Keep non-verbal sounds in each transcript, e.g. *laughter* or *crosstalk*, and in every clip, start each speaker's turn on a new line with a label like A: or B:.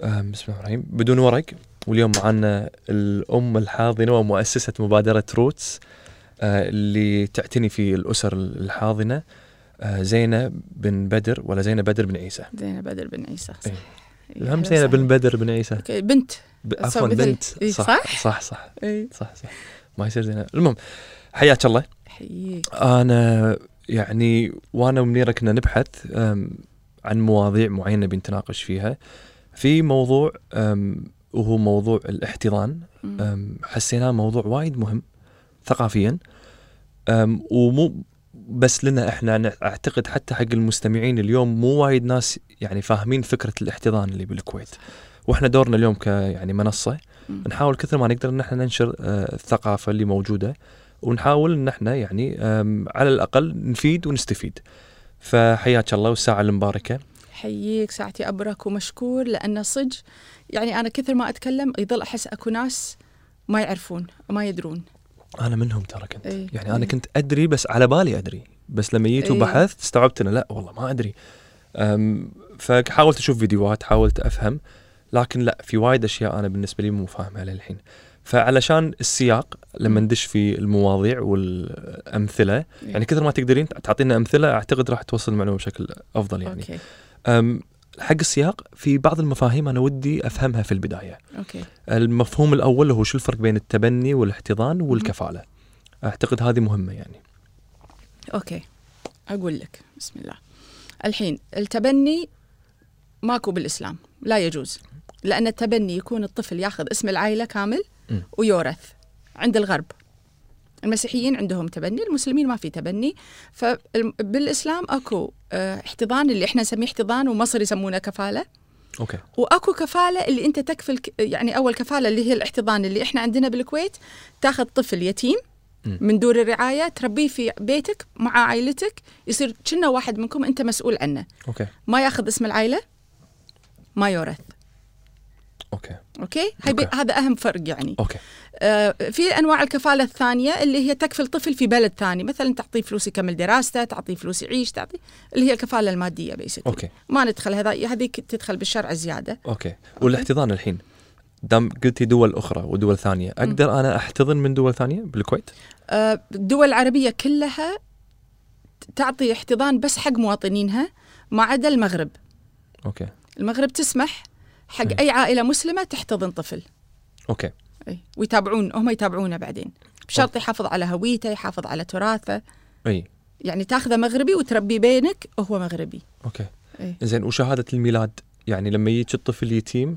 A: آه، بسم الله الرحمن الرحيم بدون ورق واليوم معنا الأم الحاضنة ومؤسسة مبادرة روتس آه، اللي تعتني في الأسر الحاضنة آه، زينة بن بدر ولا زينة بدر بن عيسى
B: زينب بدر بن عيسى صح
A: إيه. الهم
B: أيوة،
A: زينة بن بدر بن عيسى
B: بدر بنت
A: ب-
B: صار
A: عفوا
B: بدل.
A: بنت
B: إيه،
A: صح
B: صح؟
A: صح صح,
B: اي
A: صح, صح. ما يصير زينة المهم حياك الله
B: حييك
A: انا يعني وانا ومنيره كنا نبحث أم، عن مواضيع معينه بنتناقش فيها في موضوع أم، وهو موضوع الاحتضان
B: مم.
A: أم، حسيناه موضوع وايد مهم ثقافيا أم، ومو بس لنا احنا أنا اعتقد حتى حق المستمعين اليوم مو وايد ناس يعني فاهمين فكره الاحتضان اللي بالكويت واحنا دورنا اليوم ك يعني منصه
B: مم.
A: نحاول كثر ما نقدر ان احنا ننشر آه، الثقافه اللي موجوده ونحاول ان احنا يعني آم، على الاقل نفيد ونستفيد. فحياك الله والساعه المباركه.
B: حييك ساعتي ابرك ومشكور لانه صج يعني انا كثر ما اتكلم يظل احس اكو ناس ما يعرفون ما يدرون
A: انا منهم ترى كنت
B: إي،
A: يعني انا
B: إي.
A: كنت ادري بس على بالي ادري بس لما جيت
B: إي.
A: وبحثت استوعبت انه لا والله ما ادري. آم، فحاولت اشوف فيديوهات حاولت افهم لكن لا في وايد اشياء انا بالنسبه لي مو فاهمها للحين. فعلشان السياق لما
B: مم.
A: ندش في المواضيع والامثله يعني كثر ما تقدرين تعطينا امثله اعتقد راح توصل المعلومه بشكل افضل يعني
B: اوكي
A: أم، حق السياق في بعض المفاهيم انا ودي افهمها في البدايه
B: اوكي
A: المفهوم الاول هو شو الفرق بين التبني والاحتضان والكفاله اعتقد هذه مهمه يعني
B: اوكي اقول لك بسم الله الحين التبني ماكو بالاسلام لا يجوز لان التبني يكون الطفل ياخذ اسم العائله كامل
A: مم.
B: ويورث عند الغرب المسيحيين عندهم تبني المسلمين ما في تبني فبالاسلام اكو آه، احتضان اللي احنا نسميه احتضان ومصر يسمونه كفاله
A: اوكي
B: واكو كفاله اللي انت تكفل يعني اول كفاله اللي هي الاحتضان اللي احنا عندنا بالكويت تاخذ طفل يتيم
A: مم.
B: من دور الرعايه تربيه في بيتك مع عائلتك يصير كنا واحد منكم انت مسؤول عنه
A: اوكي
B: ما ياخذ اسم العائله ما يورث
A: اوكي
B: اوكي, هاي بي-
A: أوكي.
B: هذا اهم فرق يعني
A: اوكي
B: آه، في انواع الكفاله الثانيه اللي هي تكفل طفل في بلد ثاني مثلا تعطيه فلوس يكمل دراسته تعطيه فلوس يعيش تعطيه اللي هي الكفاله الماديه بيسكلي
A: اوكي
B: ما ندخل هذا هذيك تدخل بالشرع زياده
A: اوكي والاحتضان الحين دام قلتي دول اخرى ودول ثانيه اقدر انا احتضن من دول ثانيه بالكويت
B: آه، الدول العربية كلها تعطي احتضان بس حق مواطنينها ما عدا المغرب
A: اوكي
B: المغرب تسمح
A: إيه.
B: حق أي عائلة مسلمة تحتضن طفل
A: اوكي
B: أي. ويتابعون هم يتابعونه بعدين بشرط يحافظ على هويته يحافظ على تراثه
A: اي
B: يعني تاخذه مغربي وتربي بينك وهو مغربي
A: اوكي
B: إيه.
A: زين وشهاده الميلاد يعني لما يجي الطفل يتيم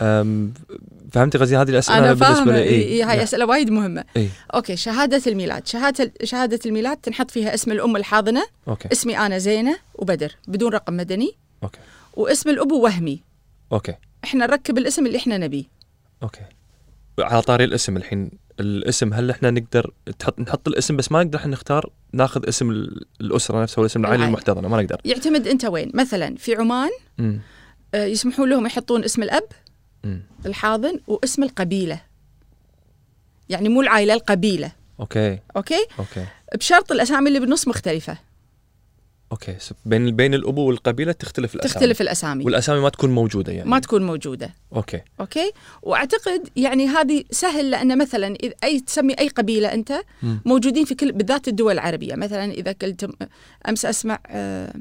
A: أم، فهمتي قصدي هذه الاسئله
B: انا
A: بالنسبه
B: فاهمه
A: لي
B: إي- إي، إيه، هاي
A: نعم.
B: اسئله وايد مهمه
A: إي.
B: اوكي شهاده الميلاد شهاده شهاده الميلاد تنحط فيها اسم الام الحاضنه
A: اوكي
B: اسمي انا زينه وبدر بدون رقم مدني
A: اوكي
B: واسم الابو وهمي
A: اوكي
B: احنا نركب الاسم اللي احنا نبيه
A: اوكي على طاري الاسم الحين الاسم هل احنا نقدر تحط نحط الاسم بس ما نقدر احنا نختار ناخذ اسم ال- الاسره نفسها ولا اسم العائله
B: العائلة.
A: المحتضنه ما نقدر
B: يعتمد انت وين مثلا في عمان
A: امم
B: آه، يسمحون لهم يحطون اسم الاب
A: امم
B: الحاضن واسم القبيله يعني مو العائله القبيله
A: اوكي
B: اوكي
A: اوكي
B: بشرط الاسامي اللي بالنص مختلفه
A: اوكي س- بين بين الابو والقبيله تختلف الاسامي
B: تختلف الاسامي
A: والاسامي ما تكون موجوده يعني
B: ما تكون موجوده
A: اوكي
B: اوكي واعتقد يعني هذه سهل لان مثلا إذا اي تسمي اي قبيله انت
A: مم.
B: موجودين في كل بالذات الدول العربيه مثلا اذا قلت امس اسمع آه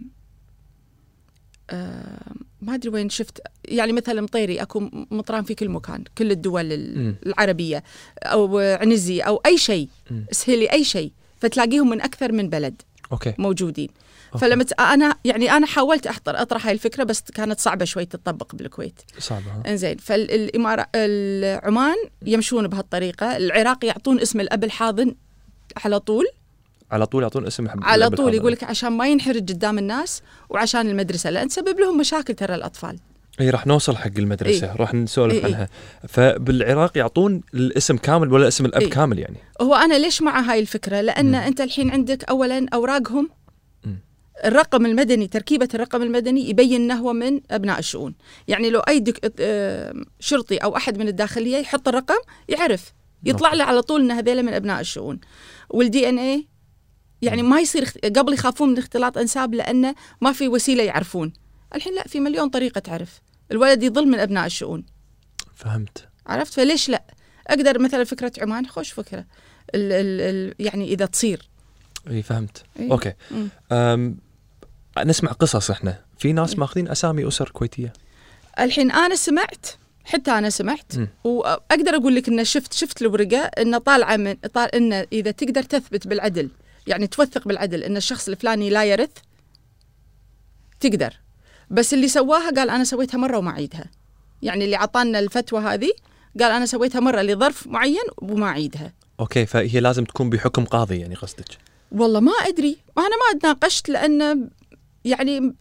B: آه ما ادري وين شفت يعني مثلا مطيري اكو مطران في كل مكان كل الدول ال-
A: مم.
B: العربيه او عنزي او اي شيء
A: مم.
B: سهلي اي شيء فتلاقيهم من اكثر من بلد
A: اوكي
B: موجودين
A: أوكي.
B: فلما ت- انا يعني انا حاولت احضر اطرح هاي الفكره بس كانت صعبه شوي تطبق بالكويت
A: صعبه ها
B: انزين فالاماره عمان يمشون بهالطريقه العراق يعطون اسم الاب الحاضن على طول
A: على طول يعطون اسم الحب-
B: على
A: الأب
B: طول
A: الحاضر.
B: يقول لك عشان ما ينحرج قدام الناس وعشان المدرسه لان تسبب لهم مشاكل ترى الاطفال
A: اي راح نوصل حق المدرسه راح نسولف
B: إي إي.
A: عنها فبالعراق يعطون الاسم كامل ولا اسم الاب
B: إي.
A: كامل يعني
B: هو انا ليش مع هاي الفكره لان
A: مم.
B: انت الحين عندك اولا اوراقهم
A: مم.
B: الرقم المدني تركيبة الرقم المدني يبين انه هو من ابناء الشؤون، يعني لو اي دك... آه، شرطي او احد من الداخليه يحط الرقم يعرف
A: نعم.
B: يطلع له على طول ان هذيلا من ابناء الشؤون. والدي ان اي يعني ما يصير اخت- قبل يخافون من اختلاط انساب لانه ما في وسيله يعرفون. الحين لا في مليون طريقه تعرف الولد يظل من ابناء الشؤون
A: فهمت
B: عرفت فليش لا اقدر مثلا فكره عمان خوش فكره ال ال ال يعني اذا تصير
A: اي فهمت
B: إيه.
A: اوكي
B: مم.
A: أم نسمع قصص احنا في
B: إيه.
A: ناس ماخذين اسامي اسر كويتيه
B: الحين انا سمعت حتى انا سمعت
A: مم.
B: واقدر اقول لك ان شفت شفت الورقه انه طالعه من طال انه اذا تقدر تثبت بالعدل يعني توثق بالعدل ان الشخص الفلاني لا يرث تقدر بس اللي سواها قال انا سويتها مره وما اعيدها يعني اللي عطانا الفتوى هذه قال انا سويتها مره لظرف معين وما اعيدها
A: اوكي فهي لازم تكون بحكم قاضي يعني قصدك
B: والله ما ادري انا ما تناقشت لان يعني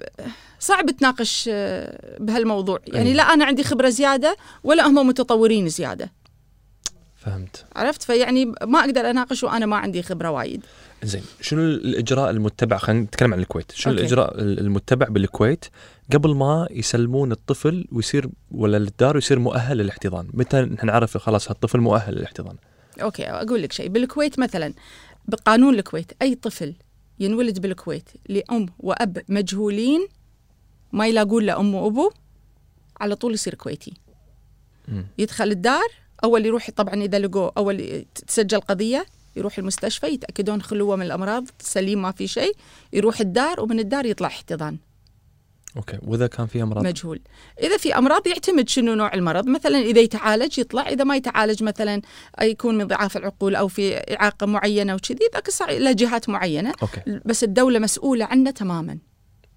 B: صعب تناقش آه، بهالموضوع يعني
A: أي.
B: لا انا عندي خبره زياده ولا هم متطورين زياده
A: فهمت
B: عرفت فيعني ما اقدر اناقش وانا ما عندي خبره وايد
A: زين شنو الاجراء المتبع خلينا نتكلم عن الكويت شنو
B: أوكي.
A: الاجراء ال- المتبع بالكويت قبل ما يسلمون الطفل ويصير ولا للدار ويصير مؤهل للاحتضان متى نحن نعرف خلاص هالطفل مؤهل للاحتضان
B: اوكي اقول لك شيء بالكويت مثلا بقانون الكويت اي طفل ينولد بالكويت لام واب مجهولين ما يلاقون له ام وابو على طول يصير كويتي
A: مم.
B: يدخل الدار اول يروح طبعا اذا لقوه اول تسجل قضيه يروح المستشفى يتاكدون خلوه من الامراض سليم ما في شيء يروح الدار ومن الدار يطلع احتضان
A: اوكي واذا كان في امراض
B: مجهول اذا في امراض يعتمد شنو نوع المرض مثلا اذا يتعالج يطلع اذا ما يتعالج مثلا يكون من ضعاف العقول او في اعاقه معينه وكذي ذاك الصع- الى جهات معينه
A: اوكي
B: بس الدوله مسؤوله عنه تماما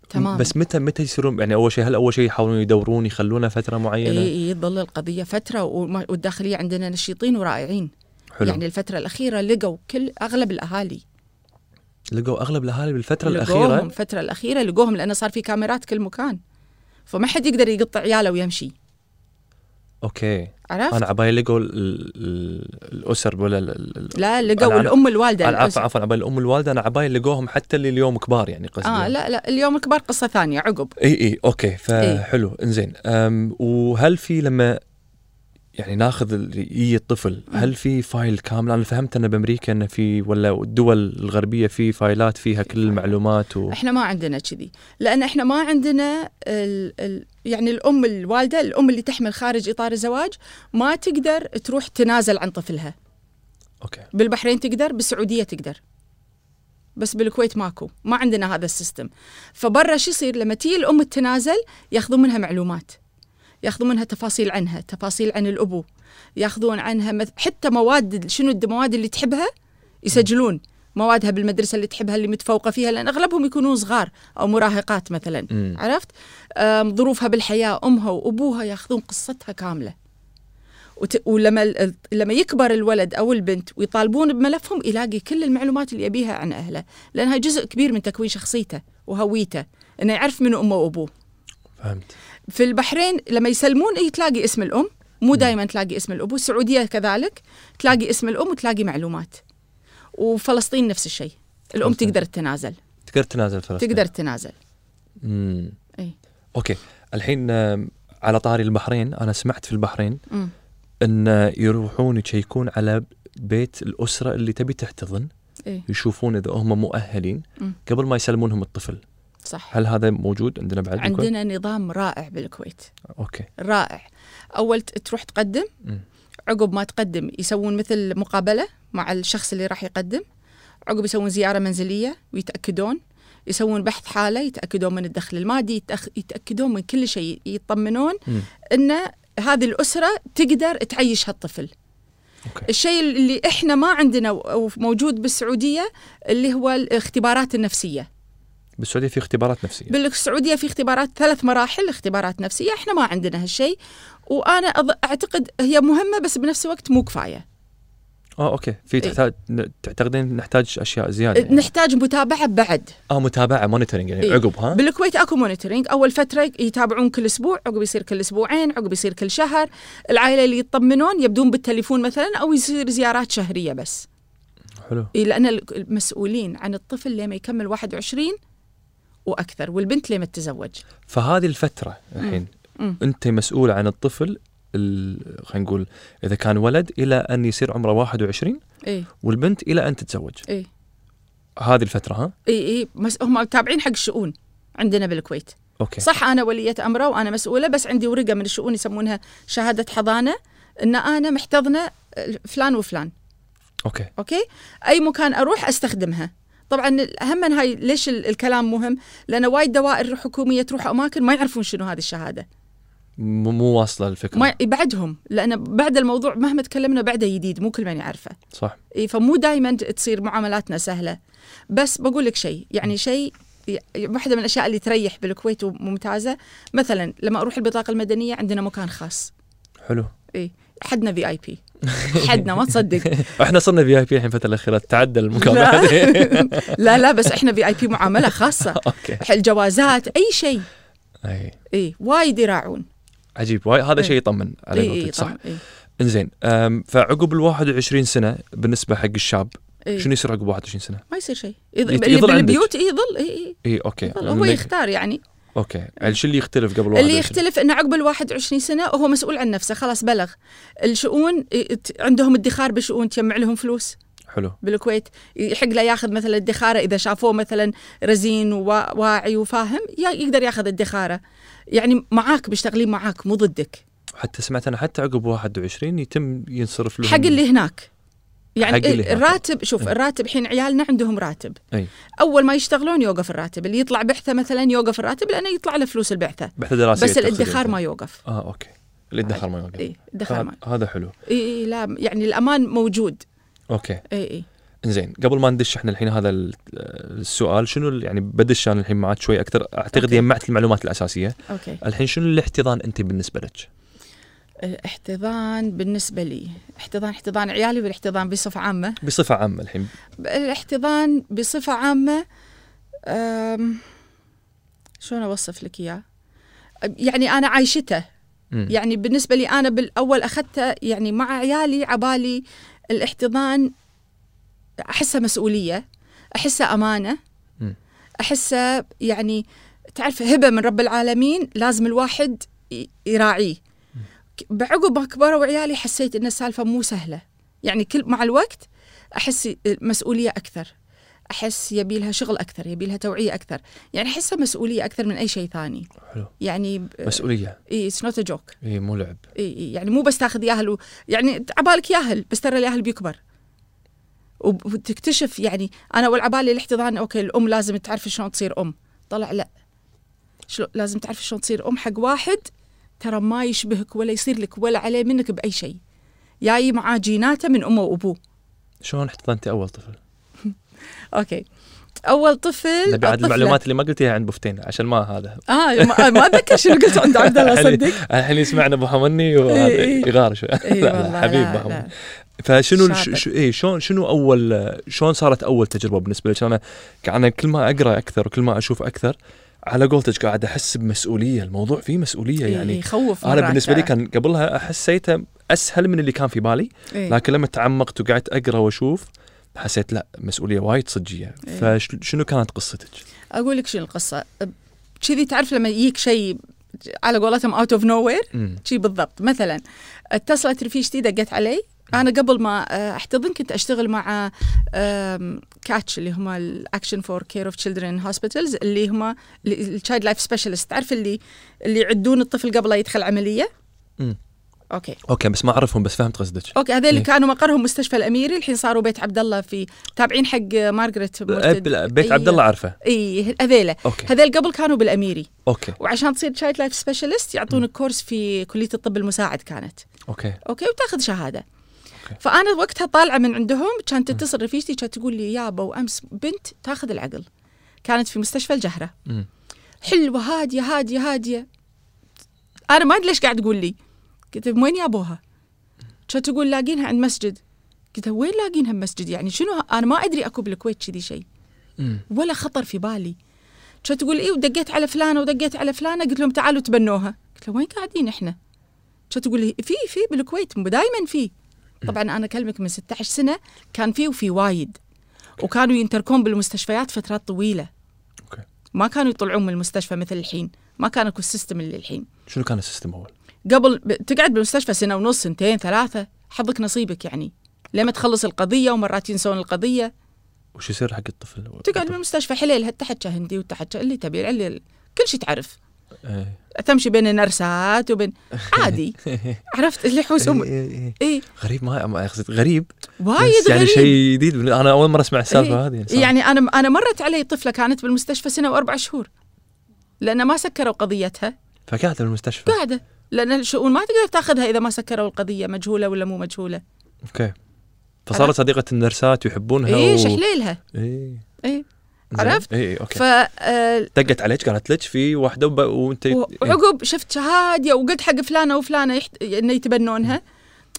B: تماما
A: بس متى متى يصيرون يعني اول شيء هل اول شيء يحاولون يدورون يخلونه فتره معينه
B: إي إي تظل القضيه فتره وما- والداخليه عندنا نشيطين ورائعين
A: حلو
B: يعني الفتره الاخيره لقوا كل اغلب الاهالي
A: لقوا اغلب الاهالي بالفتره
B: لقوهم
A: الاخيره
B: الفتره الاخيره لقوهم لانه صار في كاميرات كل مكان فما حد يقدر يقطع عياله ويمشي
A: اوكي
B: عرفت؟
A: انا عبالي لقوا ال- ال- الاسر ولا ال- ال- ال-
B: لا لقوا
A: أنا-
B: الام الوالده
A: أنا عفوا
B: الأس-
A: عفوا عبالي الام الوالده انا عبالي لقوهم حتى اللي اليوم كبار يعني قصدي
B: اه لا لا اليوم الكبار قصه ثانيه عقب
A: اي اي اوكي
B: إي.
A: فحلو انزين أم، وهل في لما يعني ناخذ ال- يجي الطفل هل في فايل كامل انا فهمت ان بامريكا انه في ولا الدول الغربيه في فايلات فيها كل المعلومات و...
B: احنا ما عندنا كذي لان احنا ما عندنا ال ال يعني الام الوالده الام اللي تحمل خارج اطار الزواج ما تقدر تروح تنازل عن طفلها
A: اوكي
B: بالبحرين تقدر بالسعوديه تقدر بس بالكويت ماكو ما عندنا هذا السيستم فبرا شو يصير لما تيجي الام تتنازل ياخذون منها معلومات ياخذون منها تفاصيل عنها تفاصيل عن الابو ياخذون عنها مث... حتى مواد شنو المواد اللي تحبها يسجلون موادها بالمدرسه اللي تحبها اللي متفوقه فيها لان اغلبهم يكونون صغار او مراهقات مثلا
A: مم.
B: عرفت أم، ظروفها بالحياه امها وابوها ياخذون قصتها كامله وت... ولما ال- لما يكبر الولد او البنت ويطالبون بملفهم يلاقي كل المعلومات اللي يبيها عن اهله لانها جزء كبير من تكوين شخصيته وهويته انه يعرف منو امه وابوه
A: فهمت
B: في البحرين لما يسلمون إيه، تلاقي اسم الام مو دائما تلاقي اسم الابو السعوديه كذلك تلاقي اسم الام وتلاقي معلومات وفلسطين نفس الشيء الام
A: فلسطين.
B: تقدر تتنازل
A: تقدر تنازل فلسطين
B: تقدر إيه، تتنازل
A: مم.
B: اي
A: اوكي الحين آم، على طاري البحرين انا سمعت في البحرين
B: أمم.
A: ان يروحون يشيكون على بيت الاسره اللي تبي تحتضن
B: اي
A: يشوفون اذا هم مؤهلين
B: مم.
A: قبل ما يسلمونهم الطفل
B: صح
A: هل هذا موجود عندنا بعد بالكويت؟
B: عندنا نظام رائع بالكويت
A: اوكي
B: رائع اول ت- تروح تقدم
A: مم.
B: عقب ما تقدم يسوون مثل مقابله مع الشخص اللي راح يقدم عقب يسوون زياره منزليه ويتاكدون يسوون بحث حاله يتاكدون من الدخل المادي يتأخ- يتاكدون من كل شيء يطمنون
A: مم.
B: ان هذه الاسره تقدر تعيش هالطفل
A: اوكي
B: الشيء اللي احنا ما عندنا و- أو موجود بالسعوديه اللي هو الاختبارات النفسيه
A: بالسعوديه في اختبارات نفسيه
B: بالسعوديه في اختبارات ثلاث مراحل اختبارات نفسيه احنا ما عندنا هالشيء وانا أظ- اعتقد هي مهمه بس بنفس الوقت مو كفايه
A: اه اوكي في
B: إيه.
A: تحتاج ن- تعتقدين نحتاج اشياء زياده يعني.
B: نحتاج متابعه بعد
A: اه متابعه مونيتورنج يعني
B: إيه.
A: عقب ها
B: بالكويت اكو مونيتورينج اول فتره يتابعون كل اسبوع عقب يصير كل اسبوعين عقب يصير كل شهر العائله اللي يطمنون يبدون بالتليفون مثلا او يصير زيارات شهريه بس
A: حلو
B: إيه، لان ال- المسؤولين عن الطفل لما يكمل 21 واكثر والبنت لما تتزوج
A: فهذه الفتره الحين
B: مم.
A: انت مسؤول عن الطفل ال- خلينا نقول اذا كان ولد الى ان يصير عمره 21
B: اي
A: والبنت الى ان تتزوج
B: اي
A: هذه الفتره ها
B: إيه، اي اي مس... هم تابعين حق الشؤون عندنا بالكويت
A: اوكي
B: صح انا وليه امره وانا مسؤوله بس عندي ورقه من الشؤون يسمونها شهاده حضانه ان انا محتضنه آه، فلان وفلان
A: اوكي
B: اوكي اي مكان اروح استخدمها طبعا الاهم من هاي ليش ال- الكلام مهم لان وايد دوائر حكوميه تروح اماكن ما يعرفون شنو هذه الشهاده
A: مو مو واصله الفكره
B: ما يبعدهم لان بعد الموضوع مهما تكلمنا بعده جديد مو كل من يعرفه
A: صح
B: إي، إيه، فمو دائما تصير معاملاتنا سهله بس بقول لك شيء يعني شيء ي- واحده من الاشياء اللي تريح بالكويت وممتازه مثلا لما اروح البطاقه المدنيه عندنا مكان خاص
A: حلو
B: اي حدنا في اي بي حدنا
A: *laughs*
B: ما تصدق
A: احنا صرنا في اي بي الحين الفتره الاخيره تعدى المكان *laughs*
B: لا.
A: هذه.
B: *laughs* لا لا بس احنا في اي بي معامله خاصه
A: اوكي
B: الجوازات اي شيء
A: اي
B: اي وايد يراعون
A: عجيب واي هذا
B: إي.
A: شيء يطمن على
B: اي اي
A: قولتك صح
B: طبعاً، إيه، إي.
A: انزين أم، فعقب ال 21 سنه بالنسبه حق الشاب
B: إي.
A: شنو يصير عقب 21 سنه؟
B: إيه، ما يصير شيء
A: يت-
B: يض- اللي
A: يظل عندك.
B: بالبيوت إيه، اي يظل اي اي
A: اي اوكي
B: يظل. هو
A: لك-
B: يختار يعني
A: اوكي يعني شو اللي يختلف قبل
B: اللي
A: 21
B: يختلف انه عقب ال 21 سنه هو مسؤول عن نفسه خلاص بلغ الشؤون ت- عندهم ادخار بشؤون تجمع لهم فلوس
A: حلو
B: بالكويت يحق له ياخذ مثلا ادخاره اذا شافوه مثلا رزين وواعي وفاهم ي- يقدر ياخذ ادخاره يعني معاك بيشتغلين معاك مو ضدك
A: حتى سمعت انا حتى عقب 21 يتم ينصرف لهم
B: حق اللي هناك يعني
A: حق اللي هناك.
B: الراتب شوف
A: إيه.
B: الراتب الحين عيالنا عندهم راتب
A: أي.
B: اول ما يشتغلون يوقف الراتب اللي يطلع بعثه مثلا يوقف الراتب لانه يطلع له فلوس البعثه
A: بحث دراسيه
B: بس الادخار ما يوقف
A: اه اوكي الادخار ما يوقف
B: اي ادخار ما
A: هذا- هذا حلو
B: اي إي لا يعني الامان موجود
A: اوكي
B: اي اي
A: انزين قبل ما ندش احنا الحين هذا ال- السؤال شنو ال- يعني بدش انا الحين معك شوي اكثر اعتقد
B: أوكي.
A: جمعت المعلومات الاساسيه
B: اوكي
A: الحين شنو الاحتضان انت بالنسبه لك
B: الاحتضان بالنسبه لي احتضان احتضان عيالي والاحتضان بصفه عامه
A: بصفه عامه الحين
B: الاحتضان بصفه عامه أم، شلون اوصف لك اياه يعني انا عايشته
A: مم.
B: يعني بالنسبه لي انا بالاول اخذته يعني مع عيالي عبالي الاحتضان احسه مسؤوليه احسه امانه
A: مم.
B: احسه يعني تعرف هبه من رب العالمين لازم الواحد ي- يراعيه ك- بعقب ما كبروا عيالي حسيت ان السالفه مو سهله يعني كل مع الوقت احس مسؤوليه اكثر احس يبي لها شغل اكثر يبي لها توعيه اكثر يعني احسها مسؤوليه اكثر من اي شيء ثاني
A: حلو.
B: يعني
A: مسؤوليه
B: اي اتس نوت جوك
A: اي إيه، مو لعب
B: إي إي يعني مو بس تاخذ ياهل و... يعني عبالك ياهل بس ترى الياهل بيكبر وب- وتكتشف يعني انا والعبالي الاحتضان اوكي الام لازم تعرف شلون تصير ام طلع لا شلو لازم تعرف شلون تصير ام حق واحد ترى ما يشبهك ولا يصير لك ولا عليه منك باي شيء جاي معاه جيناته من امه وابوه
A: شلون احتضنتي اول طفل؟
B: اوكي اول طفل
A: نبي عاد
B: الطفلة.
A: المعلومات اللي ما قلتيها عند بوفتين عشان ما
B: *laughs*
A: هذا
B: اه ما ما اتذكر شنو قلت عند
A: *laughs*
B: عبد الله
A: الحين-
B: صدق
A: الحين يسمعنا ابو حمني
B: إي
A: وهذا
B: إي.
A: يغار شوي
B: اي
A: لا، لا،
B: إيه، والله
A: حبيب
B: لا،
A: محمود.
B: لا.
A: فشنو الش-
B: شاطر.
A: شو اي شلون شنو اول شلون صارت اول تجربه بالنسبه لك انا انا كل ما اقرا اكثر وكل ما اشوف اكثر على قولتك قاعد احس بمسؤوليه الموضوع فيه مسؤوليه
B: إي،
A: يعني
B: يخوف
A: انا
B: مرات.
A: بالنسبه لي كان قبلها حسيته اسهل من اللي كان في بالي
B: إي.
A: لكن لما تعمقت وقعدت اقرا واشوف حسيت لا مسؤوليه وايد صجيه
B: إي.
A: فشنو كانت قصتك؟
B: اقول لك شنو القصه كذي تعرف لما يجيك شيء على قولتهم اوت اوف نو وير
A: أمم.
B: شي بالضبط مثلا اتصلت رفيجتي دقت علي انا قبل ما آه، احتضن كنت اشتغل مع آم، كاتش اللي هم الاكشن فور كير اوف تشيلدرن هوسبيتالز اللي هم التشايلد لايف سبيشالست تعرف اللي اللي يعدون الطفل قبل لا يدخل عمليه
A: مم.
B: اوكي
A: اوكي بس ما اعرفهم بس فهمت قصدك
B: اوكي هذول اللي
A: إيه.
B: كانوا مقرهم مستشفى الاميري الحين صاروا بيت عبد الله في تابعين حق مارغريت مرتد.
A: أب- إيه، بيت
B: أي-
A: عبد الله عارفه
B: اي هذيله
A: اوكي
B: هذول قبل كانوا بالاميري
A: اوكي
B: وعشان تصير تشايلد لايف سبيشالست يعطونك كورس في كليه الطب المساعد كانت
A: اوكي
B: اوكي وتاخذ شهاده
A: أوكي.
B: فانا وقتها طالعه من عندهم كانت تتصل رفيجتي كانت تقول لي يابا وامس بنت تاخذ العقل كانت في مستشفى الجهره
A: أمم.
B: حلوه هاديه هاديه هاديه انا ما ادري ليش قاعد تقول لي قلت لها، وين يابوها؟ كانت تقول لاقينها عند مسجد قلت لها، وين لاقينها بمسجد يعني شنو ه- انا ما ادري اكو بالكويت كذي شيء
A: أمم.
B: ولا خطر في بالي كانت تقول اي ودقيت على فلانه ودقيت على فلانه قلت لهم تعالوا تبنوها قلت لهم وين قاعدين احنا؟ كانت تقول لي في في بالكويت دائما في طبعا انا اكلمك من 16 سنه كان في وفي وايد وكانوا ينتركون بالمستشفيات فترات طويله
A: أوكي.
B: ما كانوا يطلعون من المستشفى مثل الحين ما كان اكو السيستم اللي الحين
A: شنو كان السيستم اول؟
B: قبل ب... تقعد بالمستشفى سنه ونص سنتين ثلاثه حظك نصيبك يعني لما تخلص القضيه ومرات ينسون القضيه
A: وش يصير حق الطفل؟
B: تقعد بالمستشفى حليلها تحت شهندي وتحت شا- اللي تبي اللي كل شيء تعرف
A: إيه. *laughs*
B: تمشي بين النرسات وبين عادي عرفت اللي يحوسهم
A: إيه، إيه، إيه.
B: اي
A: غريب ما ما اقصد غريب
B: وايد
A: بس يعني
B: غريب
A: شيء جديد بال- انا اول مره اسمع السالفه
B: إيه.
A: هذه صراحة.
B: يعني انا انا مرت علي طفله كانت بالمستشفى سنه واربع شهور لان ما سكروا قضيتها
A: فقعدت بالمستشفى
B: قاعده لان الشؤون ما تقدر تاخذها اذا ما سكروا القضيه مجهوله ولا مو مجهوله
A: اوكي فصارت صديقه النرسات ويحبونها
B: اي
A: و-
B: شحليلها
A: اي
B: إيه.
A: زين.
B: عرفت؟
A: اي إي، اوكي
B: ف آه،
A: دقت عليك قالت لك في واحده وب... إيه. وانت
B: وعقب شفت شهادية وقلت حق فلانة وفلانة يحت... إنه يتبنونها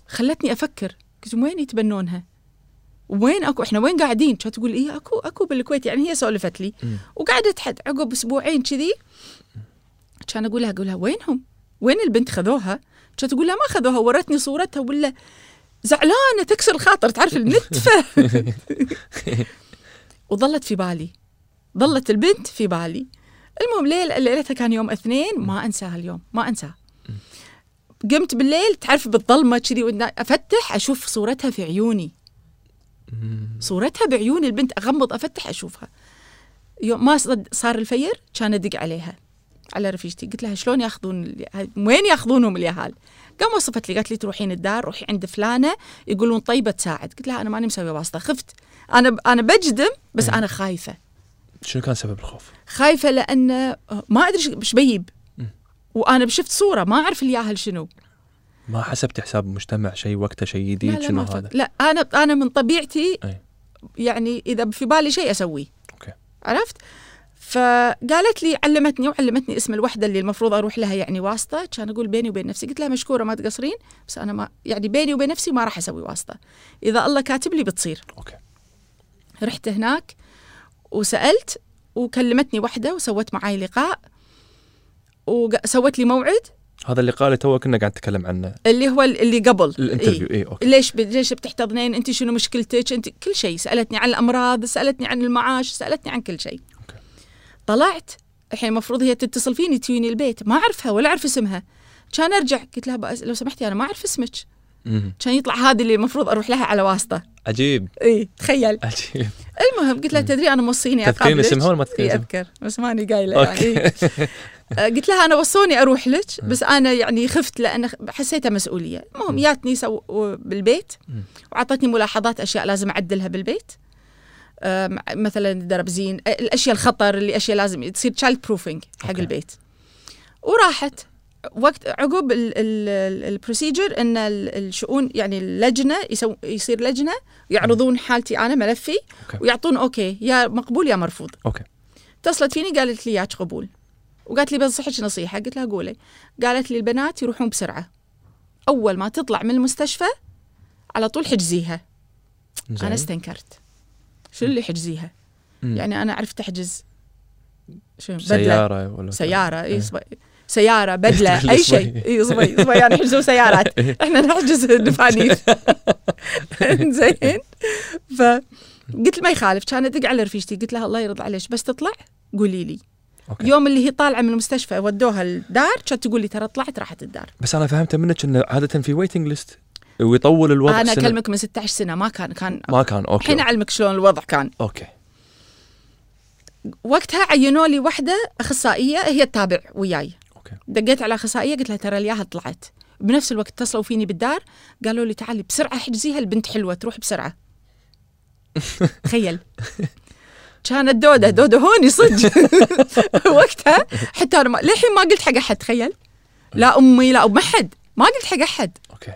B: خلتني أفكر قلت وين يتبنونها وين اكو احنا وين قاعدين كانت تقول ايه اكو اكو بالكويت يعني هي سولفت لي
A: مم.
B: وقعدت حد عقب اسبوعين كذي كان اقول لها اقول لها وينهم وين البنت خذوها كانت تقول لها ما خذوها ورتني صورتها ولا زعلانه تكسر الخاطر تعرف النتفه وظلت في بالي ظلت البنت في بالي المهم ليل ليلتها كان يوم اثنين ما انساه اليوم ما انساه قمت بالليل تعرف بالظلمه كذي وإن- افتح اشوف صورتها في عيوني
A: مم.
B: صورتها بعيون البنت اغمض افتح اشوفها يوم ما صد- صار الفير كان ادق عليها على رفيجتي قلت لها شلون ياخذون ال- وين ياخذونهم اليهال قام وصفت لي قالت لي تروحين الدار روحي عند فلانه يقولون طيبه تساعد قلت لها انا ماني مسويه واسطه خفت انا ب- انا بجدم بس انا خايفه
A: شنو كان سبب الخوف؟
B: خايفه لان ما ادري ش- ايش بيب
A: مم.
B: وانا شفت صوره ما اعرف الياهل شنو
A: ما حسبت حساب المجتمع شيء وقته شيء
B: لا
A: جديد
B: لا ما
A: شنو
B: أفكر.
A: هذا؟
B: لا انا انا من طبيعتي
A: أي.
B: يعني اذا في بالي شيء اسويه
A: اوكي
B: عرفت فقالت لي علمتني وعلمتني اسم الوحده اللي المفروض اروح لها يعني واسطه كان اقول بيني وبين نفسي قلت لها مشكوره ما تقصرين بس انا ما يعني بيني وبين نفسي ما راح اسوي واسطه اذا الله كاتب لي بتصير
A: اوكي
B: رحت هناك وسالت وكلمتني وحده وسوت معاي لقاء وسوت لي موعد
A: هذا اللقاء اللي تو كنا قاعد نتكلم عنه
B: اللي هو اللي قبل
A: الانترفيو
B: إيه.
A: إيه، اي اوكي
B: ليش ب- ليش بتحتضنين انت شنو مشكلتك انت كل شيء سالتني عن الامراض سالتني عن المعاش سالتني عن كل شيء
A: أوكي.
B: طلعت الحين المفروض هي تتصل فيني تجيني البيت ما اعرفها ولا اعرف اسمها كان ارجع قلت لها بأس... لو سمحتي انا ما اعرف اسمك
A: مم.
B: كان يطلع هذه اللي المفروض اروح لها على واسطه
A: عجيب
B: اي تخيل
A: عجيب
B: المهم قلت لها تدري انا موصيني
A: تذكرين
B: اقابلك
A: اسمها ولا ما تذكرين
B: إي
A: اسمها؟
B: اذكر بس ماني قايله إيه، يعني
A: اوكي
B: إي. آه، قلت لها انا وصوني اروح لك بس انا يعني خفت لان خ- حسيتها مسؤوليه المهم جاتني سو... بالبيت
A: مم.
B: وعطتني ملاحظات اشياء لازم اعدلها بالبيت آه، آم، مثلا دربزين آه، الاشياء الخطر اللي اشياء لازم تصير تشايلد بروفينج حق
A: أوكي.
B: البيت وراحت وقت عقب البروسيجر ان ال- الشؤون يعني اللجنه يسو يصير لجنه يعرضون حالتي انا ملفي
A: أوكي.
B: ويعطون اوكي يا مقبول يا مرفوض
A: اوكي
B: اتصلت فيني قالت لي ياك قبول وقالت لي بنصحك نصيحه قلت لها قولي قالت لي البنات يروحون بسرعه اول ما تطلع من المستشفى على طول حجزيها
A: *laughs* زين.
B: انا استنكرت شو اللي حجزيها
A: مم.
B: يعني انا عرفت احجز شنو بدله
A: سياره ولا
B: سياره
A: إيه.
B: اي صبي- سياره بدله
A: *laughs* تخلي
B: اي
A: صبي.
B: شيء اي صبي صبي يعني يحجزوا
A: *laughs*
B: سيارات
A: إيه.
B: احنا نحجز دفانيس زين فقلت ما يخالف كان ادق على رفيجتي قلت لها الله يرضى عليك بس تطلع قولي لي
A: أوكي.
B: يوم اللي هي طالعه من المستشفى ودوها الدار كانت تقول لي ترى طلعت راحت الدار
A: بس انا فهمت منك انه عاده في ويتنج ليست ويطول الوضع
B: انا
A: سنة.
B: اكلمك من 16 سنه ما كان كان
A: ما كان اوكي
B: الحين اعلمك شلون الوضع كان
A: اوكي
B: وقتها عينوا لي وحده اخصائيه هي تتابع وياي
A: اوكي
B: دقيت على اخصائيه قلت لها ترى الياها طلعت بنفس الوقت اتصلوا فيني بالدار قالوا لي تعالي بسرعه حجزيها البنت حلوه تروح بسرعه تخيل كانت دوده دوده هوني صدق وقتها حتى انا ما... للحين ما قلت حق احد تخيل لا امي لا ام احد ما قلت حق احد
A: اوكي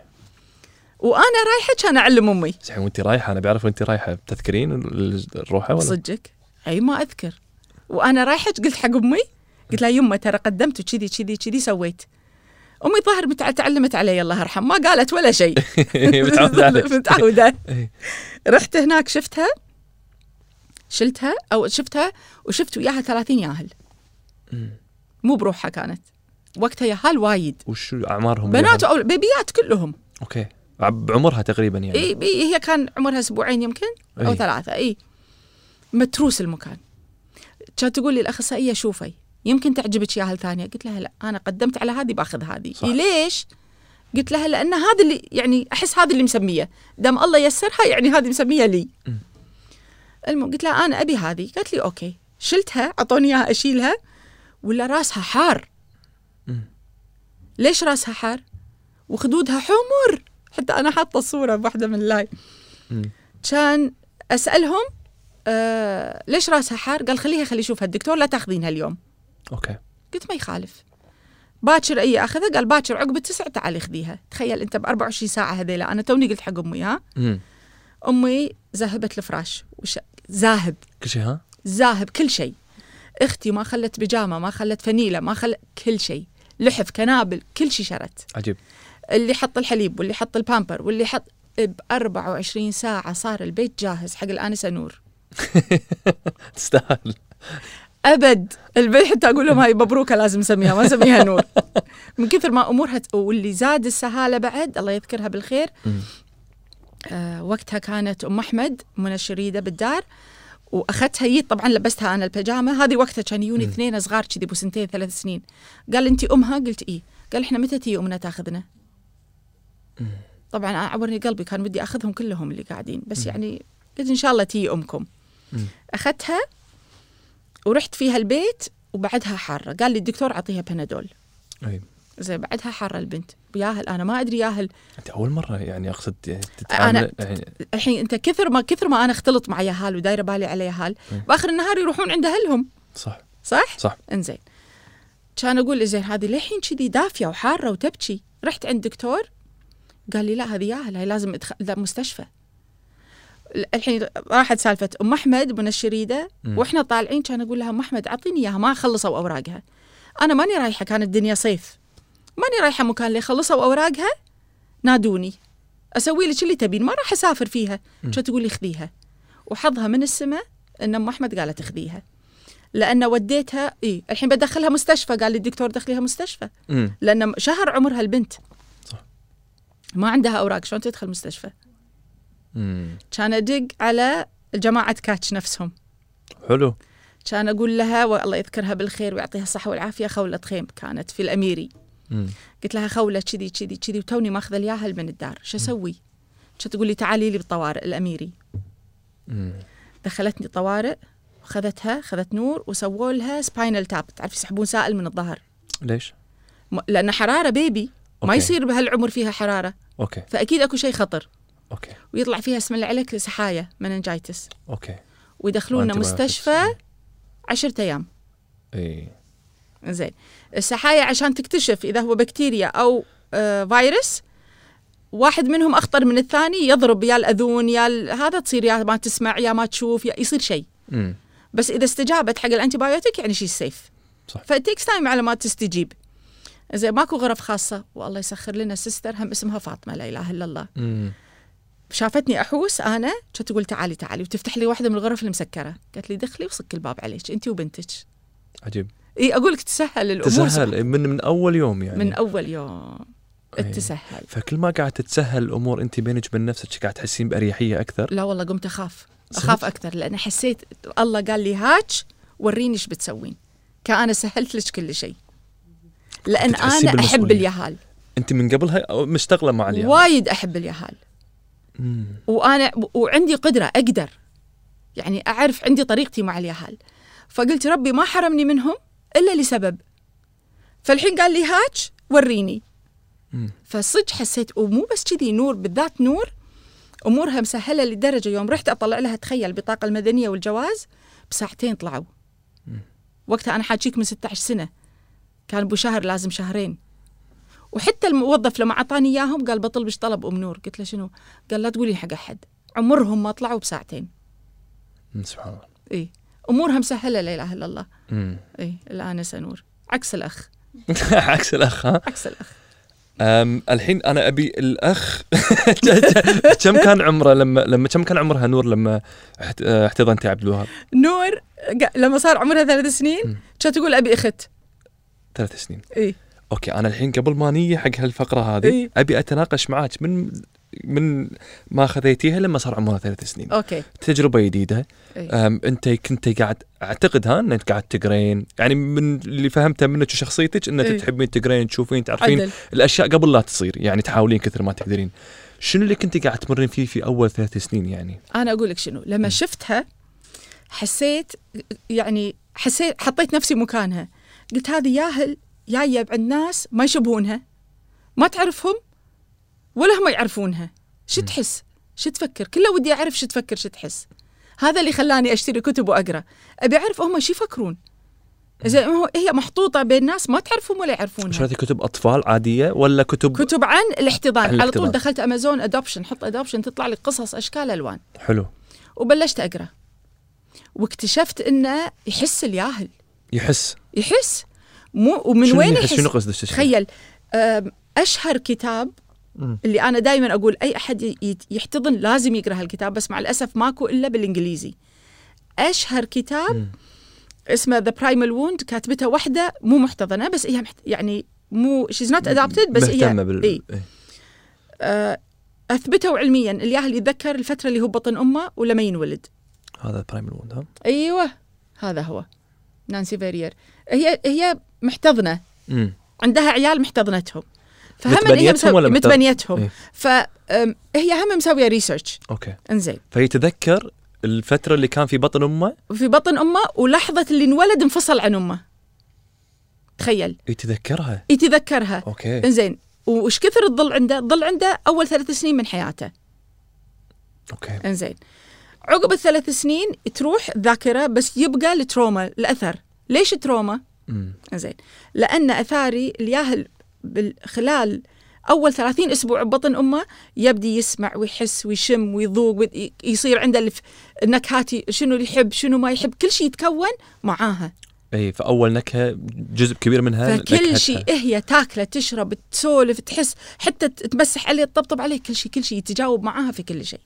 B: وانا رايحه كان اعلم امي
A: زين وانت رايحه انا بعرف وانت رايحه تذكرين ال- الروحه ولا؟ *laughs*
B: صدقك اي ما اذكر وانا رايحه قلت حق امي قلت لها يمه ترى قدمت وكذي كذي كذي سويت امي ظهر متع- تعلمت علي الله يرحم ما قالت ولا شيء
A: *laughs* متعودة
B: *laughs*
A: عليك.
B: متعوده
A: إيه.
B: رحت هناك شفتها شلتها او شفتها وشفت وياها 30 ياهل مو بروحها كانت وقتها ياهل وايد
A: وشو اعمارهم؟
B: بنات
A: اليوم؟
B: او بيبيات كلهم
A: اوكي بعمرها تقريبا يعني إيه.
B: اي إي، هي كان عمرها اسبوعين يمكن او
A: إي.
B: ثلاثه اي متروس المكان كانت تقول لي الاخصائيه شوفي يمكن تعجبك ياهل ثانيه قلت لها لا انا قدمت على هذه باخذ هذه
A: صح.
B: إي ليش قلت لها لان هذا اللي يعني احس هذا اللي مسميه دام الله يسرها يعني هذه مسميه لي
A: م.
B: المهم قلت لها انا ابي هذه قالت لي اوكي شلتها اعطوني اياها اشيلها ولا راسها حار
A: مم.
B: ليش راسها حار وخدودها حمر حتى انا حاطه صوره بواحده من اللايف
A: مم.
B: كان اسالهم آه ليش راسها حار قال خليها خلي يشوفها الدكتور لا تاخذينها اليوم
A: اوكي
B: قلت ما يخالف باكر اي اخذها قال باكر عقب التسع تعالي خذيها تخيل انت ب 24 ساعه هذيلا انا توني قلت حق امي ها
A: مم.
B: امي ذاهبت الفراش وش... ذاهب
A: كل شيء ها
B: ذاهب كل شيء اختي ما خلت بيجامه ما خلت فنيله ما خلت كل شيء لحف كنابل كل شيء شرت
A: عجيب *laughs*
B: اللي حط الحليب واللي حط البامبر واللي حط ب 24 ساعة صار البيت جاهز حق الآنسة نور
A: تستاهل
B: أبد البيت حتى أقول لهم هاي مبروكة لازم نسميها ما
A: *laughs*
B: نسميها نور من كثر ما أمورها ت- واللي زاد السهالة بعد الله يذكرها بالخير
A: مم.
B: آه وقتها كانت أم أحمد منى الشريدة بالدار واخذتها يد طبعا لبستها انا البيجامه هذه وقتها كان يوني
A: مم.
B: اثنين صغار كذي ابو سنتين ثلاث سنين قال انت امها قلت ايه قال احنا متى تي امنا تاخذنا
A: مم.
B: طبعا أنا عورني قلبي كان ودي اخذهم كلهم اللي قاعدين بس
A: مم.
B: يعني قلت ان شاء الله تي امكم
A: مم.
B: اخذتها ورحت فيها البيت وبعدها حاره قال لي الدكتور اعطيها بنادول
A: أي.
B: زين بعدها حاره البنت وياهل انا ما ادري ياهل
A: انت اول مره يعني اقصد تتعامل يعني
B: الحين انت كثر ما كثر ما انا اختلط مع ياهال ودايره بالي على ياهال
A: مم.
B: باخر النهار يروحون عند اهلهم
A: صح
B: صح؟
A: صح.
B: انزين. كان اقول زين هذه للحين كذي دافيه وحاره وتبكي، رحت عند دكتور قال لي لا هذه ياهل هاي لازم ادخل لا مستشفى. الحين راحت سالفه ام احمد من الشريده
A: مم.
B: واحنا طالعين كان اقول لها ام احمد اعطيني اياها ما خلصوا اوراقها. انا ماني رايحه كانت الدنيا صيف. ماني رايحه مكان اللي خلصوا اوراقها نادوني. اسوي لك اللي تبين ما راح اسافر فيها.
A: مم.
B: كانت تقول لي خذيها. وحظها من السماء ان ام احمد قالت خذيها. لان وديتها اي الحين بدخلها مستشفى قال لي الدكتور دخليها مستشفى
A: مم.
B: لان شهر عمرها البنت
A: صح.
B: ما عندها اوراق شلون تدخل مستشفى
A: مم.
B: كان ادق على جماعه كاتش نفسهم
A: حلو
B: كان اقول لها والله يذكرها بالخير ويعطيها الصحه والعافيه خوله خيم كانت في الاميري
A: مم.
B: قلت لها خوله كذي كذي كذي وتوني ماخذه الياهل من الدار شو اسوي كانت تقول لي تعالي لي بالطوارئ الاميري
A: مم.
B: دخلتني طوارئ وخذتها خذت نور وسووا لها سباينال تاب تعرف يسحبون سائل من الظهر
A: ليش؟
B: م- لان حراره بيبي ما
A: أوكي.
B: يصير بهالعمر فيها حراره
A: اوكي
B: فاكيد اكو شيء خطر
A: اوكي
B: ويطلع فيها اسم الله عليك سحايا مننجايتس
A: اوكي
B: ويدخلونا
A: وأنتي
B: مستشفى
A: بايوتكس.
B: عشرة ايام
A: اي
B: زين السحايا عشان تكتشف اذا هو بكتيريا او آه فيروس واحد منهم اخطر من الثاني يضرب يا الاذون يا ال- هذا تصير يا ما تسمع يا ما تشوف يا يصير شيء
A: مم.
B: بس اذا استجابت حق الانتيبايوتيك يعني شيء سيف
A: صح.
B: فتيكس تايم على ما تستجيب زين ماكو غرف خاصه والله يسخر لنا سيستر هم اسمها فاطمه لا اله الا الله
A: مم.
B: شافتني احوس انا كانت تقول تعالي تعالي وتفتح لي واحده من الغرف المسكره قالت لي دخلي وصك الباب عليك انت وبنتك
A: عجيب
B: اي اقول لك تسهل الامور
A: تسهل من من اول يوم يعني أيوة.
B: من اول يوم التسهل
A: فكل ما قاعد تتسهل الامور انت بينك وبين نفسك قاعد تحسين باريحيه اكثر
B: لا والله قمت اخاف
A: صدق؟
B: اخاف اكثر لان حسيت الله قال لي هاتش وريني ايش بتسوين كأنا سهلت لك كل شيء لان
A: تحسين
B: انا احب
A: بالمسؤولية.
B: اليهال
A: انت من قبلها أو مشتغله مع اليوم
B: وايد احب اليهال
A: مم.
B: وانا وعندي قدره اقدر يعني اعرف عندي طريقتي مع اليهال فقلت ربي ما حرمني منهم الا لسبب فالحين قال لي هاتش وريني
A: مم.
B: فصدق حسيت ومو بس كذي نور بالذات نور امورها مسهله لدرجه يوم رحت اطلع لها تخيل البطاقه المدنيه والجواز بساعتين طلعوا وقتها انا حاجيك من 16 سنه كان ابو شهر لازم شهرين وحتى الموظف لما اعطاني اياهم قال بطلبش طلب ام نور قلت له شنو قال لا تقولين حق احد عمرهم ما طلعوا بساعتين
A: مم. سبحان الله
B: اي امورها مسهله لا اله الا الله إيه،
A: مم.
B: اي الان سنور عكس الاخ
A: *laughs* عكس الاخ ها
B: عكس الاخ
A: أم الحين انا ابي *laughs* الاخ كم كان عمره لما لما كم كان عمرها نور لما احت- اه، احتضنتي عبد الوهاب؟
B: نور ق- لما صار عمرها ثلاث
A: مم.
B: سنين كانت تقول إيه، ابي اخت
A: ثلاث سنين
B: اي
A: اوكي انا الحين قبل ما نيجي حق هالفقره هذه
B: إي.
A: ابي اتناقش معاك من من ما خذيتيها لما صار عمرها ثلاث سنين
B: اوكي
A: تجربه جديده
B: إي.
A: أم انت كنت قاعد اعتقد ها انك قاعد تقرين يعني من اللي فهمته منك وشخصيتك انك
B: إي.
A: تحبين تقرين تشوفين تعرفين
B: إيه. عدل
A: الاشياء قبل لا تصير يعني تحاولين كثر ما تقدرين شنو اللي كنت قاعد تمرين فيه في اول ثلاث سنين يعني
B: انا اقول لك شنو لما شفتها حسيت يعني حسيت حطيت نفسي مكانها قلت هذه ياهل جايه عند ناس ما يشبهونها ما تعرفهم ولا هم يعرفونها شو
A: مم.
B: تحس شو تفكر كله ودي اعرف شو تفكر شو تحس هذا اللي خلاني اشتري كتب واقرا ابي اعرف هم شو يفكرون زي ما هو هي محطوطه بين ناس ما تعرفهم ولا يعرفونها
A: شريتي كتب اطفال عاديه ولا كتب, كتب.
B: كتب عن الاحتضان على
A: الاحتضان.
B: طول دخلت امازون ادوبشن حط ادوبشن تطلع لي قصص اشكال الوان
A: حلو
B: وبلشت اقرا واكتشفت انه يحس الياهل
A: يحس
B: يحس مو ومن
A: شنو
B: وين
A: يحس
B: يحس
A: شنو قصدك تشرح؟
B: تخيل أم، اشهر كتاب
A: مم.
B: اللي انا دائما اقول اي احد ي- يت- يحتضن لازم يقرا هالكتاب بس مع الاسف ماكو الا بالانجليزي اشهر كتاب
A: مم.
B: اسمه ذا برايمال ووند كاتبته واحده مو محتضنه بس هي محت... يعني مو شيز نوت ادابتد بس هي
A: مهتمه بال
B: إيه.
A: إيه.
B: آه، اثبتوا علميا الياهل يتذكر الفتره اللي هو بطن امه ولما ينولد
A: هذا برايمال وند ها
B: ايوه هذا هو نانسي فيرير هي هي محتضنه
A: مم.
B: عندها عيال محتضنتهم فهم هي
A: متبنيتهم
B: مسو...
A: ولا محتض-
B: متبنيتهم
A: إيه.
B: فهي هم مسويه ريسيرش
A: اوكي
B: انزين
A: فيتذكر الفتره اللي كان في بطن امه
B: وفي بطن امه ولحظه اللي انولد انفصل عن امه تخيل
A: يتذكرها
B: يتذكرها
A: اوكي
B: انزين وش كثر الظل عنده الظل عنده اول ثلاث سنين من حياته
A: اوكي
B: انزين عقب الثلاث سنين تروح الذاكره بس يبقى التروما الاثر ليش تروما
A: مم.
B: زين لان اثاري الياهل بال- خلال اول 30 اسبوع ببطن امه يبدي يسمع ويحس ويشم ويذوق وي- يصير عنده الف- النكهات ي- شنو اللي يحب شنو ما يحب كل شيء يتكون معاها
A: اي فاول نكهه جزء كبير منها نكهتها.
B: فكل شيء هي تاكله تشرب تسولف تحس حتى ت- تمسح عليه تطبطب عليه كل شيء كل شيء يتجاوب معاها في كل شيء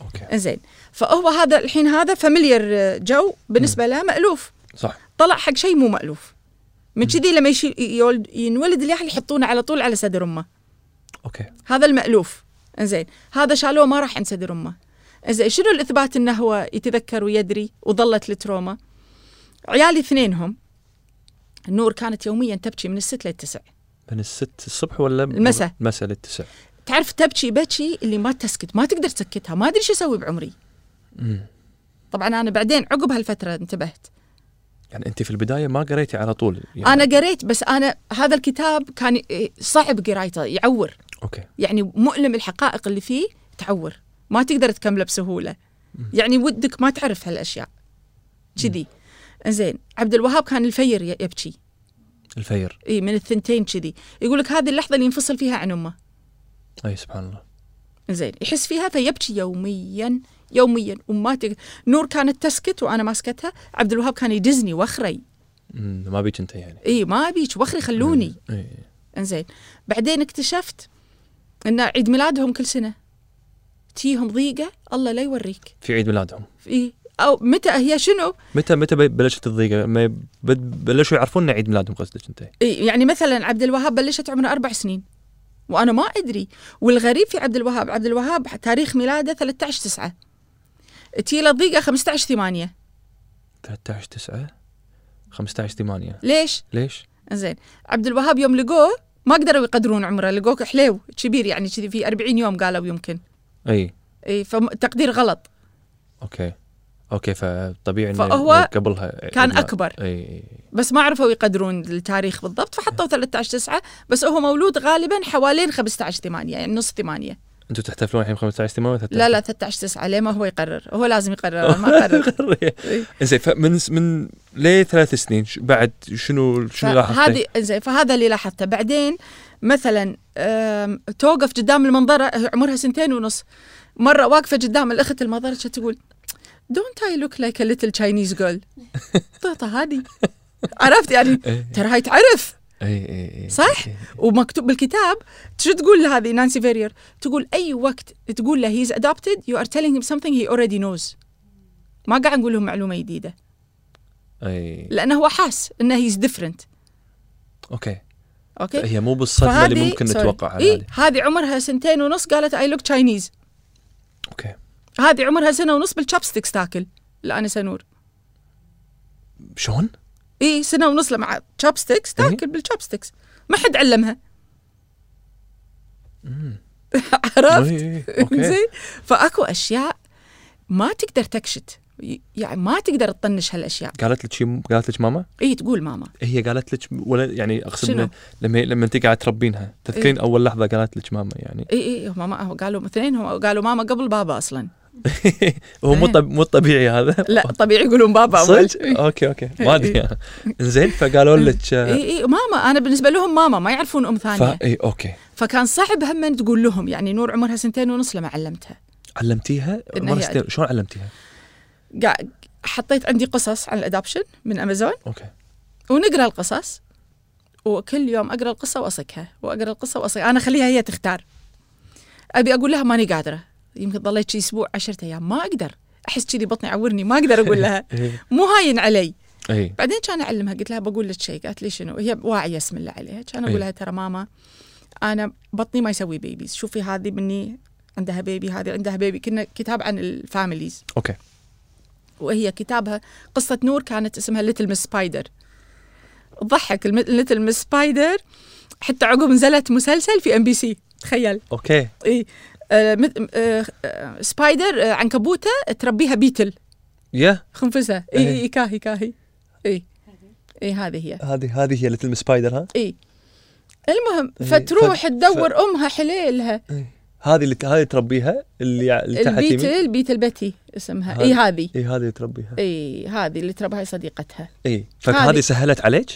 A: اوكي
B: زين فهو هذا الحين هذا فاميليار جو بالنسبه له مالوف
A: صح
B: طلع حق شيء مو مألوف من كذي لما يشي يولد ينولد اليحيى يحطونه على طول على صدر امه
A: اوكي
B: هذا المألوف انزين هذا شالوه ما راح عند صدر امه انزين شنو الاثبات انه هو يتذكر ويدري وظلت التروما عيالي اثنينهم نور كانت يوميا تبكي من الست للتسع
A: من الست الصبح ولا
B: المساء.
A: المساء للتسع
B: تعرف تبكي بكي اللي ما تسكت ما تقدر تسكتها ما ادري شو اسوي بعمري
A: مم.
B: طبعا انا بعدين عقب هالفتره انتبهت
A: يعني انت في البدايه ما قريتي على طول يعني.
B: انا قريت بس انا هذا الكتاب كان ي- صعب قرايته يعور
A: اوكي
B: يعني مؤلم الحقائق اللي فيه تعور ما تقدر تكمله بسهوله يعني ودك ما تعرف هالاشياء كذي زين عبد الوهاب كان الفير ي- يبكي
A: الفير
B: اي من الثنتين كذي يقول لك هذه اللحظه اللي ينفصل فيها عن امه
A: اي سبحان الله
B: زين يحس فيها فيبكي يوميا يوميا وما تق... نور كانت تسكت وانا ماسكتها عبد الوهاب كان يدزني وخري
A: مم. ما بيك انت يعني إيه.
B: اي ما ابيك وخري خلوني
A: اي
B: انزين بعدين اكتشفت ان عيد ميلادهم كل سنه تيهم ضيقه الله لا يوريك
A: في عيد ميلادهم
B: إيه او متى هي شنو؟
A: متى متى بي- بلشت الضيقه ما بد- بلشوا يعرفون إن عيد ميلادهم قصدك انت
B: إيه يعني مثلا عبد الوهاب بلشت عمره اربع سنين وانا ما ادري والغريب في عبد الوهاب عبد الوهاب تاريخ ميلاده 13 9 تي له ضيقه 15 8
A: 13 9 15 8
B: ليش؟
A: ليش؟
B: زين عبد الوهاب يوم لقوه ما قدروا يقدرون عمره لقوه حليو كبير يعني كذي في 40 يوم قالوا يمكن
A: اي
B: اي فتقدير غلط
A: اوكي اوكي فطبيعي إنه
B: فهو
A: قبلها
B: كان
A: عيد ميلاد.
B: اكبر
A: اي اي
B: بس ما عرفوا يقدرون التاريخ بالضبط فحطوا 13 9 بس هو مولود غالبا حوالين 15 8 يعني نص 8
A: انتم تحتفلون الحين 15 8 ولا
B: لا لا 13 9 ليه ما هو يقرر هو لازم يقرر أنا
A: *laughs*
B: ما اقرر إيه.
A: زين فمن من ليه ثلاث سنين ش- بعد شنو شنو لاحظتي؟
B: فهذه زين فهذا اللي لاحظته بعدين مثلا أم، توقف قدام المنظره هي عمرها سنتين ونص مره واقفه قدام الاخت المنظره شو تقول دونت اي لوك لايك ا ليتل تشاينيز جيرل طيطه هذه عرفت يعني
A: إيه.
B: ترى هاي تعرف
A: اي اي اي
B: صح؟
A: إي.
B: ومكتوب بالكتاب شو تقول لهذه نانسي فيرير تقول اي وقت تقول له هيز ادابتد يو ار تيلينج هيم سمثينج هي اوريدي نوز ما قاعد نقول لهم معلومه جديده
A: اي
B: لانه هو حاس انه هيز ديفرنت
A: اوكي
B: اوكي
A: هي مو بالصدمه إيه، اللي ممكن نتوقعها
B: اي
A: هذه.
B: إيه، هذه عمرها سنتين ونص قالت اي لوك تشاينيز
A: اوكي
B: هذه عمرها سنه ونص بالشابستكس تاكل الانسه نور
A: شلون؟
B: اي سنه إيه، ونص مع شابستكس
A: إيه.
B: تاكل بالشابستكس ما حد علمها عرفت *laughs*
A: إي، إي، إي. اوكي
B: زين فاكو اشياء ما تقدر تكشت ي- يعني ما تقدر تطنش هالاشياء
A: قالت لك شي- قالت لك ماما
B: اي تقول ماما
A: هي قالت لك ولا يعني اقصد
B: شنو؟
A: إنه لما لما انت قاعد تربينها تذكرين اول لحظه قالت لك ماما يعني *laughs*
B: اي اي هم ما إيه، هو قالوا اثنين هم قالوا ماما قبل بابا اصلا
A: هو مو
B: إيه.
A: طب- مو طبيعي هذا
B: لا طبيعي يقولون بابا اول *laughs*
A: صدق إيه. اوكي اوكي ما ادري زين فقالوا لك آه،
B: اي اي إيه، ماما انا بالنسبه لهم ماما ما يعرفون ام ثانيه
A: فا اي اوكي
B: فكان صعب هم تقول لهم يعني نور عمرها سنتين ونص لما علمتها
A: علمتيها
B: إن
A: مرة
B: هي
A: ستين- شلون علمتيها؟
B: قا- حطيت عندي قصص عن الادابشن من امازون
A: اوكي
B: ونقرا القصص وكل يوم اقرا القصه واصكها واقرا القصه واصكها انا اخليها هي تختار ابي اقول لها ماني قادره يمكن ضليت شي اسبوع عشرة ايام ما اقدر احس كذي بطني يعورني ما اقدر اقول لها
A: إيه.
B: مو هاين علي
A: اي
B: بعدين كان اعلمها قلت لها بقول لك شيء قالت لي شنو هي واعيه اسم الله عليها كان اقول
A: إيه.
B: لها ترى ماما انا بطني ما يسوي بيبيز شوفي هذه مني عندها بيبي هذه عندها بيبي كنا كتاب عن الفاميليز
A: اوكي
B: وهي كتابها قصة نور كانت اسمها ليتل مس سبايدر ضحك ليتل مس سبايدر حتى عقب نزلت مسلسل في ام بي سي تخيل
A: اوكي
B: اي آه، مت- آه، آه، سبايدر آه، عنكبوته تربيها بيتل
A: يا
B: خنفسه اي
A: إيه.
B: اي كاهي كاهي اي اي هذه هي
A: هذه هذه هي ليتل سبايدر ها؟
B: اي المهم
A: إيه،
B: فتروح
A: ف-
B: تدور امها حليلها
A: هذه اللي هذه تربيها اللي اللي تحت يمين
B: البيتل بيتل بتي اسمها
A: هذه.
B: اي هذه
A: اي هذه اللي تربيها
B: اي هذه اللي تربها صديقتها
A: اي
B: إيه. هذه.
A: فهذه سهلت عليك؟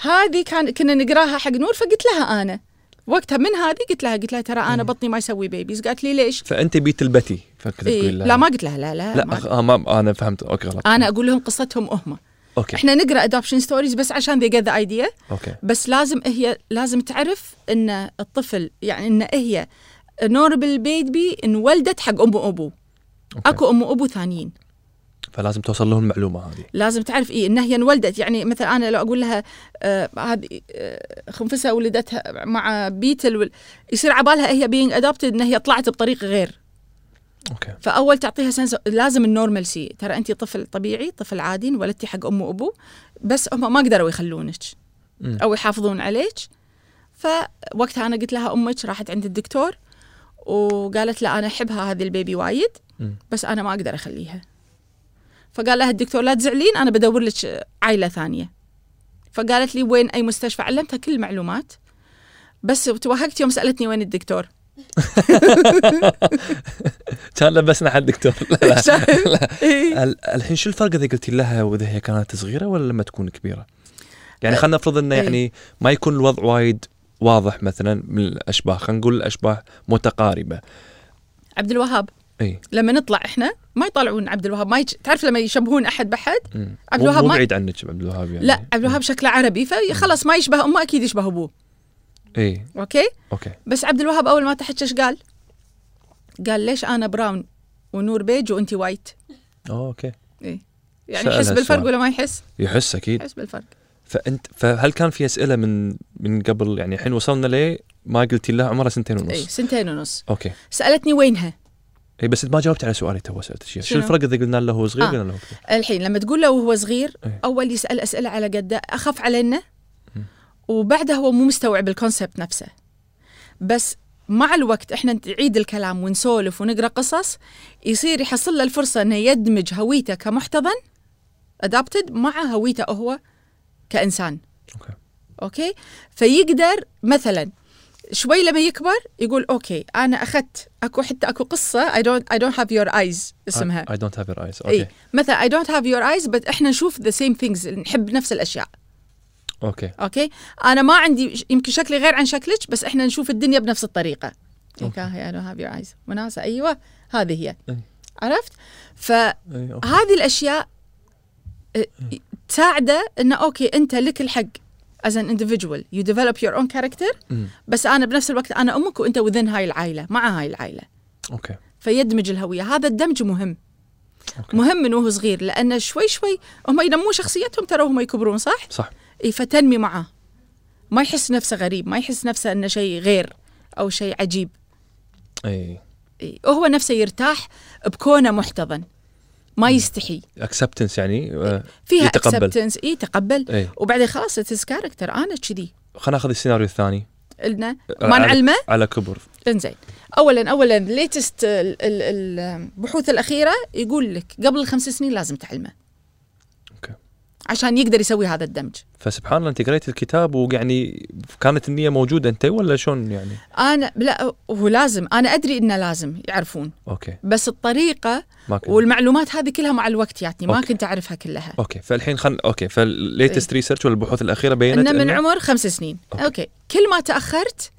B: هذه كان كنا نقراها حق نور فقلت لها انا وقتها من هذه قلت لها قلت لها ترى انا بطني ما يسوي بيبيز قالت لي ليش؟
A: فانت بيت البتي فكنت
B: إيه
A: تقول لها
B: لا ما قلت لها لا لا,
A: لا
B: ما آه.
A: أخ... آه ما انا فهمت اوكي غلط
B: انا اقول لهم قصتهم هم
A: اوكي
B: احنا نقرا ادوبشن ستوريز بس عشان ذي ذا ايديا
A: اوكي
B: بس لازم هي لازم تعرف ان الطفل يعني ان هي نوربل بيبي انولدت حق ام وابوه
A: أوكي.
B: اكو ام وابو ثانيين
A: فلازم توصل لهم المعلومه هذه
B: لازم تعرف ايه ان هي انولدت يعني مثلا انا لو اقول لها آه، هذه آه خنفسه ولدتها مع بيتل وال... يصير عبالها هي بينج ادابتد ان هي طلعت بطريق غير
A: اوكي
B: فاول تعطيها سنس لازم النورمال سي ترى انت طفل طبيعي طفل عادي انولدتي حق ام وابو بس هم ما قدروا يخلونك
A: مم.
B: او يحافظون عليك فوقتها انا قلت لها امك راحت عند الدكتور وقالت له انا احبها هذه البيبي وايد
A: مم.
B: بس انا ما اقدر اخليها فقال لها الدكتور لا تزعلين انا بدور لك عائله ثانيه فقالت لي وين اي مستشفى علمتها كل المعلومات بس توهقت يوم سالتني وين الدكتور
A: *laughs* كان لبسنا حد دكتور لا
B: *laughs*
A: لا.
B: شايف؟ إيه.
A: ال- الحين شو الفرق اذا قلتي لها واذا هي كانت صغيره ولا لما تكون كبيره؟ يعني خلينا نفرض انه
B: إيه.
A: يعني ما يكون الوضع وايد واضح مثلا من الاشباه خلينا نقول الاشباه متقاربه
B: عبد الوهاب
A: اي
B: لما نطلع احنا ما يطلعون عبد الوهاب ما يج... تعرف لما يشبهون احد بحد
A: مم.
B: عبد
A: مو-
B: الوهاب
A: مو
B: ما-
A: بعيد عنك عبد الوهاب يعني
B: لا عبد الوهاب شكله عربي فخلاص ما يشبه امه اكيد يشبه ابوه
A: اي
B: اوكي
A: اوكي
B: بس عبد الوهاب اول ما تحكى ايش قال؟ قال ليش انا براون ونور بيج وانت وايت؟
A: أوه، اوكي
B: إيه؟ يعني
A: سألها
B: يحس بالفرق
A: السؤال.
B: ولا ما يحس؟
A: يحس اكيد
B: يحس بالفرق
A: فانت فهل كان في اسئله من من قبل يعني الحين وصلنا ليه ما قلتي لها عمرها سنتين ونص
B: اي إيه، سنتين ونص
A: اوكي
B: سالتني وينها؟
A: اي بس ما جاوبت على سؤالي تو سالتك إياه. شو
B: شنو؟
A: الفرق اذا قلنا له هو صغير
B: آه.
A: قلنا له هو كبير؟
B: الحين لما تقول له وهو صغير
A: إيه.
B: اول يسال اسئله على قده اخاف علينا
A: مم.
B: وبعدها هو مو مستوعب الكونسبت نفسه بس مع الوقت احنا نعيد الكلام ونسولف ونقرا قصص يصير يحصل له الفرصه انه يدمج هويته كمحتضن ادابتد مع هويته هو كانسان
A: اوكي
B: اوكي فيقدر مثلا شوي لما يكبر يقول اوكي انا اخذت اكو حتى اكو قصه اي دونت اي دونت هاف يور ايز اسمها
A: اي دونت هاف يور ايز
B: اي
A: اوكي
B: إيه، مثلا اي دونت هاف يور ايز بس احنا نشوف ذا سيم ثينجز نحب نفس الاشياء
A: اوكي
B: اوكي انا ما عندي يمكن شكلي غير عن شكلك بس احنا نشوف الدنيا بنفس الطريقه
A: أوكي.
B: اوكي اي دونت هاف يور ايز وناسه ايوه هذه هي
A: إي.
B: عرفت فهذه
A: إي، أوكي.
B: الاشياء أه، تساعده انه اوكي انت لك الحق as an individual you develop your own character
A: مم.
B: بس انا بنفس الوقت انا امك وانت within هاي العائله مع هاي العائله
A: اوكي
B: فيدمج الهويه هذا الدمج مهم
A: اوكي
B: مهم من وهو صغير لانه شوي شوي هم ينمون شخصيتهم ترى هم يكبرون صح؟
A: صح
B: إي فتنمي معاه ما يحس نفسه غريب ما يحس نفسه انه شيء غير او شيء عجيب
A: اي
B: إي هو نفسه يرتاح بكونه محتضن ما يستحي
A: اكسبتنس يعني آه،
B: فيها
A: يتقبل.
B: acceptance اي تقبل
A: اي
B: وبعدين خلاص اتس كاركتر انا كذي
A: خلينا ناخذ السيناريو الثاني
B: لنا ما نعلمه
A: آه، على كبر
B: انزين اولا اولا ليتست البحوث الاخيره يقول لك قبل الخمس سنين لازم تعلمه
A: أوكي.
B: عشان يقدر يسوي هذا الدمج
A: فسبحان الله انت قريت الكتاب ويعني كانت النيه موجوده انت ولا شلون يعني؟
B: انا لا هو لازم انا ادري انه لازم يعرفون
A: اوكي
B: بس الطريقه
A: ما كنت.
B: والمعلومات هذه كلها مع الوقت ياتني ما
A: أوكي.
B: كنت اعرفها كلها
A: اوكي فالحين خل اوكي فالليتست ريسيرش والبحوث الاخيره بينت
B: انه من
A: إنه-
B: عمر خمس سنين
A: أوكي.
B: أوكي. اوكي كل ما تاخرت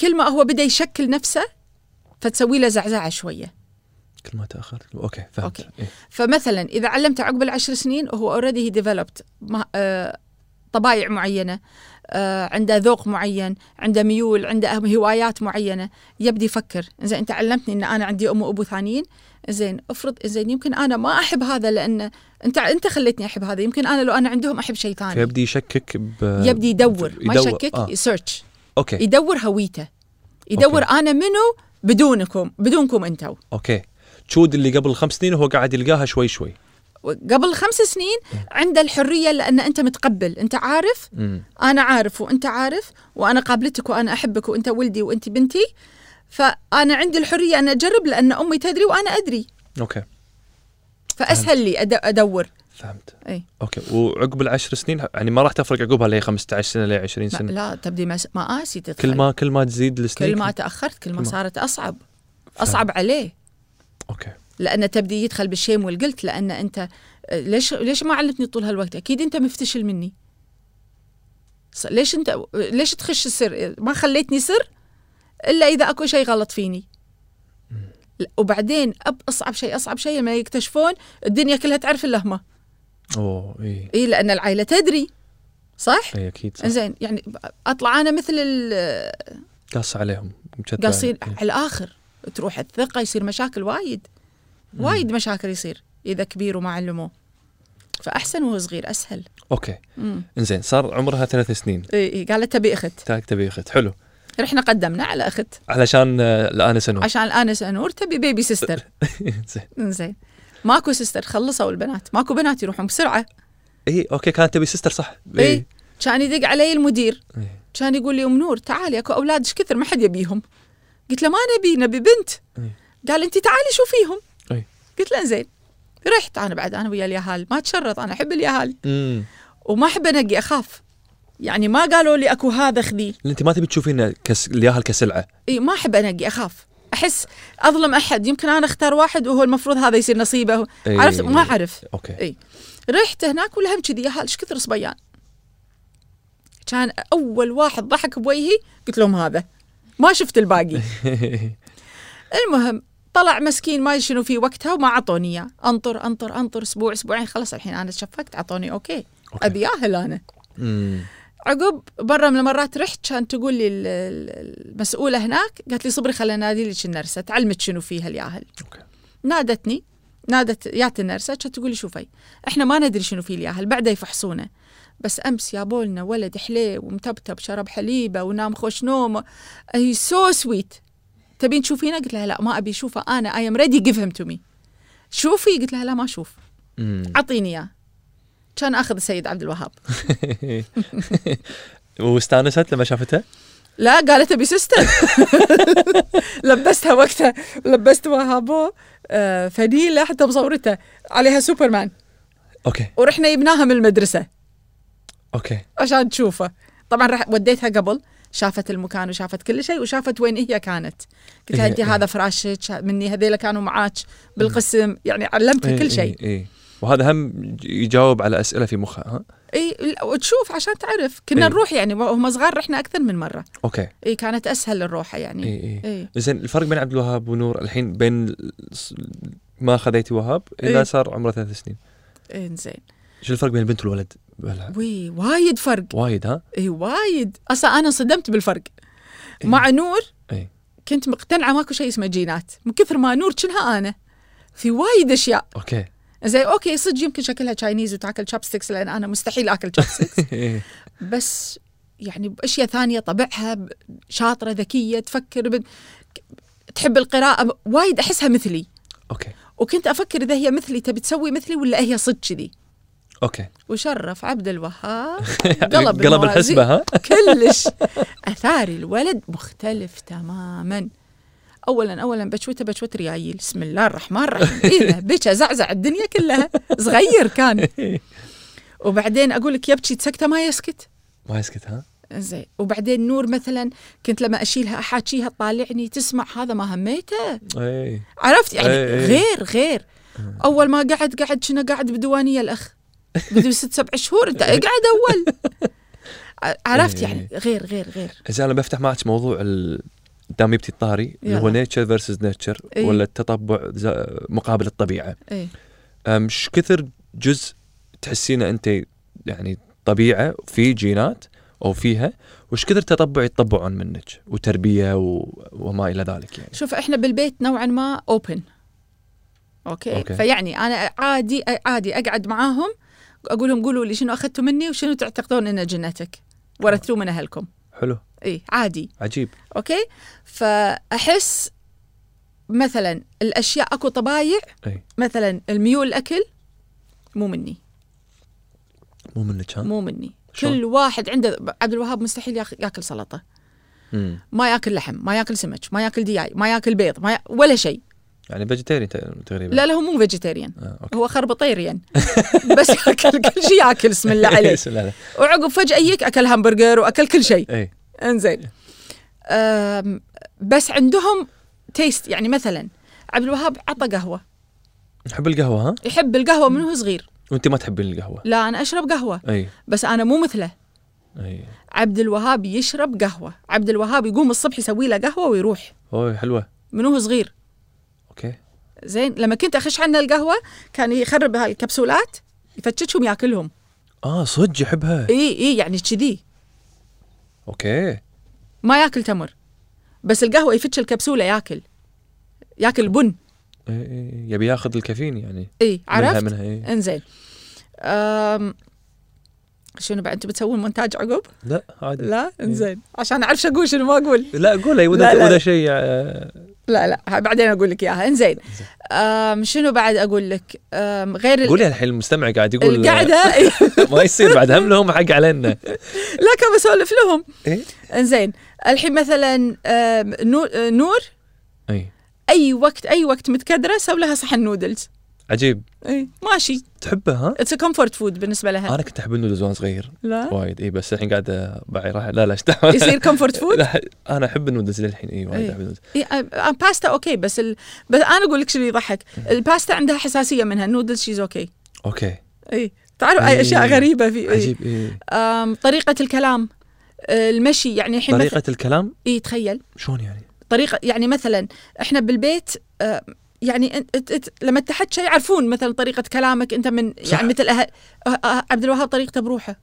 B: كل ما هو بدا يشكل نفسه فتسوي له زعزعه شويه
A: كل ما تاخرت اوكي فهمت
B: أوكي.
A: إيه.
B: فمثلا اذا علمته عقب العشر سنين هو اوريدي هي ديفلوبد آه، طبايع معينه آه، عنده ذوق معين عنده ميول عنده أهم- هوايات معينه يبدي يفكر زين انت علمتني ان انا عندي ام وابو ثانيين زين افرض زين يمكن انا ما احب هذا لان انت انت خليتني احب هذا يمكن انا لو انا عندهم احب شيء ثاني
A: فيبدي يشكك ب
B: يبدي يدور ما
A: يدور.
B: يشكك
A: آه.
B: يسيرش
A: اوكي
B: يدور هويته يدور انا منو بدونكم بدونكم انتو
A: اوكي تشود اللي قبل خمس سنين وهو قاعد يلقاها شوي شوي
B: قبل خمس سنين عنده الحريه لان انت متقبل انت عارف
A: امم
B: انا عارف وانت عارف وانا قابلتك وانا احبك وانت ولدي وانت بنتي فانا عندي الحريه ان اجرب لان امي تدري وانا ادري
A: اوكي
B: فاسهل لي أد- ادور
A: فهمت
B: اي
A: اوكي وعقب العشر سنين يعني ما راح تفرق عقبها ل 15 سنه ل 20
B: ما
A: سنه
B: لا تبدي مس- مآسي تدخل
A: كل ما كل ما تزيد السنين
B: كل ما تاخرت كل ما
A: كل ما-
B: صارت اصعب اصعب عليه
A: اوكي
B: لانه تبدي يدخل بالشيم والقلت لان انت آه، ليش ليش ما علمتني طول هالوقت اكيد انت مفتشل مني ص- ليش انت آه، ليش تخش السر ما خليتني سر الا اذا اكو شيء غلط فيني ل- وبعدين أب اصعب شيء اصعب شيء لما يكتشفون الدنيا كلها تعرف الا هم
A: اوه اي
B: اي لان العائله تدري صح
A: اي اكيد صح.
B: زين يعني ب- اطلع انا مثل ال-
A: قاص عليهم يعني. مكتل
B: قاصين
A: عليهم.
B: على الاخر تروح الثقه يصير مشاكل وايد وايد مشاكل يصير اذا كبير وما علموه فاحسن وهو صغير اسهل
A: اوكي
B: امم
A: انزين صار عمرها ثلاث سنين
B: إي إي، قالت تبي اخت
A: تاك تبي اخت حلو
B: رحنا قدمنا على اخت
A: علشان آه، الان *laughs* سنوات
B: عشان الانس انور تبي بيبي *laughs* سيستر
A: زين
B: زين ماكو سيستر خلصوا البنات ماكو بنات يروحون بسرعه
A: اي اوكي كانت تبي سيستر صح
B: اي كان يدق علي المدير
A: إي.
B: كان يقول لي ام نور تعالي اكو اولاد ايش كثر ما حد يبيهم قلت له ما نبي نبي بنت
A: إي.
B: قال انت تعالي شوفيهم
A: إي.
B: قلت له زين رحت انا بعد انا ويا اليهال ما تشرط انا احب اليهال
A: امم
B: وما احب انقي اخاف يعني ما قالوا لي اكو هذا خذي
A: انت ما تبي تشوفين كس... الياهل كسلعه
B: اي ما احب انقي اخاف احس اظلم احد يمكن انا اختار واحد وهو المفروض هذا يصير نصيبه
A: إي.
B: عرفت ما اعرف
A: اوكي
B: إي. رحت هناك والهم كذي يا هال ايش كثر صبيان كان اول واحد ضحك بوجهي قلت لهم هذا ما شفت الباقي المهم طلع مسكين ما شنو في وقتها وما عطوني اياه انطر انطر انطر اسبوع اسبوعين خلاص الحين انا تشفقت عطوني اوكي,
A: *laughs* أوكي.
B: ابي اهل انا
A: امم
B: عقب مره من المرات رحت كانت تقول لي ال- ال- المسؤوله هناك قالت لي صبري خلينا نادي لك النرسه تعلمك شنو فيها الياهل
A: اوكي
B: نادتني نادت يات النرسه كانت تقول لي شوفي احنا ما ندري شنو فيه الياهل بعده يفحصونه بس امس جابوا لنا ولد حليب ومتبتب شرب حليبه ونام خوش نومه هي سو سويت تبين تشوفينه قلت لها لا ما ابي اشوفه انا اي ام ريدي جيف هيم تو مي شوفي قلت لها لا ما اشوف
A: أمم. *laughs*
B: اعطيني اياه كان اخذ السيد عبد الوهاب
A: واستانست لما شافته
B: لا قالت ابي سيستر *laughs* لبستها وقتها لبست وهابو آه، فنيله حتى مصورته عليها سوبرمان
A: اوكي
B: ورحنا جبناها من المدرسه
A: اوكي
B: عشان تشوفه طبعا رح وديتها قبل شافت المكان وشافت كل شيء وشافت وين هي كانت قلت لها
A: إيه،
B: انت
A: إيه.
B: هذا فراشك مني هذيلا كانوا معاك بالقسم يعني
A: إيه،
B: علمتها كل شيء
A: اي إي. وهذا هم يجاوب على اسئله في مخه ها
B: اي لا، إيه، وتشوف عشان تعرف كنا
A: إيه.
B: نروح يعني وهم صغار رحنا اكثر من مره
A: اوكي
B: اي كانت اسهل الروحه
A: اي
B: يعني
A: اي
B: اي
A: إيه، زين الفرق بين عبد الوهاب ونور الحين بين الص- ما خذيتي وهاب الى
B: إي.
A: صار عمره ثلاث سنين
B: انزين
A: شو الفرق بين البنت والولد بلا-
B: إيه، وي وايد فرق
A: وايد ها
B: اي إيه، وايد اصلا انا انصدمت بالفرق مع نور
A: إيه.
B: كنت مقتنعه ماكو شيء اسمه جينات من كثر ما نور كنها انا في وايد اشياء
A: *laughs* اوكي
B: زي اوكي صدق يمكن شكلها تشاينيز وتاكل chopsticks لان انا مستحيل اكل chopsticks
A: إي.
B: بس يعني باشياء ثانيه طبعها ب- شاطره ذكيه تفكر ب... تحب القراءه ب- وايد احسها مثلي
A: اوكي
B: وكنت افكر اذا هي مثلي تبي تسوي مثلي ولا هي صدق كذي
A: اوكي
B: وشرف عبد الوهاب
A: يعني *laughs* قلب
B: الموازين.
A: الحسبه ها
B: كلش اثاري الولد مختلف تماما اولا اولا بشوته بشوت ريايل بسم الله الرحمن الرحيم اذا بكى زعزع الدنيا كلها صغير كان وبعدين اقول لك يبكي تسكته ما يسكت
A: ما يسكت ها
B: زين وبعدين نور مثلا كنت لما اشيلها احاكيها تطالعني تسمع هذا ما هميته
A: اي
B: عرفت يعني
A: إي إي.
B: غير غير اول ما قعد قعد كنا قاعد بديوانيه الاخ بدو ست سبع شهور انت اقعد اول عرفت
A: إي.
B: يعني غير غير غير
A: زين انا بفتح معك موضوع ال... دام يبتي الطاري اللي هو
B: يلا.
A: نيتشر فيرسز نيتشر
B: إي.
A: ولا التطبع زا- مقابل الطبيعه
B: ايه
A: ايش كثر جزء تحسينه انت يعني طبيعه في جينات او فيها وش كثر تطبع يتطبعون منك وتربيه و... وما الى ذلك يعني
B: شوف احنا بالبيت نوعا ما اوبن اوكي
A: أوكي.
B: فيعني انا عادي عادي اقعد معاهم اقول لهم قولوا لي شنو اخذتوا مني وشنو تعتقدون انه جنتك
A: آه.
B: ورثتوه من اهلكم
A: حلو
B: اي عادي
A: عجيب
B: اوكي فاحس مثلا الاشياء اكو طبايع
A: اي
B: مثلا الميول الاكل مو مني
A: مو منك ها
B: مو مني
A: شلون؟
B: كل واحد عنده عبد الوهاب مستحيل ياخ- ياكل سلطه
A: مم.
B: ما ياكل لحم ما ياكل سمك ما ياكل دياي ما ياكل بيض ما ي... ولا شيء
A: يعني فيجيتيري تقريبا
B: لا لا هو مو فيجيتيريان
A: آه،
B: *laughs*
A: اوكي
B: هو خربطيريان بس ياكل كل شيء ياكل بسم الله
A: *laughs*
B: عليه
A: لا إيه. لا
B: وعقب فجاه يجيك اكل همبرجر واكل كل شيء
A: اي
B: انزين أم، بس عندهم تيست يعني مثلا عبد الوهاب عطى قهوه
A: نحب القهوه ها
B: يحب القهوه من هو صغير
A: وانت ما تحبين إيه. القهوه
B: لا انا اشرب قهوه
A: اي
B: بس انا مو مثله
A: اي
B: عبد الوهاب يشرب قهوة عبد الوهاب يقوم الصبح يسوي له قهوة ويروح
A: اوه حلوه
B: من هو صغير
A: اوكي
B: زين لما كنت أخش عنه القهوة كان يخرب هالكبسولات يفتشهم ياكلهم
A: اه صدق يحبها إيه،
B: اي اي يعني كذي
A: اوكي
B: ما ياكل تمر بس القهوة يفتش الكبسولة ياكل ياكل بن
A: إي، إي، إيه، يبي ياخذ الكافيين يعني
B: اي عرفت
A: منها منها اي
B: انزين أم شنو بعد انتم بتسوون مونتاج عقب؟
A: لا عادي
B: لا انزين عشان اعرف شو اقول شنو ما اقول
A: لا قول اي
B: لا،
A: وذا
B: لا.
A: وذا شيء آه،
B: لا لا ها- بعدين اقول لك اياها انزين أم شنو بعد اقول لك أم غير ال-
A: قولي الحين المستمع قاعد يقول
B: القعده
A: *laughs* ما يصير بعد هم لهم حق
B: *laughs*
A: علينا
B: لا كان بسولف لهم
A: إيه؟
B: انزين الحين مثلا أم، نو- نور
A: اي
B: اي وقت اي وقت متكدره سوي لها صحن نودلز
A: عجيب
B: اي ماشي
A: تحبه ها
B: اتس كومفورت فود بالنسبه لها
A: انا كنت احب النودلز وانا صغير
B: لا
A: وايد اي بس الحين قاعد باعي راح لا لا ايش دعوة.
B: يصير كومفورت فود
A: *laughs* لا، انا احب النودلز للحين اي وايد
B: إي.
A: احب النودلز
B: إي، أم- أم باستا اوكي بس ال... بس انا اقول لك شنو يضحك الباستا عندها حساسيه منها النودلز شيز اوكي
A: اوكي
B: اي تعرف أي
A: إي.
B: اشياء غريبه في إي.
A: عجيب اي
B: أم طريقه الكلام أه، المشي يعني الحين مثلا
A: طريقه الكلام
B: اي تخيل
A: شلون يعني؟
B: طريقه يعني مثلا احنا بالبيت آه، يعني انت انت انت لما تحكي يعرفون مثلا طريقه كلامك انت من
A: صح.
B: يعني مثل أه أه أه عبد الوهاب طريقته بروحه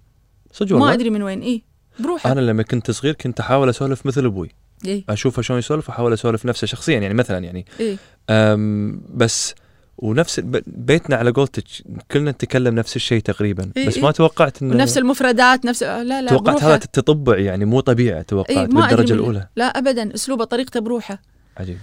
A: صدق
B: ما
A: والله
B: ادري من وين اي بروحه
A: انا لما كنت صغير كنت احاول اسولف مثل ابوي
B: اي
A: اشوفه شلون يسولف احاول اسولف نفسه شخصيا يعني مثلا يعني
B: اي
A: أم بس ونفس ب- بيتنا على قولتك كلنا نتكلم نفس الشيء تقريبا
B: إي
A: بس
B: إي.
A: ما توقعت انه
B: ونفس المفردات نفس آه، لا لا
A: توقعت
B: بروحه.
A: هذا التطبع يعني مو طبيعه
B: إي،
A: توقعت
B: إيه، ما أدري
A: بالدرجه
B: من-
A: الاولى
B: لا ابدا اسلوبه طريقته بروحه
A: عجيب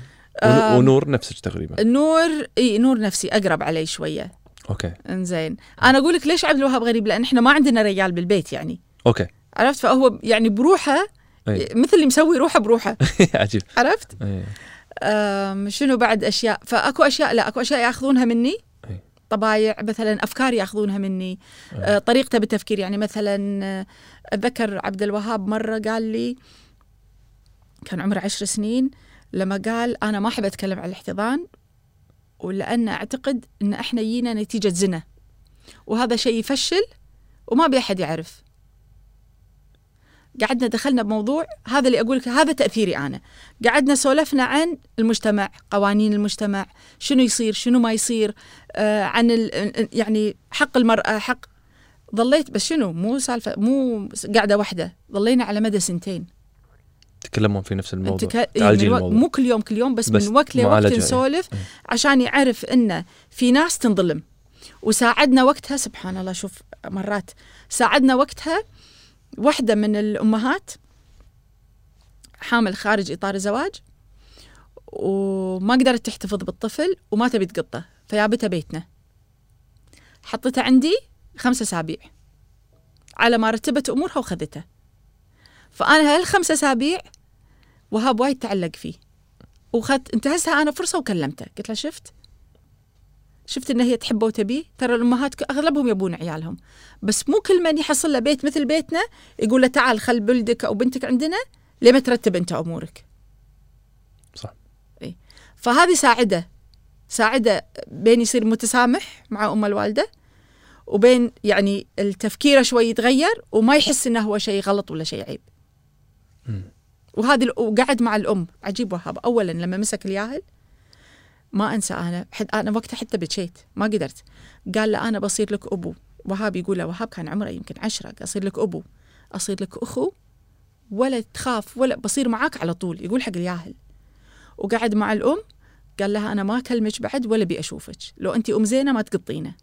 B: آم.
A: ون- ونور نفسك تقريبا
B: النور اي نور نفسي اقرب علي شويه
A: اوكي
B: انزين انا اقول لك ليش عبد الوهاب غريب لان احنا ما عندنا رجال بالبيت يعني
A: اوكي
B: عرفت فهو يعني بروحه
A: أي.
B: مثل اللي مسوي روحه بروحه
A: *laughs* عجيب
B: عرفت
A: إي.
B: أم، شنو بعد اشياء فاكو اشياء لا اكو اشياء ياخذونها مني
A: أي.
B: طبايع مثلا افكار ياخذونها مني أه، طريقته بالتفكير يعني مثلا أه، اتذكر عبد الوهاب مره قال لي كان عمره عشر سنين لما قال انا ما احب اتكلم عن الاحتضان ولان اعتقد ان احنا جينا نتيجه زنا وهذا شيء يفشل وما بي احد يعرف قعدنا دخلنا بموضوع هذا اللي اقول لك هذا تاثيري انا قعدنا سولفنا عن المجتمع قوانين المجتمع شنو يصير شنو ما يصير آه عن ال يعني حق المرأة حق ظليت بس شنو مو سالفة مو قاعدة واحدة ظلينا على مدى سنتين
A: تتكلمون في نفس الموضوع
B: تك- إيه،
A: تعالجين
B: من وق-
A: الموضوع
B: مو كل يوم كل يوم بس,
A: بس
B: بس من وقت لوقت
A: معالجة، إيه.
B: نسولف
A: إيه.
B: عشان يعرف انه في ناس تنظلم وساعدنا وقتها سبحان الله شوف مرات ساعدنا وقتها واحدة من الأمهات حامل خارج إطار الزواج وما قدرت تحتفظ بالطفل وما تبي تقطه فيابته بيتنا حطته عندي خمسة أسابيع على ما رتبت أمورها وخذته فأنا هالخمسة أسابيع وهاب وايد تعلق فيه وخدت انتهزها أنا فرصة وكلمته قلت له شفت شفت ان هي تحبه وتبيه ترى الامهات ك- اغلبهم يبون عيالهم بس مو كل من يحصل له بيت مثل بيتنا يقول له تعال خل بلدك او بنتك عندنا لما ترتب انت امورك
A: صح.
B: اي فهذه ساعده ساعده بين يصير متسامح مع ام الوالده وبين يعني التفكيره شوي يتغير وما يحس انه هو شيء غلط ولا شيء عيب
A: مم.
B: وهذه ال- وقعد مع الام عجيب وهاب اولا لما مسك الياهل ما انسى انا حد انا وقتها حتى بكيت ما قدرت قال له انا بصير لك ابو وهاب يقول له وهاب كان عمره يمكن عشرة اصير لك ابو اصير لك اخو ولا تخاف ولا بصير معاك على طول يقول حق الياهل وقعد مع الام قال لها انا ما اكلمك بعد ولا ابي اشوفك لو انت ام زينه ما تقطينا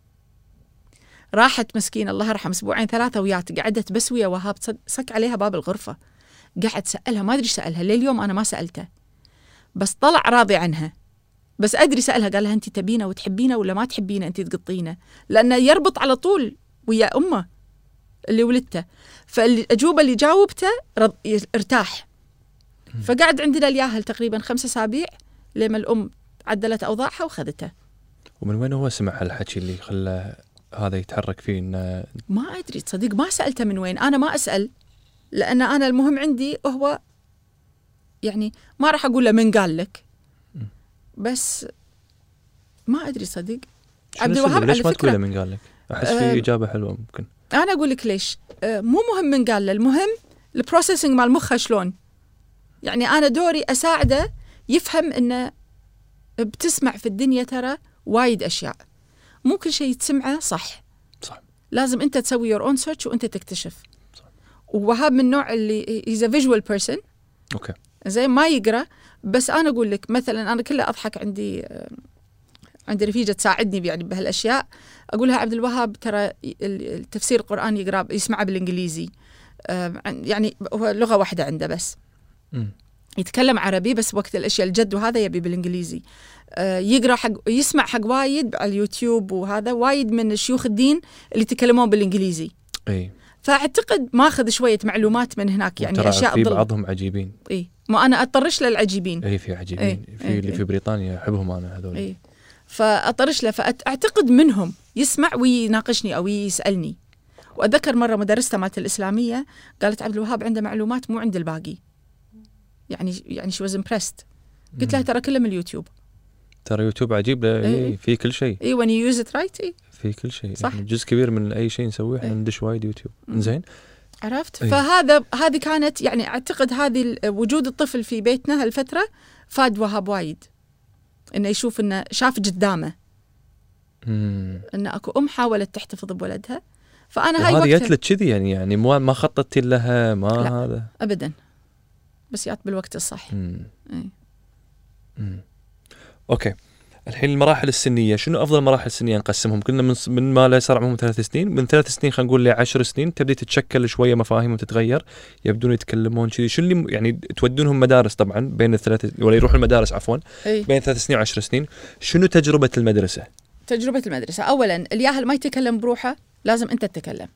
B: راحت مسكينه الله يرحم اسبوعين ثلاثه ويات قعدت بس ويا وهاب صد- صك عليها باب الغرفه قعد سالها ما ادري إيش سالها لليوم انا ما سالته بس طلع راضي عنها بس ادري سالها قال لها انت تبينا وتحبينا ولا ما تحبينا انت تقطينا لانه يربط على طول ويا امه اللي ولدته فالاجوبه اللي جاوبته رض... ي- ارتاح فقعد عندنا الياهل تقريبا خمسة اسابيع لما الام عدلت اوضاعها وخذته
A: ومن وين هو سمع هالحكي اللي خلى هذا يتحرك فيه انه
B: ما ادري تصدق ما سالته من وين انا ما اسال لان انا المهم عندي هو يعني ما راح اقول له من قال لك بس ما ادري صدق
A: شنو
B: عبد
A: السبب؟
B: الوهاب
A: ليش
B: على
A: ما
B: فكرة-
A: تقول له من قال لك؟ احس
B: أم.
A: في اجابه حلوه ممكن
B: انا اقول لك ليش آه، مو مهم من قال له المهم البروسيسنج مال مخه شلون يعني انا دوري اساعده يفهم انه بتسمع في الدنيا ترى وايد اشياء مو كل شيء تسمعه صح
A: صح.
B: لازم انت تسوي يور اون سيرش وانت تكتشف
A: صح.
B: ووهاب من النوع اللي هيز ا فيجوال بيرسون
A: اوكي
B: زين ما يقرا بس انا اقول لك مثلا انا كله اضحك عندي آه، عندي رفيجه تساعدني يعني بهالاشياء اقول لها عبد الوهاب ترى ال- التفسير القران يقرا يسمعه بالانجليزي آه، عن- يعني هو لغه واحده عنده بس
A: أمم.
B: يتكلم عربي بس وقت الاشياء الجد وهذا يبي بالانجليزي آه، يقرا حق يسمع حق وايد على اليوتيوب وهذا وايد من شيوخ الدين اللي يتكلمون بالانجليزي
A: اي
B: فاعتقد ماخذ شويه معلومات من هناك يعني
A: يعني
B: اشياء
A: في
B: ضل-
A: بعضهم عجيبين
B: اي ما انا اطرش للعجيبين
A: اي في عجيبين
B: إي،
A: في
B: إي،
A: اللي
B: إي.
A: في بريطانيا احبهم انا هذول
B: اي فاطرش إيه. له فاعتقد منهم يسمع ويناقشني او يسالني واتذكر مره مدرسته مالت الاسلاميه قالت عبد الوهاب عنده معلومات مو عند الباقي يعني يعني شي واز امبرست قلت لها
A: مم.
B: ترى كله من اليوتيوب إيه،
A: ترى يوتيوب عجيب له
B: إي،
A: إي،
B: إي.
A: في كل شيء
B: اي وين يوز ات رايت اي
A: في كل شيء
B: صح.
A: يعني جزء كبير من اي شيء نسويه احنا
B: إي.
A: ندش وايد يوتيوب
B: مم.
A: زين
B: عرفت
A: إي.
B: إيه. فهذا هذه كانت يعني اعتقد هذه ال- وجود الطفل في بيتنا هالفتره فاد وهاب وايد انه يشوف انه شاف قدامه
A: أمم.
B: انه اكو ام حاولت تحتفظ بولدها فانا هاي
A: وهذه
B: وقتها
A: جت لك كذي يعني يعني مو ما خططتي لها ما
B: لا.
A: هذا
B: ابدا بس جات بالوقت الصح
A: أمم.
B: إي.
A: مم. اوكي الحين المراحل السنيه شنو افضل مراحل سنيه نقسمهم قلنا من س- من ما لا يصير عمرهم ثلاث سنين من ثلاث سنين خلينا نقول لعشر سنين تبدي تتشكل شويه مفاهيمهم تتغير يبدون يتكلمون كذي شنو اللي م- يعني تودونهم مدارس طبعا بين الثلاث ولا يروحون المدارس عفوا
B: اي
A: بين ثلاث سنين وعشر سنين شنو تجربه المدرسه
B: تجربه المدرسه اولا الياهل ما يتكلم بروحه لازم انت تتكلم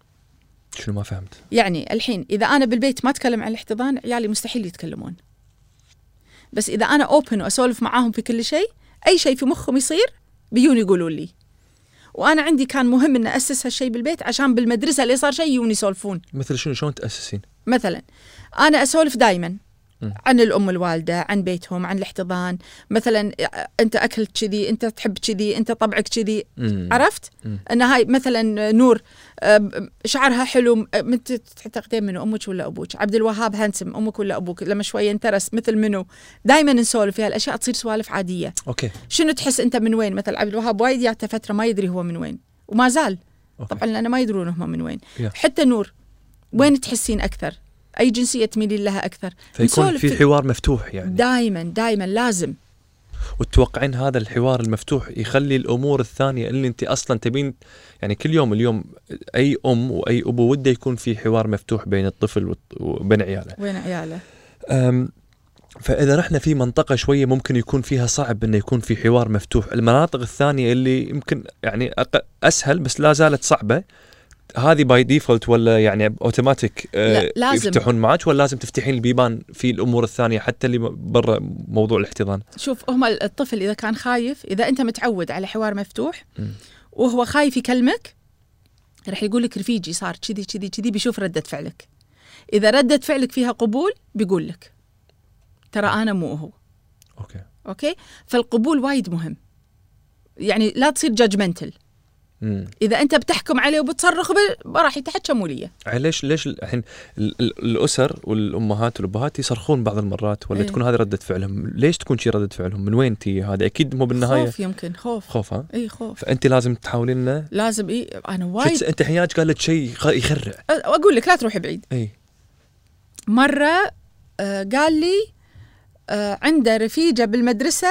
A: شنو ما فهمت
B: يعني الحين اذا انا بالبيت ما اتكلم عن الاحتضان عيالي مستحيل يتكلمون بس اذا انا اوبن واسولف معاهم في كل شيء اي شيء في مخهم يصير بيون يقولوا لي وانا عندي كان مهم ان اسس هالشيء بالبيت عشان بالمدرسه اللي صار شيء يجون يسولفون
A: مثل شنو شلون تاسسين
B: مثلا انا اسولف دائما
A: مم.
B: عن الام الوالده عن بيتهم عن الاحتضان مثلا انت اكلت كذي انت تحب كذي انت طبعك كذي
A: مم.
B: عرفت
A: مم.
B: ان هاي مثلا نور آه، شعرها حلو آه، انت تعتقدين منه امك ولا ابوك عبد الوهاب هانسم امك ولا ابوك لما شويه انترس مثل منو دائما نسولف في هالاشياء تصير سوالف عاديه
A: اوكي
B: شنو تحس انت من وين مثلا عبد الوهاب وايد جاته فتره ما يدري هو من وين وما زال
A: أوكي.
B: طبعا لان ما يدرون هم من وين
A: Yeah.
B: حتى نور وين تحسين اكثر اي جنسيه تميلين لها اكثر
A: فيكون
B: نسولف
A: في حوار مفتوح يعني
B: دائما دائما لازم
A: وتتوقعين هذا الحوار المفتوح يخلي الامور الثانيه اللي انت اصلا تبين يعني كل يوم اليوم اي ام واي ابو وده يكون في حوار مفتوح بين الطفل والط- وبين عياله.
B: وين عياله
A: أم، فاذا رحنا في منطقه شويه ممكن يكون فيها صعب انه يكون في حوار مفتوح، المناطق الثانيه اللي يمكن يعني أق- اسهل بس لا زالت صعبه هذه باي ديفولت ولا يعني اوتوماتيك
B: لا، لازم.
A: يفتحون معك ولا لازم تفتحين البيبان في الامور الثانيه حتى اللي برا موضوع الاحتضان
B: شوف هم الطفل اذا كان خايف اذا انت متعود على حوار مفتوح
A: م.
B: وهو خايف يكلمك راح يقول لك رفيجي صار كذي كذي كذي بيشوف رده فعلك اذا رده فعلك فيها قبول بيقول لك ترى انا مو هو
A: اوكي
B: اوكي فالقبول وايد مهم يعني لا تصير جادجمنتل
A: مم.
B: اذا انت بتحكم عليه وبتصرخ وب- ما راح يتحكموا لي
A: يعني ليش ليش الحين ال- ال- الاسر والامهات والابهات يصرخون بعض المرات ولا
B: إيه.
A: تكون هذه رده فعلهم ليش تكون شي رده فعلهم من وين تي هذا اكيد مو بالنهايه
B: خوف يمكن خوف
A: خوف ها
B: اي خوف
A: فانت لازم تحاولين إنه-
B: لازم اي انا
A: شو
B: وايد
A: تس- انت حياج قالت شيء خ- يخرع
B: اقول لك لا تروحي بعيد
A: اي
B: مره آه، قال لي آه، عنده رفيجه بالمدرسه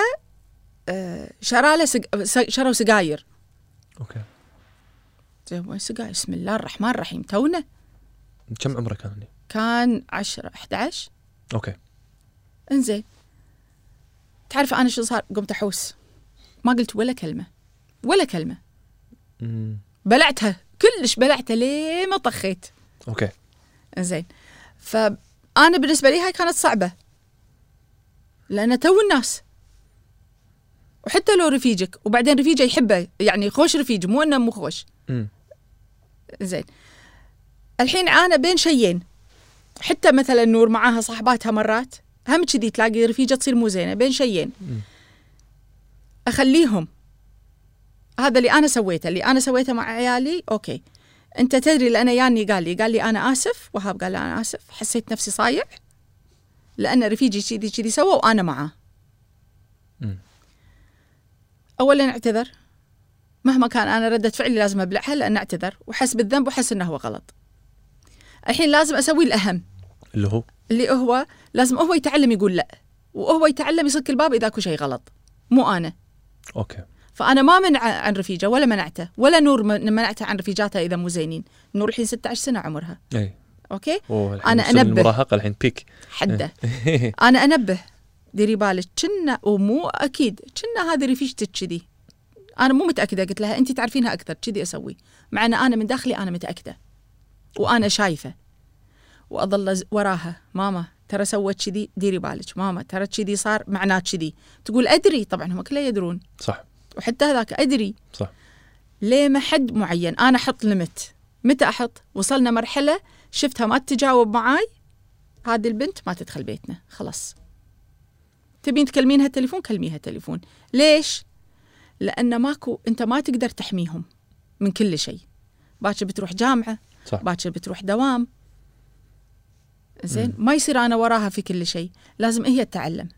B: آه، شرى له سج... س- شروا سجاير
A: اوكي
B: زين، وين سجاير بسم الله الرحمن الرحيم تونا
A: كم عمرك كان هني؟
B: كان 10 11
A: اوكي
B: انزين تعرف انا شو صار قمت احوس ما قلت ولا كلمه ولا كلمه
A: مم.
B: بلعتها كلش بلعتها ليه ما طخيت
A: اوكي
B: انزين فانا بالنسبه لي هاي كانت صعبه لان تو الناس وحتى لو رفيجك وبعدين رفيجه يحبه يعني خوش رفيج مو انه مو خوش
A: مم.
B: زين الحين انا بين شيين حتى مثلا نور معاها صاحباتها مرات هم كذي تلاقي رفيجه تصير مو زينه بين شيين
A: مم.
B: اخليهم هذا اللي انا سويته اللي انا سويته مع عيالي اوكي انت تدري اللي انا ياني قال لي قال لي انا اسف وهاب قال لي انا اسف حسيت نفسي صايع لان رفيجي كذي كذي سوى وانا معاه
A: مم.
B: اولا اعتذر مهما كان انا رده فعلي لازم ابلعها لان اعتذر وحس بالذنب وحس انه هو غلط الحين لازم اسوي الاهم
A: اللي هو
B: اللي هو لازم هو يتعلم يقول لا وهو يتعلم يصك الباب اذا اكو شيء غلط مو انا
A: اوكي
B: فانا ما منع عن رفيجه ولا منعته ولا نور من- منعته عن رفيجاتها اذا مو زينين نور الحين 16 سنه عمرها
A: اي
B: اوكي
A: اوه الحين
B: أنا
A: سن
B: أنبه.
A: المراهقه الحين بيك
B: حده انا انبه إيه. ديري بالك كنا ومو اكيد كنا هذه رفيجتك كذي انا مو متاكده قلت لها انت تعرفينها اكثر كذي اسوي مع ان انا من داخلي انا متاكده وانا شايفه واظل أز- وراها ماما ترى سوت كذي ديري بالك ماما ترى كذي صار معناه كذي تقول ادري طبعا هم كله يدرون
A: *laughs* صح
B: وحتى هذاك ادري
A: صح
B: ليه ما حد معين انا احط ليمت متى احط وصلنا مرحله شفتها ما تتجاوب معاي هذه البنت ما تدخل بيتنا خلاص تبين تكلمينها تليفون كلميها تليفون ليش لان ماكو انت ما تقدر تحميهم من كل شيء باكر بتروح جامعه
A: صح
B: باكر بتروح دوام زين ما يصير انا وراها في كل شيء لازم هي تتعلم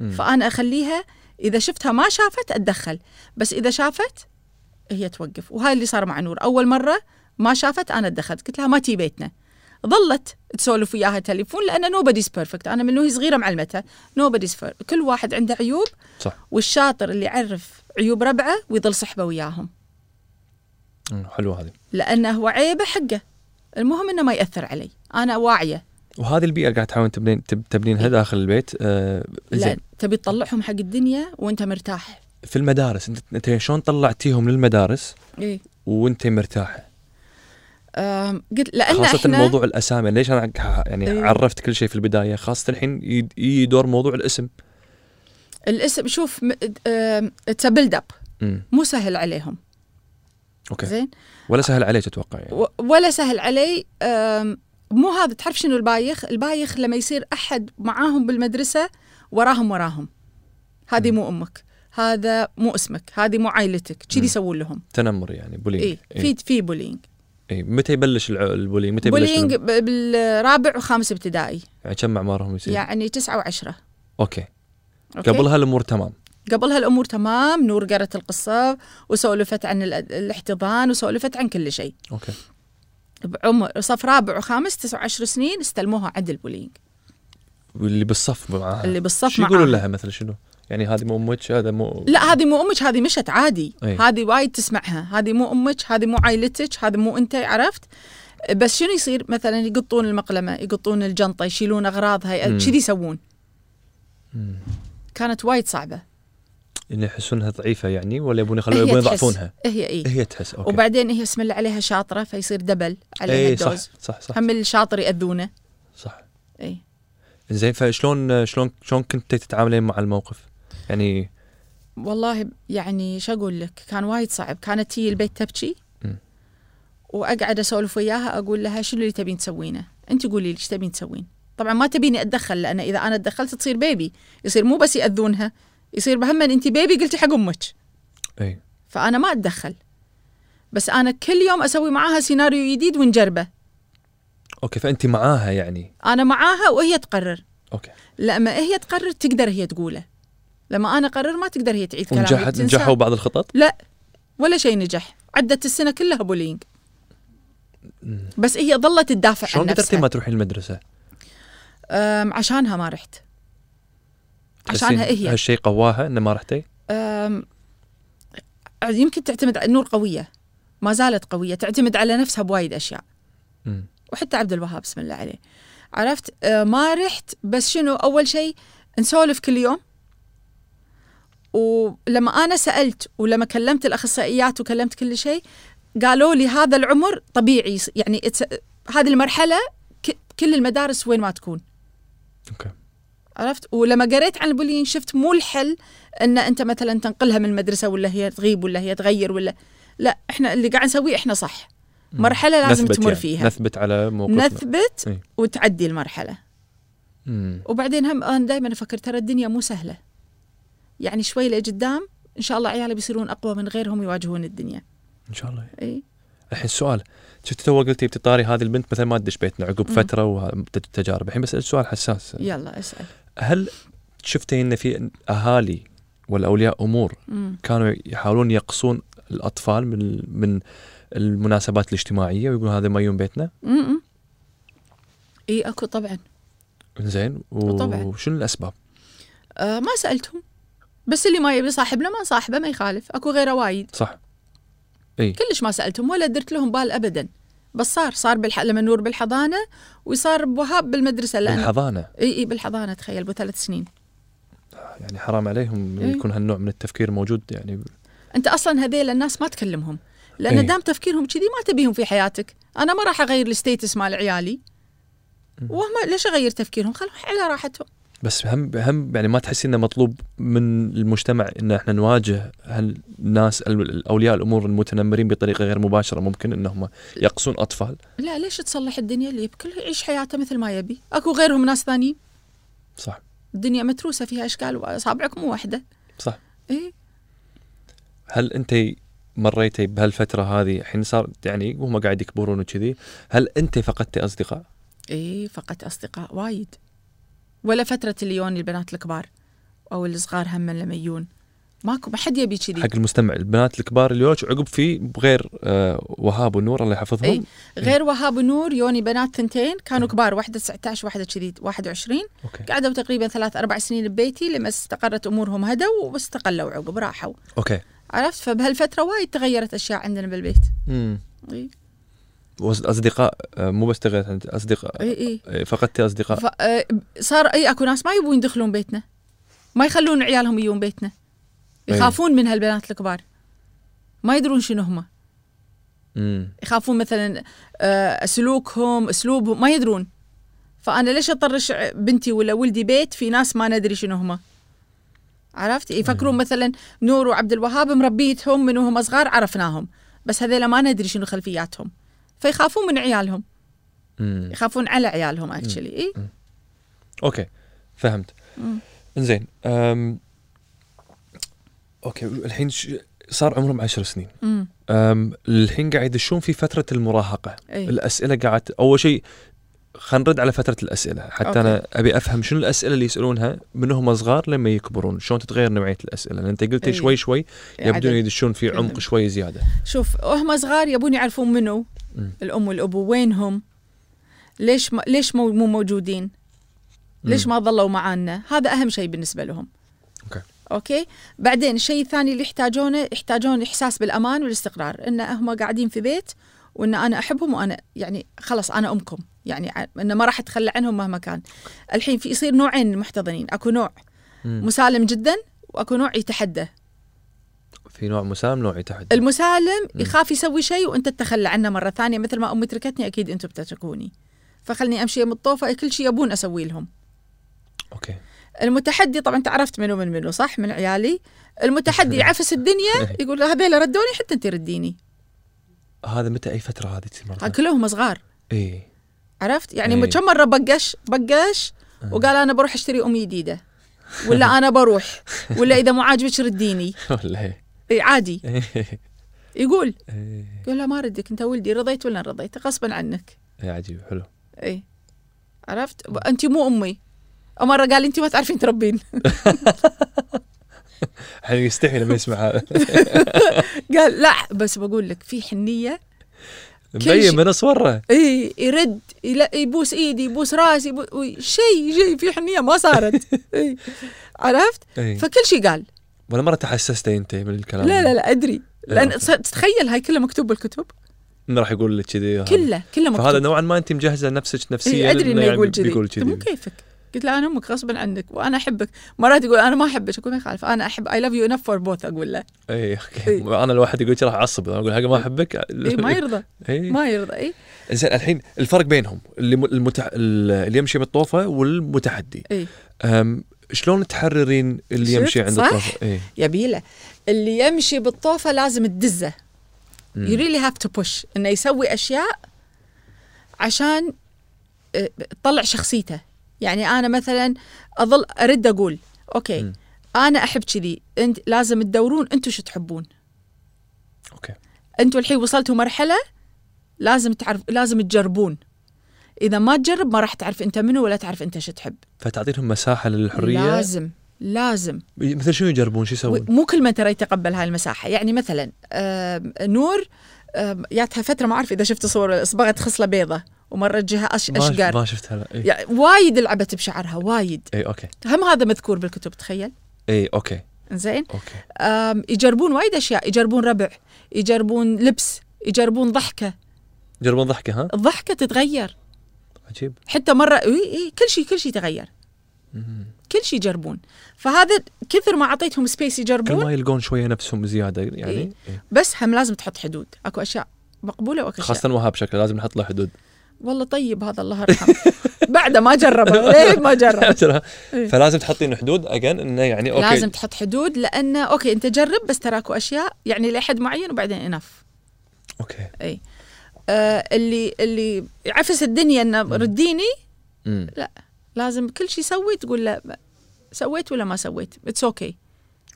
A: مم.
B: فانا اخليها اذا شفتها ما شافت اتدخل بس اذا شافت هي توقف وهاي اللي صار مع نور اول مره ما شافت انا اتدخلت قلت لها ما تي بيتنا ظلت تسولف وياها تليفون لان nobody's perfect انا من وهي صغيره معلمتها nobody's perfect كل واحد عنده عيوب
A: صح
B: والشاطر اللي يعرف عيوب ربعه ويظل صحبه وياهم
A: مم. حلوه هذه
B: لانه هو عيبه حقه المهم انه ما ياثر علي انا واعيه
A: وهذه البيئه قاعد تحاول تبنين تب- تبنينها داخل البيت آه
B: لا
A: زين
B: تبي تطلعهم حق الدنيا وانت مرتاح
A: في المدارس انت انت شلون طلعتيهم للمدارس
B: إيه؟
A: وانت مرتاحه
B: أم، قلت لان
A: خاصه
B: احنا
A: موضوع الاسامي ليش انا ح- يعني
B: إيه.
A: عرفت كل شيء في البدايه خاصه الحين يد- يجي دور موضوع الاسم
B: الاسم شوف اتس بيلد اب
A: مم.
B: مو سهل عليهم
A: اوكي
B: زين
A: ولا سهل عليك اتوقع يعني
B: و- ولا سهل علي أم، مو هذا تعرف شنو البايخ البايخ لما يصير احد معاهم بالمدرسه وراهم وراهم هذه مو امك هذا مو اسمك هذه مو عائلتك كذي
A: مم.
B: يسوون لهم
A: تنمر يعني بولينج
B: اي إيه، في في بولينج
A: إيه. متى يبلش الع- البولينج متى يبلش
B: بولينج
A: الم-
B: ب- بالرابع وخامس ابتدائي
A: يعني كم اعمارهم يصير
B: يعني تسعة وعشرة
A: اوكي
B: أوكي؟
A: قبلها الامور تمام
B: قبلها الأمور تمام نور قرت القصة وسولفت عن ال- الاحتضان وسولفت عن كل شيء
A: اوكي
B: بعمر صف رابع وخامس 19 سنين استلموها عند البولينج
A: واللي بالصف معاها
B: اللي بالصف
A: آه. شو يقولون
B: معاها.
A: لها مثلا شنو؟ يعني هذه مو امك هذا مو
B: لا هذه مو امك هذه مشت عادي
A: أي.
B: هذه وايد تسمعها هذه مو امك هذه مو عائلتك هذه مو انت عرفت بس شنو يصير مثلا يقطون المقلمه يقطون الجنطه يشيلون اغراضها
A: مم.
B: كذي يسوون
A: مم.
B: كانت وايد صعبه
A: اللي يحسونها ضعيفه يعني ولا يبون يخلون
B: هي
A: يبون
B: تحس.
A: يضعفونها إيه،
B: هي اي
A: هي تحس اوكي
B: وبعدين هي اسم الله عليها شاطره فيصير دبل عليها
A: إيه،
B: الدوز
A: صح صح صح
B: هم الشاطر ياذونه
A: صح
B: اي
A: زين فشلون شلون شلون كنت تتعاملين مع الموقف؟ يعني
B: والله يعني شو اقول لك كان وايد صعب كانت تيجي البيت تبكي
A: مم.
B: واقعد اسولف وياها اقول لها شنو اللي تبين تسوينه انت قولي لي ايش تبين تسوين طبعا ما تبيني اتدخل لان اذا انا تدخلت تصير بيبي يصير مو بس ياذونها يصير بهم انت بيبي قلتي حق امك
A: اي
B: فانا ما اتدخل بس انا كل يوم اسوي معاها سيناريو جديد ونجربه
A: اوكي فانت معاها يعني
B: انا معاها وهي تقرر
A: اوكي
B: لما هي تقرر تقدر هي تقوله لما انا اقرر ما تقدر هي تعيد كلامي
A: ونجحت
B: بتنسى.
A: نجحوا بعض الخطط؟
B: لا ولا شيء نجح عدت السنه كلها بولينج
A: مم.
B: بس هي ظلت تدافع عن
A: شلون قدرتي ما
B: نفسها
A: تروحين المدرسه؟
B: أم عشانها ما رحت عشانها
A: تحسين
B: هي إيه
A: هالشيء قواها انه ما رحتي؟
B: أم يمكن تعتمد على نور قويه ما زالت قويه تعتمد على نفسها بوايد اشياء
A: مم.
B: وحتى عبد الوهاب بسم الله عليه عرفت أه، ما رحت بس شنو اول شيء نسولف كل يوم ولما انا سالت ولما كلمت الاخصائيات وكلمت كل شيء قالوا لي هذا العمر طبيعي يص- يعني it's- هذه المرحله ك- كل المدارس وين ما تكون
A: اوكي
B: عرفت ولما قريت عن البولينج شفت مو الحل ان انت مثلا تنقلها من المدرسه ولا هي تغيب ولا هي تغير ولا لا احنا اللي قاعد نسويه احنا صح
A: مم.
B: مرحله لازم
A: نثبت
B: تمر
A: يعني.
B: فيها
A: نثبت على موقفنا إيه.
B: نثبت
A: إي.
B: وتعدي المرحله
A: مم.
B: وبعدين هم انا دائما افكر ترى الدنيا مو سهله يعني شوي لقدام ان شاء الله عيالي بيصيرون اقوى من غيرهم يواجهون الدنيا
A: ان شاء الله
B: اي
A: الحين السؤال شفت تو قلتي بتطاري هذه البنت مثلا ما تدش بيتنا عقب
B: مم.
A: فتره وتجارب الحين بسال سؤال حساس
B: يلا اسال
A: هل شفتي ان في اهالي ولا اولياء امور
B: مم.
A: كانوا يحاولون يقصون الاطفال من من المناسبات الاجتماعيه ويقولون هذا ما يوم بيتنا
B: مم. اي اكو طبعا
A: زين
B: طبعاً.
A: وشنو الاسباب؟
B: آه ما سالتهم بس اللي ما يبي صاحبنا ما صاحبه ما يخالف اكو غيره وايد
A: صح
B: كلش ما سالتهم ولا درت لهم بال ابدا بس صار صار بالح... لما نور بالحضانه وصار بوهاب بالمدرسه لان
A: الحضانه
B: اي اي بالحضانه تخيل بثلاث سنين
A: يعني حرام عليهم
B: إيه.
A: يكون هالنوع من التفكير موجود يعني
B: انت اصلا هذيل الناس ما تكلمهم لان
A: إيه.
B: دام تفكيرهم كذي ما تبيهم في حياتك انا ما راح اغير الستيتس مال عيالي
A: مم.
B: وهم ليش اغير تفكيرهم خلهم على راحتهم
A: بس هم هم يعني ما تحسين انه مطلوب من المجتمع ان احنا نواجه هالناس ال- اولياء الامور المتنمرين بطريقه غير مباشره ممكن انهم يقصون اطفال
B: لا ليش تصلح الدنيا اللي بكل يعيش حياته مثل ما يبي اكو غيرهم ناس ثانيين
A: صح
B: الدنيا متروسه فيها اشكال واصابعك مو واحده
A: صح
B: اي
A: هل انت مريتي بهالفتره هذه الحين صار يعني وهم قاعد يكبرون وكذي هل انت فقدتي اصدقاء؟
B: اي فقدت اصدقاء إيه، وايد ولا فتره اللي يوني البنات الكبار او الصغار هم لما يجون ماكو ما حد يبي كذي
A: حق المستمع البنات الكبار اللي يوش عقب في بغير آه وهاب ونور الله يحفظهم
B: إي. غير وهاب ونور يوني بنات ثنتين كانوا كبار واحده 19 واحده كذي 21
A: اوكي
B: قعدوا تقريبا ثلاث اربع سنين ببيتي لما استقرت امورهم هدوا واستقلوا عقب راحوا
A: اوكي
B: عرفت فبهالفتره وايد تغيرت اشياء عندنا بالبيت إيه،
A: امم
B: اي
A: اصدقاء آه مو بس تغيرت انت اصدقاء
B: اي, إي.
A: آه، فقدتي اصدقاء
B: ف... آه، صار اي اكو ناس ما يبون يدخلون بيتنا ما يخلون عيالهم يجون بيتنا
A: إي.
B: يخافون من هالبنات الكبار ما يدرون شنو هم
A: امم
B: يخافون مثلا آه، سلوكهم اسلوبهم ما يدرون فانا ليش اطرش بنتي ولا ولدي بيت في ناس ما ندري شنو هما عرفت يفكرون مثلا نور وعبد الوهاب مربيتهم من وهم صغار عرفناهم بس هذيلا ما ندري شنو خلفياتهم فيخافون من عيالهم
A: امم
B: يخافون على عيالهم إيه. اكشلي اي
A: اوكي فهمت
B: مم.
A: انزين أم... اوكي الحين ش... صار عمرهم عشر سنين
B: أمم.
A: أم... الحين قاعد يدشون في فتره المراهقه
B: اي
A: الاسئله قاعد اول شيء خلينا نرد على فتره الاسئله حتى
B: أوكي.
A: أوكي. انا ابي افهم شنو الاسئله اللي يسالونها من هم صغار لما يكبرون شلون تتغير نوعيه الاسئله لان انت قلتي
B: إي.
A: شوي شوي يبدو
B: عدد.
A: يدشون في عمق
B: كلهم.
A: شوي زياده
B: شوف هم صغار يبون يعرفون منو
A: مم.
B: الام والابو وينهم ليش ما ليش مو مو موجودين ليش ما ظلوا معانا هذا اهم شيء بالنسبه لهم
A: أوكي.
B: اوكي بعدين الشيء الثاني اللي يحتاجونه يحتاجون احساس بالامان والاستقرار ان هم قاعدين في بيت وان انا احبهم وانا يعني خلاص انا امكم يعني ع- ان ما راح اتخلى عنهم مهما كان الحين في يصير نوعين محتضنين اكو نوع
A: مم.
B: مسالم جدا واكو نوع يتحدى
A: في نوع مسالم نوع يتحدى
B: المسالم
A: مم.
B: يخاف يسوي شيء وانت تتخلى عنه مره ثانيه مثل ما امي تركتني اكيد انتم بتتركوني فخلني امشي من الطوفه كل شيء يبون اسوي لهم
A: اوكي
B: المتحدي طبعا انت عرفت منو من منو صح من عيالي
A: *laughs*
B: المتحدي يعفس
A: إيه.
B: الدنيا يقول هذيلا ردوني حتى انت رديني
A: هذا متى اي فتره هذه تصير
B: ها
A: مرات
B: كلهم صغار
A: *laughs* اي
B: عرفت يعني
A: إيه.
B: كم مره بقش بقش
A: آه.
B: وقال انا بروح اشتري ام
A: *laughs*
B: جديده ولا انا بروح ولا اذا مو عاجبك رديني
A: ولا *laughs* إيه؟
B: إيه عادي
A: إيه.
B: يقول
A: إيه.
B: يقول لا ما ردك انت ولدي رضيت ولا رضيت غصبا عنك
A: عجيب حلو
B: اي إيه. عرفت ب- انت مو امي مره قال انت ما تعرفين تربين *laughs*
A: الحين يستحي لما يسمع
B: *laughs*
A: هذا
B: قال لا بس بقول لك في حنيه
A: مبين
B: شيء.
A: من صوره
B: اي إيه، يرد يلا- يبوس ايدي يبوس راسي يبو... وي- شيء شيء في حنيه ما صارت
A: *laughs*
B: اي عرفت
A: إيه. آه.
B: فكل شيء قال
A: ولا مره تحسست انت من الكلام
B: لا لا لا ادري لان
A: أوكي.
B: ص- تتخيل هاي كلها مكتوب بالكتب
A: إنه راح يقول لك كذي هذا.
B: كله كله مكتوب
A: آه. فهذا نوعا ما انت مجهزه نفسك نفسيا
B: إيه، ادري انه يقول كذي
A: يقول
B: قلت مو
A: يعني كذي
B: كيفك قلت له انا امك غصبا عنك وانا احبك مرات يقول انا ما احبك اقول ما يخالف انا احب اي لاف يو انف فور بوث اقول له
A: اي اوكي
B: إيه.
A: انا الواحد يقول لي راح اعصب انا اقول حق ما احبك
B: إيه ما يرضى
A: *laughs* إيه.
B: ما يرضى اي
A: زين الحين الفرق بينهم اللي م- المتع... اللي يمشي بالطوفه والمتحدي
B: اي
A: أم... شلون تحررين اللي
B: شفت؟
A: يمشي عند إيه.
B: صح؟
A: الطوفه؟ اي
B: يبيله اللي يمشي بالطوفه لازم تدزه يو ريلي هاف تو بوش انه يسوي اشياء عشان آه، تطلع شخصيته يعني انا مثلا اظل ارد اقول اوكي
A: مم.
B: انا احب كذي انت لازم تدورون انتم شو تحبون
A: اوكي
B: انتوا الحين وصلتوا مرحله لازم تعرف لازم تجربون اذا ما تجرب ما راح تعرف انت منو ولا تعرف انت شو تحب
A: فتعطينهم مساحه للحريه
B: لازم لازم
A: مثل شنو يجربون شو
B: و-
A: يسوون؟
B: مو كل من ترى يتقبل هاي المساحه يعني مثلا آم، نور آم، جاتها فتره ما اعرف اذا شفت صور اصبغت خصله بيضة ومره جهه أش...
A: ما ش-
B: اشقر
A: ما شفتها إيه. لا اي
B: يعني وايد لعبت بشعرها وايد
A: اي اوكي
B: هم هذا مذكور بالكتب تخيل
A: اي اوكي
B: زين
A: اوكي
B: آم، يجربون وايد اشياء يجربون ربع يجربون لبس يجربون ضحكه
A: يجربون ضحكه ها؟
B: الضحكه تتغير
A: عجيب
B: حتى مره اي اي كل شيء كل شيء تغير
A: مم.
B: كل شيء يجربون فهذا كثر ما اعطيتهم سبيس
A: كل
B: يجربون
A: ما يلقون شويه نفسهم زياده يعني
B: إيه.
A: إيه.
B: بس هم لازم تحط حدود اكو اشياء مقبوله واكو اشياء
A: خاصه وهاب شكله لازم نحط له حدود
B: والله طيب هذا الله يرحمه *laughs* بعده ما جربه ليه ما
A: *laughs*
B: جرب إيه.
A: فلازم تحطين حدود اجين انه يعني اوكي
B: لازم تحط حدود لانه اوكي انت جرب بس تراكو اشياء يعني لحد معين وبعدين انف
A: اوكي
B: آه اللي اللي يعفس الدنيا انه رديني
A: مم.
B: لازم كل شيء سوي تقول له سويت ولا ما سويت اتس اوكي okay.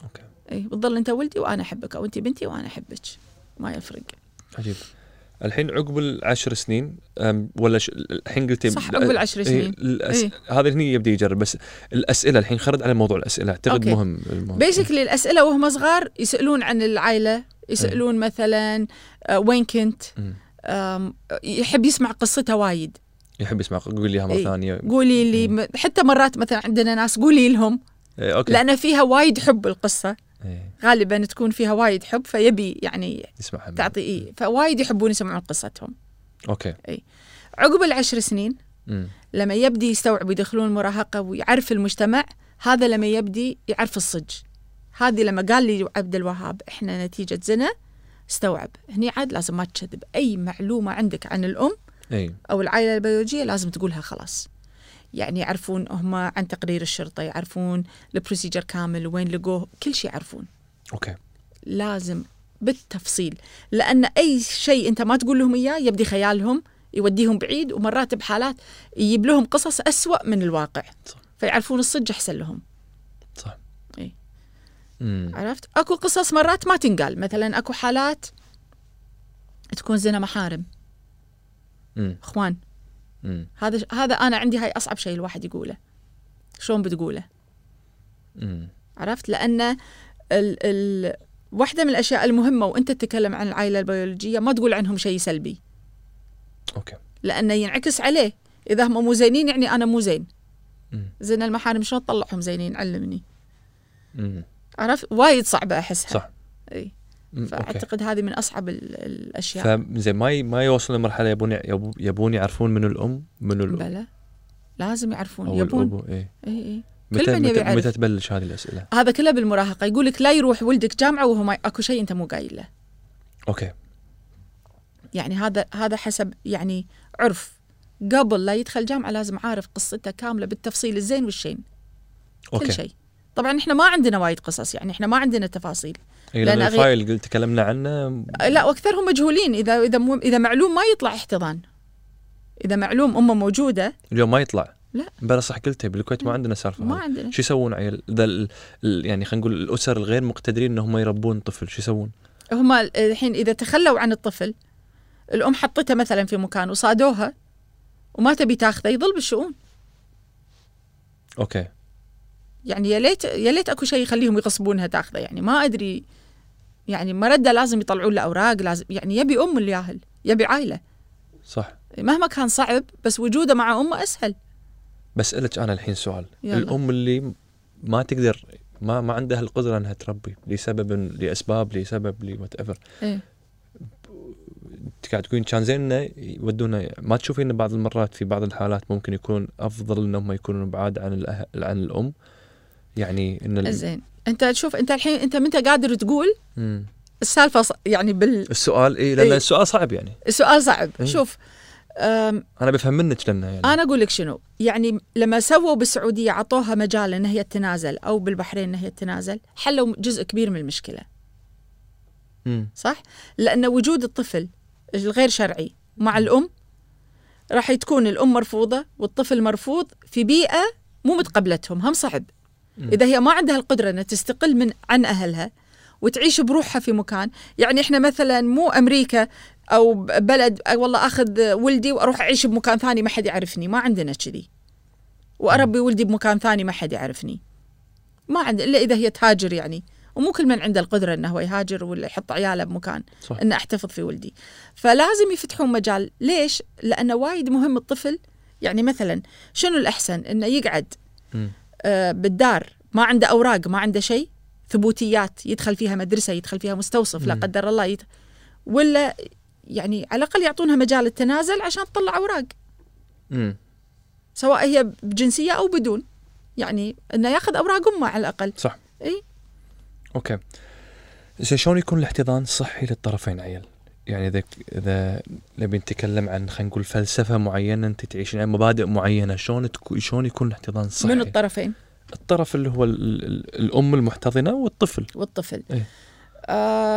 A: اوكي
B: اي بتضل انت ولدي وانا احبك او انت بنتي وانا احبك ما يفرق
A: عجيب الحين عقب العشر سنين أم، ولا ش... الحين قلتي
B: صح، عقب العشر سنين.
A: طيب، إيه الأس...
B: إيه.
A: هذا هني يبدي يجرب بس الاسئله الحين خرد على موضوع الاسئله اعتقد
B: أوكي.
A: مهم الموضوع
B: بيسكلي الاسئله وهم صغار يسالون عن العائله يسالون مثلا آه، وين كنت
A: مم.
B: آم، يحب يسمع قصتها وايد
A: يحب يسمع قول لي إياها مره
B: إيه.
A: ثانيه
B: قولي لي م- حتى مرات مثلا عندنا ناس قولي لهم
A: إيه اوكي
B: لان فيها وايد حب القصه
A: إيه.
B: غالبا تكون فيها وايد حب فيبي يعني
A: يسمعها مني.
B: تعطي إيه فوايد يحبون يسمعون قصتهم
A: اوكي
B: عقب العشر سنين
A: مم.
B: لما يبدي يستوعب يدخلون المراهقة ويعرف المجتمع هذا لما يبدي يعرف الصج هذه لما قال لي عبد الوهاب احنا نتيجة زنا استوعب هني عاد لازم ما تكذب اي معلومة عندك عن الام
A: اي
B: او العائلة البيولوجية لازم تقولها خلاص يعني يعرفون هم عن تقرير الشرطة يعرفون البروسيجر كامل وين لقوه كل شيء يعرفون
A: اوكي
B: لازم بالتفصيل لان اي شيء انت ما تقول لهم اياه يبدي خيالهم يوديهم بعيد ومرات بحالات يجيب لهم قصص أسوأ من الواقع
A: صح.
B: فيعرفون الصج احسن لهم
A: صح
B: إيه.
A: مم.
B: عرفت اكو قصص مرات ما تنقال مثلا اكو حالات تكون زنا محارم
A: مم.
B: اخوان
A: مم.
B: هذا هذا انا عندي هاي اصعب شيء الواحد يقوله شلون بتقوله
A: مم.
B: عرفت لان ال ال واحده من الاشياء المهمه وانت تتكلم عن العائله البيولوجيه ما تقول عنهم شيء سلبي
A: اوكي
B: لانه ينعكس عليه اذا هم مو زينين يعني انا مو زين
A: مم.
B: زين المحارم شلون تطلعهم زينين علمني
A: مم.
B: عرفت وايد صعبه احسها
A: صح.
B: اي
A: مم. اوكي
B: فاعتقد هذه من اصعب ال- الاشياء
A: فزين ما ي... ما يوصلون لمرحله يبون يبون- يبون يعرفون منو الام منو الأم
B: بلى لازم يعرفون
A: او
B: يبون
A: الابو اي
B: اي اي
A: إيه. متى
B: من يبي
A: متى,
B: يعرف.
A: متى تبلش هذه الاسئله؟
B: هذا كله بالمراهقه يقول لك لا يروح ولدك جامعه وهو ما اكو شيء انت مو قايل له
A: اوكي
B: يعني هذا هذا حسب يعني عرف قبل لا يدخل جامعه لازم عارف قصته كامله بالتفصيل الزين والشين كل
A: اوكي
B: شيء طبعا احنا ما عندنا وايد قصص يعني احنا ما عندنا تفاصيل
A: إيه،
B: لأن
A: لان
B: أغلب-
A: الفايل قلت تكلمنا عنه
B: لا واكثرهم مجهولين اذا اذا مو اذا معلوم ما يطلع احتضان اذا معلوم امه موجوده
A: اليوم ما يطلع
B: لا.
A: بلا صح قلتي بالكويت ما عندنا سالفه
B: ما
A: هذه.
B: عندنا
A: شو يسوون عيل ذا ال- ال- يعني خلينا نقول الاسر الغير مقتدرين انهم يربون طفل شو يسوون؟
B: هم الحين اذا تخلوا عن الطفل الام حطته مثلا في مكان وصادوها وما تبي تاخذه يظل بالشؤون
A: اوكي
B: يعني يا ليت يا ليت اكو شيء يخليهم يغصبونها تاخذه يعني ما ادري يعني مرده لازم يطلعون له اوراق لازم يعني يبي ام الياهل يبي عائله
A: صح
B: مهما كان صعب بس وجوده مع امه اسهل
A: بسالك انا الحين سؤال
B: يلا.
A: الام اللي ما تقدر ما ما عندها القدره انها تربي لسبب لاسباب لسبب لوات ايفر
B: إيه.
A: قاعد تقولين كان زين انه يودونا ما تشوفين إن بعض المرات في بعض الحالات ممكن يكون افضل انهم يكونون بعاد عن الأه... عن الام يعني ان ال...
B: زين انت تشوف انت الحين انت منت قادر تقول
A: مم.
B: السالفه ص- يعني بال
A: السؤال اي لان
B: إيه.
A: السؤال صعب يعني
B: السؤال صعب
A: إيه.
B: شوف أم،
A: انا بفهم منك لانه يعني
B: انا اقول لك شنو يعني لما سووا بالسعوديه عطوها مجال ان هي تتنازل او بالبحرين ان هي تتنازل حلوا جزء كبير من المشكله
A: مم.
B: صح؟ لأن وجود الطفل الغير شرعي مع الأم راح تكون الأم مرفوضة والطفل مرفوض في بيئة مو متقبلتهم هم صعب
A: مم.
B: إذا هي ما عندها القدرة أنها تستقل من عن أهلها وتعيش بروحها في مكان يعني إحنا مثلا مو أمريكا أو ب- بلد أي والله أخذ ولدي وأروح أعيش بمكان ثاني ما حد يعرفني ما عندنا كذي وأربي ولدي بمكان ثاني ما حد يعرفني ما عند إلا إذا هي تهاجر يعني ومو كل من عنده القدرة أنه هو يهاجر ولا يحط عياله بمكان
A: صح
B: ان احتفظ في ولدي فلازم يفتحون مجال ليش لانه وايد مهم الطفل يعني مثلا شنو الاحسن انه يقعد
A: مم.
B: آه بالدار ما عنده اوراق ما عنده شيء ثبوتيات يدخل فيها مدرسه يدخل فيها مستوصف لا
A: مم.
B: قدر الله يت... ولا يعني على الاقل يعطونها مجال التنازل عشان تطلع اوراق
A: مم.
B: سواء هي بجنسيه او بدون يعني انه ياخذ اوراق امه على الاقل
A: صح
B: إي.
A: اوكي زين شلون يكون الاحتضان صحي للطرفين عيل؟ يعني اذا اذا نبي نتكلم عن خلينا نقول فلسفه معينه انت تعيشين عن مبادئ معينه شلون تكو شلون يكون الاحتضان صحي؟
B: من الطرفين
A: الطرف اللي هو ال- ال- الام المحتضنه والطفل
B: والطفل
A: إيه.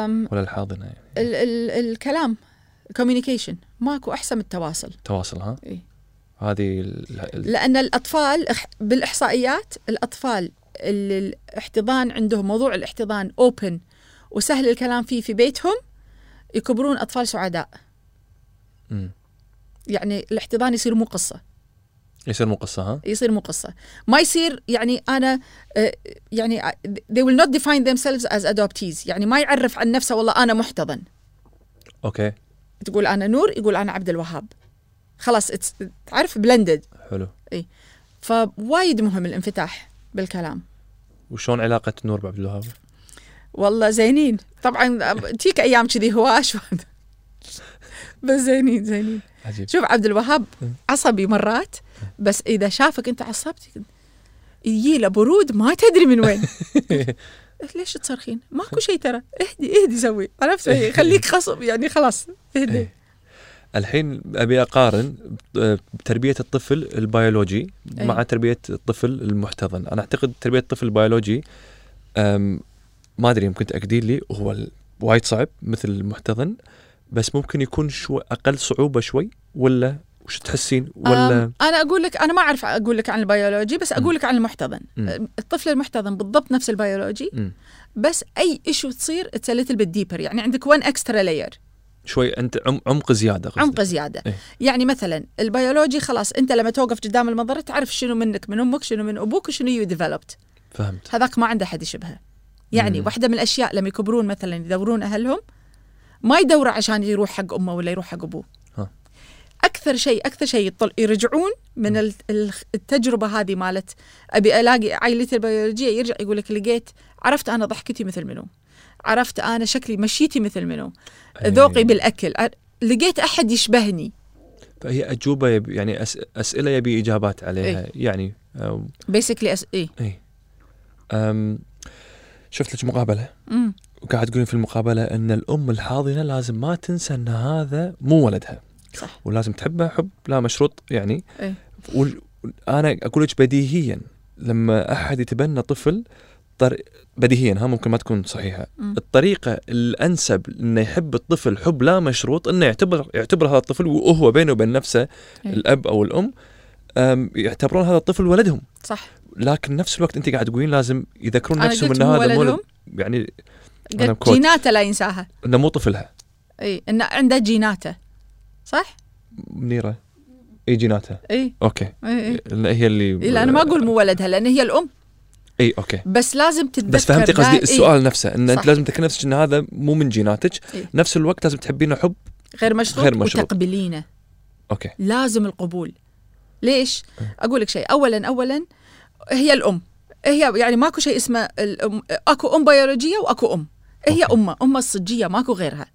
B: أم
A: ولا الحاضنه يعني
B: ال- ال- الكلام كوميونيكيشن ماكو احسن من التواصل
A: تواصل ها؟
B: إيه.
A: هذه ال- ال-
B: لان الاطفال إح- بالاحصائيات الاطفال اللي الاحتضان عندهم موضوع الاحتضان اوبن وسهل الكلام فيه في بيتهم يكبرون اطفال سعداء
A: مم.
B: يعني الاحتضان يصير مو قصه
A: يصير مو قصه ها؟
B: يصير مو قصه ما يصير يعني انا آه، يعني آه، they will not define themselves as adoptees يعني ما يعرف عن نفسه والله انا محتضن
A: اوكي
B: تقول انا نور يقول انا عبد الوهاب خلاص it's- تعرف بلندد
A: حلو
B: فوايد مهم الانفتاح بالكلام
A: وشلون علاقه نور بعبد الوهاب؟
B: والله زينين طبعا تيك ايام كذي هواش بس زينين زينين
A: عجيب
B: شوف عبد الوهاب عصبي مرات بس اذا شافك انت عصبت يجي له برود ما تدري من وين ليش تصرخين؟ ماكو شيء ترى اهدي اهدي سوي عرفت إيه، خليك خصب يعني خلاص اهدي
A: إيه. الحين ابي اقارن بت- بتربيه الطفل البيولوجي
B: أي.
A: مع تربيه الطفل المحتضن، انا اعتقد تربيه الطفل البيولوجي أم، ما ادري يمكن تاكدين لي هو ال- وايد صعب مثل المحتضن بس ممكن يكون شو اقل صعوبه شوي ولا وش تحسين ولا
B: أم، انا اقول لك انا ما اعرف اقول لك عن البيولوجي بس اقول لك عن المحتضن
A: مم.
B: الطفل المحتضن بالضبط نفس البيولوجي
A: مم.
B: بس اي ايشو تصير اتس ليتل بت ديبر يعني عندك وان اكسترا لاير
A: شوي انت عم- عمق زياده قصدك.
B: عمق زياده
A: إيه.
B: يعني مثلا البيولوجي خلاص انت لما توقف قدام المنظره تعرف شنو منك من امك شنو من ابوك وشنو يو ديفلوبد
A: فهمت
B: هذاك ما عنده حد يشبهه يعني
A: مم.
B: واحده من الاشياء لما يكبرون مثلا يدورون اهلهم ما يدوروا عشان يروح حق امه ولا يروح حق ابوه
A: ها.
B: اكثر شيء اكثر شيء يطل يرجعون من ال- ال- التجربه هذه مالت ابي الاقي عائلتي البيولوجيه يرجع يقول لك لقيت عرفت انا ضحكتي مثل منو عرفت انا شكلي مشيتي مثل منو ذوقي
A: أي.
B: بالاكل أ- لقيت احد يشبهني إيه.
A: فهي اجوبه يبي يعني أس... اسئله يبي اجابات عليها يعني أو-
B: بيسكلي أس... إيه. اي
A: اي أم، شفت لك مقابله
B: أمم.
A: وقاعد تقولين في المقابله ان الام الحاضنه لازم ما تنسى ان هذا مو ولدها
B: صح
A: ولازم تحبه حب لا مشروط يعني
B: إيه.
A: وال- انا اقول لك بديهيا لما احد يتبنى طفل طر... بديهيا ها ممكن ما تكون صحيحه
B: مم.
A: الطريقه الانسب انه يحب الطفل حب لا مشروط انه يعتبر يعتبر هذا الطفل وهو بينه وبين نفسه
B: إيه.
A: الاب او الام أم، يعتبرون هذا الطفل ولدهم
B: صح
A: لكن نفس الوقت انت قاعد تقولين لازم يذكرون
B: انا
A: نفسهم
B: قلت
A: ان
B: مو
A: هذا مو
B: ولدهم
A: ولد- يعني أنا
B: قلت
A: بكوت.
B: جيناته لا ينساها
A: انه مو طفلها
B: اي انه عنده جيناته صح؟
A: منيره اي إيه جيناتها
B: اي
A: اوكي
B: اي إي.
A: لأن هي اللي
B: لا انا إيه. ما اقول مو ولدها لان هي الام
A: اي اوكي
B: بس لازم تتذكر
A: بس فهمتي
B: دائم-
A: قصدي
B: إي،
A: السؤال نفسه ان
B: إيه. صح.
A: انت لازم تذكر نفسك ان هذا مو من جيناتك
B: إيه.
A: نفس الوقت لازم تحبينه حب
B: غير مشروط
A: غير مشروط.
B: وتقبلينه
A: اوكي
B: لازم القبول ليش؟ اقول لك شيء اولا اولا هي الام هي يعني ماكو شيء اسمه الام اكو ام بيولوجيه واكو ام هي
A: أوكي.
B: امه امه الصجيه ماكو غيرها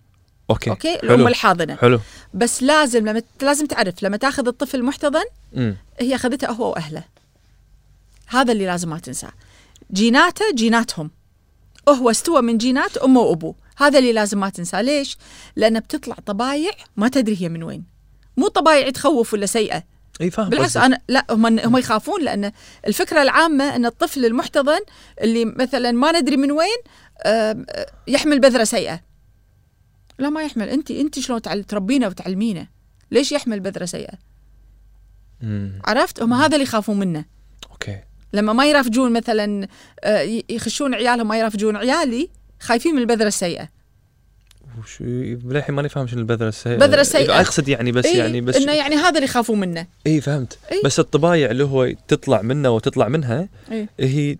A: اوكي
B: اوكي الام
A: حلو
B: الحاضنه
A: حلو
B: بس لازم لما لازم تعرف لما تاخذ الطفل محتضن
A: امم
B: هي اخذته هو واهله هذا اللي لازم ما تنساه جيناته جيناتهم هو استوى من جينات امه وابوه هذا اللي لازم ما تنساه ليش لان بتطلع طبايع ما تدري هي من وين مو طبايع تخوف ولا سيئه
A: اي فاهم
B: بالعكس
A: قصدك.
B: انا لا هم هم يخافون لان الفكره العامه ان الطفل المحتضن اللي مثلا ما ندري من وين آم، آه، يحمل بذره سيئه لا ما يحمل انت انت شلون تعل- تربينه وتعلمينه ليش يحمل بذره سيئه
A: امم
B: عرفت هم هذا اللي يخافون منه
A: اوكي
B: لما ما يرافجون مثلا آه، ي- يخشون عيالهم ما يرافجون عيالي خايفين من البذره السيئه
A: وش للحين ماني فاهم شنو البذره السيئه
B: بذرة سيئة.
A: اقصد يعني بس
B: إيه،
A: يعني بس
B: انه يعني هذا اللي يخافون منه
A: اي فهمت
B: إي.
A: بس الطبايع اللي هو تطلع منه وتطلع منها
B: إي.
A: هي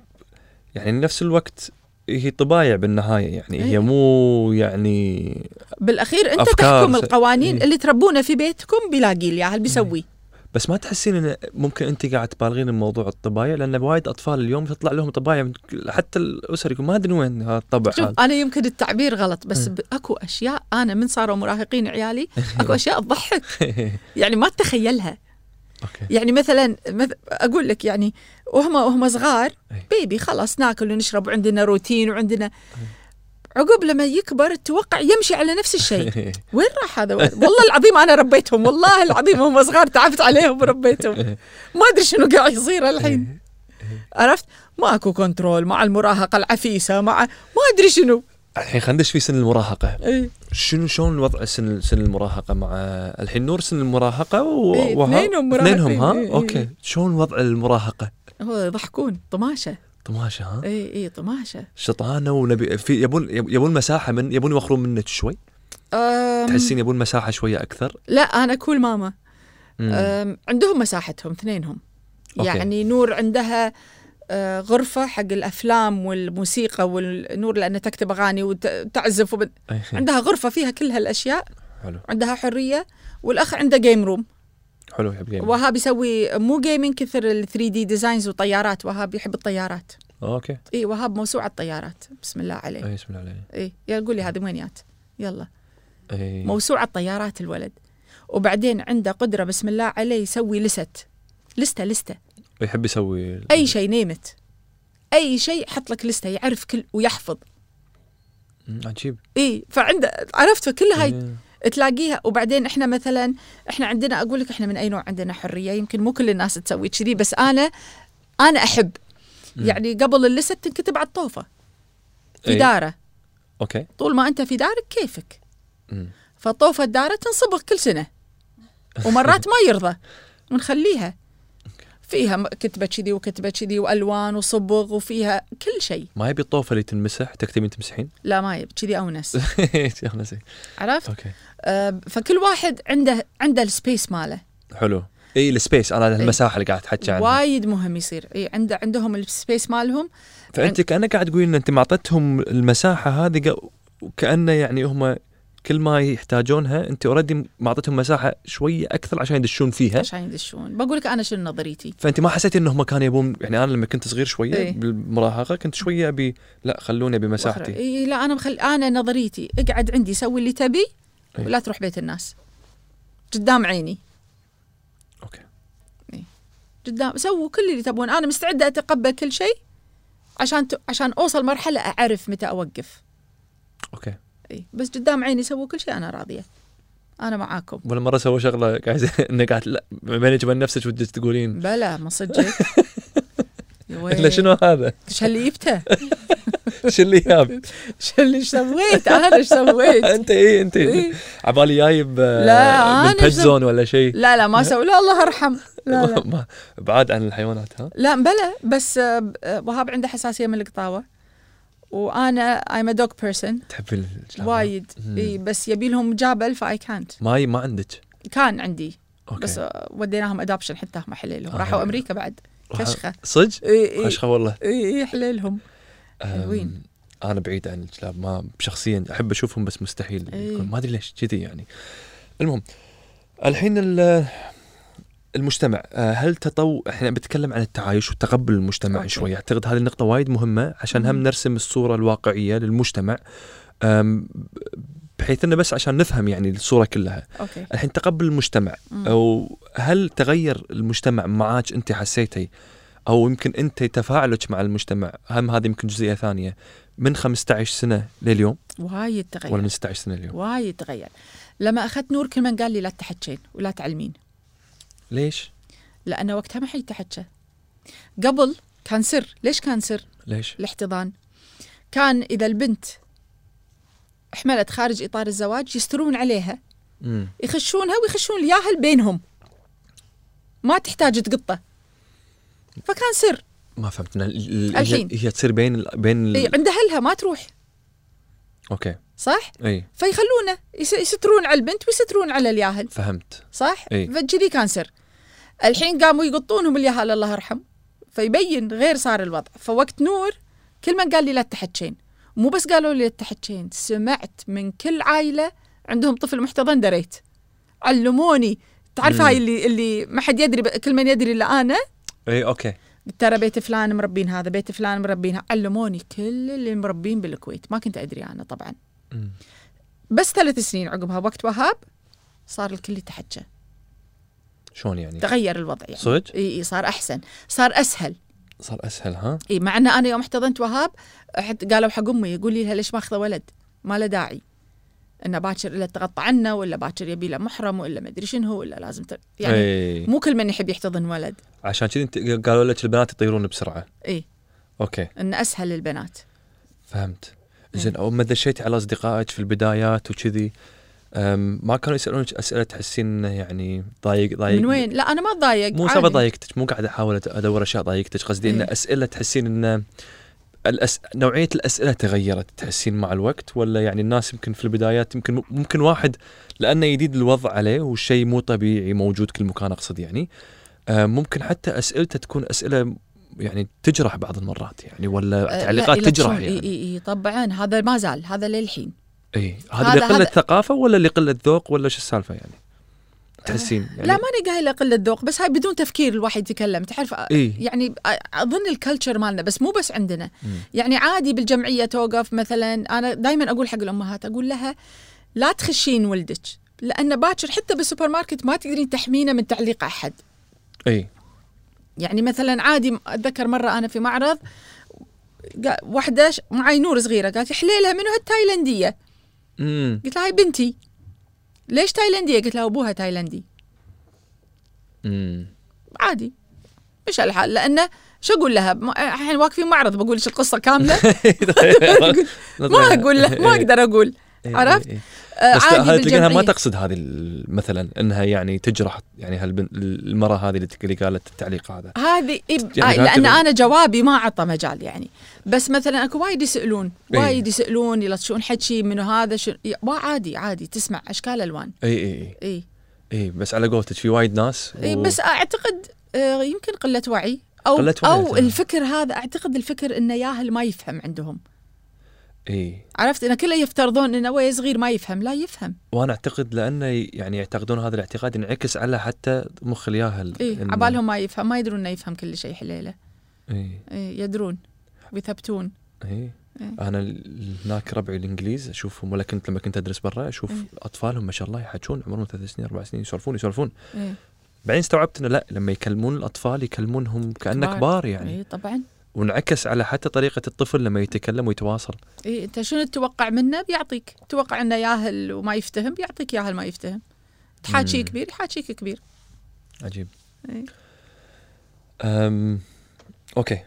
A: يعني نفس الوقت هي طبايع بالنهايه يعني
B: إي.
A: هي مو يعني
B: بالاخير انت
A: أفكار
B: تحكم
A: س-
B: القوانين
A: إيه.
B: اللي تربونه في بيتكم بيلاقي الياهل بيسويه
A: بس ما تحسين ان ممكن انت قاعد تبالغين بموضوع الطبايع لان وايد اطفال اليوم تطلع لهم طبايع من كل- حتى الاسر يقول ما ادري وين هذا الطبع هذا
B: شوف انا يمكن التعبير غلط بس
A: م.
B: ب- اكو اشياء انا من صاروا مراهقين عيالي اكو اشياء تضحك يعني ما تتخيلها
A: اوكي
B: يعني مثلا مث... اقول لك يعني وهم وهم صغار
A: إيه.
B: بيبي خلاص ناكل ونشرب وعندنا روتين وعندنا عقب لما يكبر توقع يمشي على نفس
A: *laughs*
B: الشيء وين راح هذا والله العظيم انا ربيتهم والله العظيم هم صغار تعبت عليهم وربيتهم ما ادري شنو قاعد يصير الحين عرفت ما اكو كنترول مع المراهقه العفيسه مع ما ادري شنو
A: *laughs* الحين خلينا ندش في سن المراهقه
B: إيه.
A: شنو شلون وضع سن سن المراهقه مع الحين نور سن المراهقه و...
B: إيه،
A: وها-
B: اثنينهم مراهقين،
A: اثنينهم ها
B: إيه، إيه.
A: اوكي شلون وضع المراهقه
B: هو يضحكون طماشه
A: طماشه ها
B: اي اي طماشه
A: شطانه ونبي في يبون يبون مساحه من يبون يوخرون منك شوي
B: أم
A: تحسين يبون مساحه شويه اكثر
B: لا انا كول ماما
A: مم.
B: أم عندهم مساحتهم اثنينهم
A: أوكي.
B: يعني نور عندها آه، غرفة حق الأفلام والموسيقى والنور لأنها تكتب أغاني وتعزف وب... عندها غرفة فيها كل هالأشياء
A: إيه. حلو
B: عندها حرية والأخ عنده جيم روم
A: حلو يحب جيم
B: وها بيسوي مو جيمنج كثر ال 3 دي ديزاينز وطيارات وها بيحب الطيارات
A: اوكي
B: إي وهاب موسوعة طيارات بسم الله عليه
A: اي اسم الله عليه
B: إي يقول لي هذه من وين جات يلا
A: اي
B: موسوعة طيارات الولد وبعدين عنده قدرة بسم الله عليه يسوي لست لستة لستة
A: يحب يسوي ال-
B: أي شيء نيمت أي شيء حط لك لستة يعرف كل ويحفظ
A: مم، عجيب
B: إي فعنده عرفت فكل هاي
A: إيه.
B: تلاقيها وبعدين إحنا مثلا إحنا عندنا أقول لك إحنا من أي نوع عندنا حرية يمكن مو كل الناس تسوي كذي بس أنا أنا أحب
A: مم. إيه.
B: يعني قبل اللست تنكتب على الطوفة في
A: إي.
B: داره
A: اوكي
B: طول ما أنت في دارك كيفك
A: مم.
B: فالطوفة الدارة تنصبغ كل سنة ومرات ما يرضى ونخليها فيها م- كتبة كذي وكتبة كذي وألوان وصبغ وفيها كل شيء
A: ما يبي الطوفه اللي تنمسح تكتبين تمسحين *laughs*
B: لا ما يب كذي أونس
A: يلا زين.
B: عرفت
A: اوكي
B: آه فكل واحد عنده عنده السبيس ماله
A: حلو اي السبيس انا المساحه اللي قاعد تحكي عنها
B: وايد مهم يصير إيه عنده عندهم السبيس مالهم
A: فانت كانك قاعد تقولين ان انت ما اعطيتهم المساحه هذه قا- وكانه يعني هم كل ما يحتاجونها انت اوريدي ما اعطيتهم مساحه شويه اكثر عشان يدشون فيها
B: عشان يدشون بقول لك أنا شنو نظريتي
A: فانت ما حسيتي انهم كانوا يبون يعني انا لما كنت صغير شويه
B: إيه.
A: بالمراهقه كنت شويه ابي لا خلوني بمساحتي
B: إيه لا أنا مخل... أنا نظريتي اقعد عندي سوي اللي تبي
A: إيه.
B: ولا تروح بيت الناس قدام عيني
A: اوكي
B: قدام سووا كل اللي تبون انا مستعده اتقبل كل شيء عشان ت... عشان اوصل مرحله اعرف متى اوقف
A: اوكي
B: اي بس قدام عيني سووا كل شيء انا راضيه انا معاكم
A: ولا مره سوى شغله قاعد *laughs* انك قاعد لا بينك وبين نفسك ودك تقولين
B: بلا ما صدقك يا ويل.
A: الا شنو هذا؟
B: ايش اللي جبته؟
A: شو
B: *laughs*
A: اللي جاب؟
B: ايش اللي إيش سويت؟ انا ايش
A: *laughs*
B: سويت؟
A: انت ايه انت
B: إيه.
A: عبالي جايب آه،
B: لا،
A: من
B: أنا
A: بيت
B: شو-
A: زون ولا شيء
B: لا لا ما سوي لا الله ارحم لا لا
A: *laughs* ما- بعاد عن الحيوانات ها؟
B: لا بلا بس آه، ب- آه، وهاب عنده حساسيه من القطاوه وانا ايم ا دوغ بيرسون
A: تحب الجلابة؟
B: وايد
A: مم.
B: اي بس يبي لهم جبل فاي كانت
A: ما ما عندك
B: كان عندي
A: اوكي
B: بس آه، وديناهم ادابشن حتى هم حليلهم
A: آه.
B: راحوا امريكا بعد فشخه
A: صدق؟
B: اي اي
A: فشخه والله
B: اي إي، حليلهم
A: أم،
B: حلوين.
A: انا بعيد عن الكلاب ما شخصيا احب اشوفهم بس مستحيل
B: إيه.
A: يكون ما ادري ليش كذي يعني المهم الحين ال- المجتمع آه، هل تطو احنا بنتكلم عن التعايش وتقبل المجتمع
B: أوكي.
A: شوي اعتقد هذه النقطه وايد مهمه عشان هم
B: مم.
A: نرسم الصوره الواقعيه للمجتمع أم، بحيث انه بس عشان نفهم يعني الصوره كلها
B: اوكي
A: الحين تقبل المجتمع
B: مم.
A: او هل تغير المجتمع معاك انت حسيتي او يمكن انت تفاعلك مع المجتمع هم هذه يمكن جزئيه ثانيه من 15 سنه لليوم
B: وايد تغير
A: ولا من 16 سنه لليوم
B: وايد تغير لما اخذت نور كل من قال لي لا تحكين ولا تعلمين
A: ليش
B: لانه وقتها ما حد يتحكى قبل كان سر ليش كان سر
A: ليش
B: الاحتضان كان اذا البنت حملت خارج اطار الزواج يسترون عليها
A: امم
B: يخشونها ويخشون الياهل بينهم ما تحتاج تقطه فكان سر
A: ما فهمت أنا ال- ال-
B: الحين.
A: هي, هي تصير بين ال... بين ال...
B: إيه، عند اهلها ما تروح
A: اوكي
B: صح
A: اي
B: فيخلونه يس- يسترون على البنت ويسترون على الياهل
A: فهمت
B: صح؟
A: إي.
B: فكذي كان سر. الحين قاموا يقطونهم اليهال الله يرحم فيبين غير صار الوضع، فوقت نور كل من قال لي لا تحكين، مو بس قالوا لي لا تحكين، سمعت من كل عائله عندهم طفل محتضن دريت. علموني تعرف
A: مم.
B: هاي اللي اللي ما حد يدري ب- كل من يدري الا انا
A: اي اوكي
B: ترى بيت فلان مربين هذا بيت فلان مربين ه- علموني كل اللي مربين بالكويت ما كنت ادري انا طبعا
A: مم.
B: بس ثلاث سنين عقبها وقت وهاب صار الكل يتحجى
A: شلون يعني
B: تغير الوضع يعني
A: صدق
B: اي اي صار احسن صار اسهل
A: صار اسهل ها
B: اي مع ان انا يوم احتضنت وهاب أحد قالوا حق امي يقول لي لها ليش ماخذه ولد ما له داعي انه باكر الا تغطى عنه ولا باكر يبي له محرم ولا ما ادري شنو ولا لازم ت... يعني أي.
A: اي
B: مو كل من يحب يحتضن ولد
A: عشان كذي انت قالوا لك البنات يطيرون بسرعه
B: اي
A: اوكي
B: انه اسهل للبنات
A: فهمت زين اول ما دشيت على اصدقائك في البدايات وكذي أم، ما كانوا يسالونك اسئله تحسين انه يعني ضايق ضايق
B: من وين لا انا ما اتضايق
A: مو
B: عادي.
A: سبب ضايقتك مو قاعد احاول أت- ادور اشياء ضايقتك قصدي ان
B: إيه.
A: اسئله تحسين ان الأس... نوعيه الاسئله تغيرت تحسين مع الوقت ولا يعني الناس يمكن في البدايات يمكن ممكن واحد لانه جديد الوضع عليه والشيء مو طبيعي موجود كل مكان اقصد يعني أم، ممكن حتى اسئلته تكون اسئله يعني تجرح بعض المرات يعني ولا
B: أه، لا،
A: تعليقات
B: إلا
A: تجرح
B: شلون؟
A: يعني
B: اي اي اي طبعا هذا ما زال هذا للحين
A: اي
B: هذا-
A: هذا لقله
B: هذا-
A: ثقافه ولا لقله ذوق ولا شو السالفه يعني؟ تحسين يعني
B: لا ماني قايله قله ذوق بس هاي بدون تفكير الواحد يتكلم تعرف أ-
A: إيه.
B: يعني أ- اظن الكلتشر مالنا بس مو بس عندنا
A: مم.
B: يعني عادي بالجمعيه توقف مثلا انا دائما اقول حق الامهات اقول لها لا تخشين ولدك لان باكر حتى بالسوبر ماركت ما تقدرين تحمينه من تعليق احد
A: اي
B: يعني مثلا عادي م- اتذكر مره انا في معرض قا- واحده ش- معي نور صغيره قالت يا حليلها منو هالتايلنديه
A: امم
B: قلت لها هاي بنتي ليش تايلنديه قلت لها ابوها تايلندي
A: *laughs* امم
B: عادي مش الحال لانه شو اقول لها؟ ما- الحين واقفين معرض بقول لك القصه
A: *laughs*
B: كامله *laughs* ما اقول لها ما اقدر اقول عرفت؟ آه،
A: إيه، بس هذه
B: عادي
A: تلقاها ما
B: بالجمعيه
A: تقصد هذه ال- مثلا انها يعني تجرح يعني هالبن المراه هذه اللي تك- اللي قالت التعليق هذا
B: هذه إب-
A: يعني
B: آه، لان
A: تعتبر-
B: انا جوابي ما عطى مجال يعني بس مثلا اكو وايد يسالون
A: إيه.
B: وايد يسالون يلطشون حكي منو هذا شنو يا- وا- عادي عادي تسمع اشكال الوان
A: اي اي اي
B: اي
A: اي بس على قولتك في وايد ناس
B: إي، إيه، بس اعتقد آه، يمكن قله وعي او
A: قلة وعي، إيه.
B: او
A: تمام.
B: الفكر هذا اعتقد الفكر انه ياهل ما يفهم عندهم
A: اي
B: عرفت انه كله يفترضون انه ويا صغير ما يفهم لا يفهم
A: وانا اعتقد لانه يعني يعتقدون هذا الاعتقاد ينعكس على حتى مخ الياهل
B: اي
A: إنه-
B: إيه، عبالهم ما يفهم ما يدرون انه يفهم كل شيء حليله
A: اي
B: إيه، يدرون ويثبتون
A: اي
B: إيه.
A: انا ال- هناك ربعي الانجليز اشوفهم ولا كنت لما كنت ادرس برا اشوف
B: إيه.
A: اطفالهم ما شاء الله يحاجون عمرهم ثلاث سنين اربع سنين يسولفون يسولفون
B: إيه.
A: بعدين استوعبت انه لا لما يكلمون الاطفال يكلمونهم كانه
B: كبار. إيه.
A: كبار يعني
B: اي طبعا
A: وانعكس على حتى طريقه الطفل لما يتكلم ويتواصل
B: إيه انت شنو تتوقع منه بيعطيك تتوقع انه ياهل وما يفتهم بيعطيك ياهل ما يفتهم تحاكيه
A: مم.
B: كبير يحاكيك كبير إيه.
A: عجيب
B: إي.
A: أم... اوكي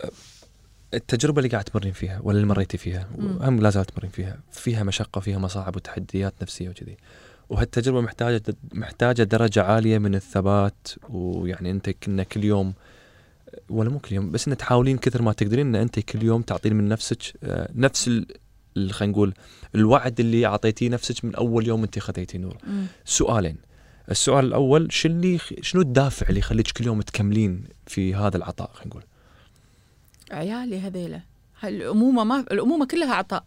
A: أ- التجربه اللي قاعد تمرين فيها ولا اللي مريتي فيها
B: مم.
A: وهم لا زالت تمرين فيها فيها مشقه فيها مصاعب وتحديات نفسيه وكذي وهالتجربه محتاجه محتاجه درجه عاليه من الثبات ويعني انت كنا كل يوم ولا مو كل يوم بس ان تحاولين كثر ما تقدرين ان انت كل يوم تعطين من نفسك آه، نفس ال- ال- خلينا نقول الوعد اللي اعطيتيه نفسك من اول يوم انت خذيتي نور
B: مم.
A: سؤالين السؤال الاول شو اللي شنو الدافع اللي يخليك كل يوم تكملين في هذا العطاء خلينا نقول
B: عيالي هذيلا هالامومه ما الامومه كلها عطاء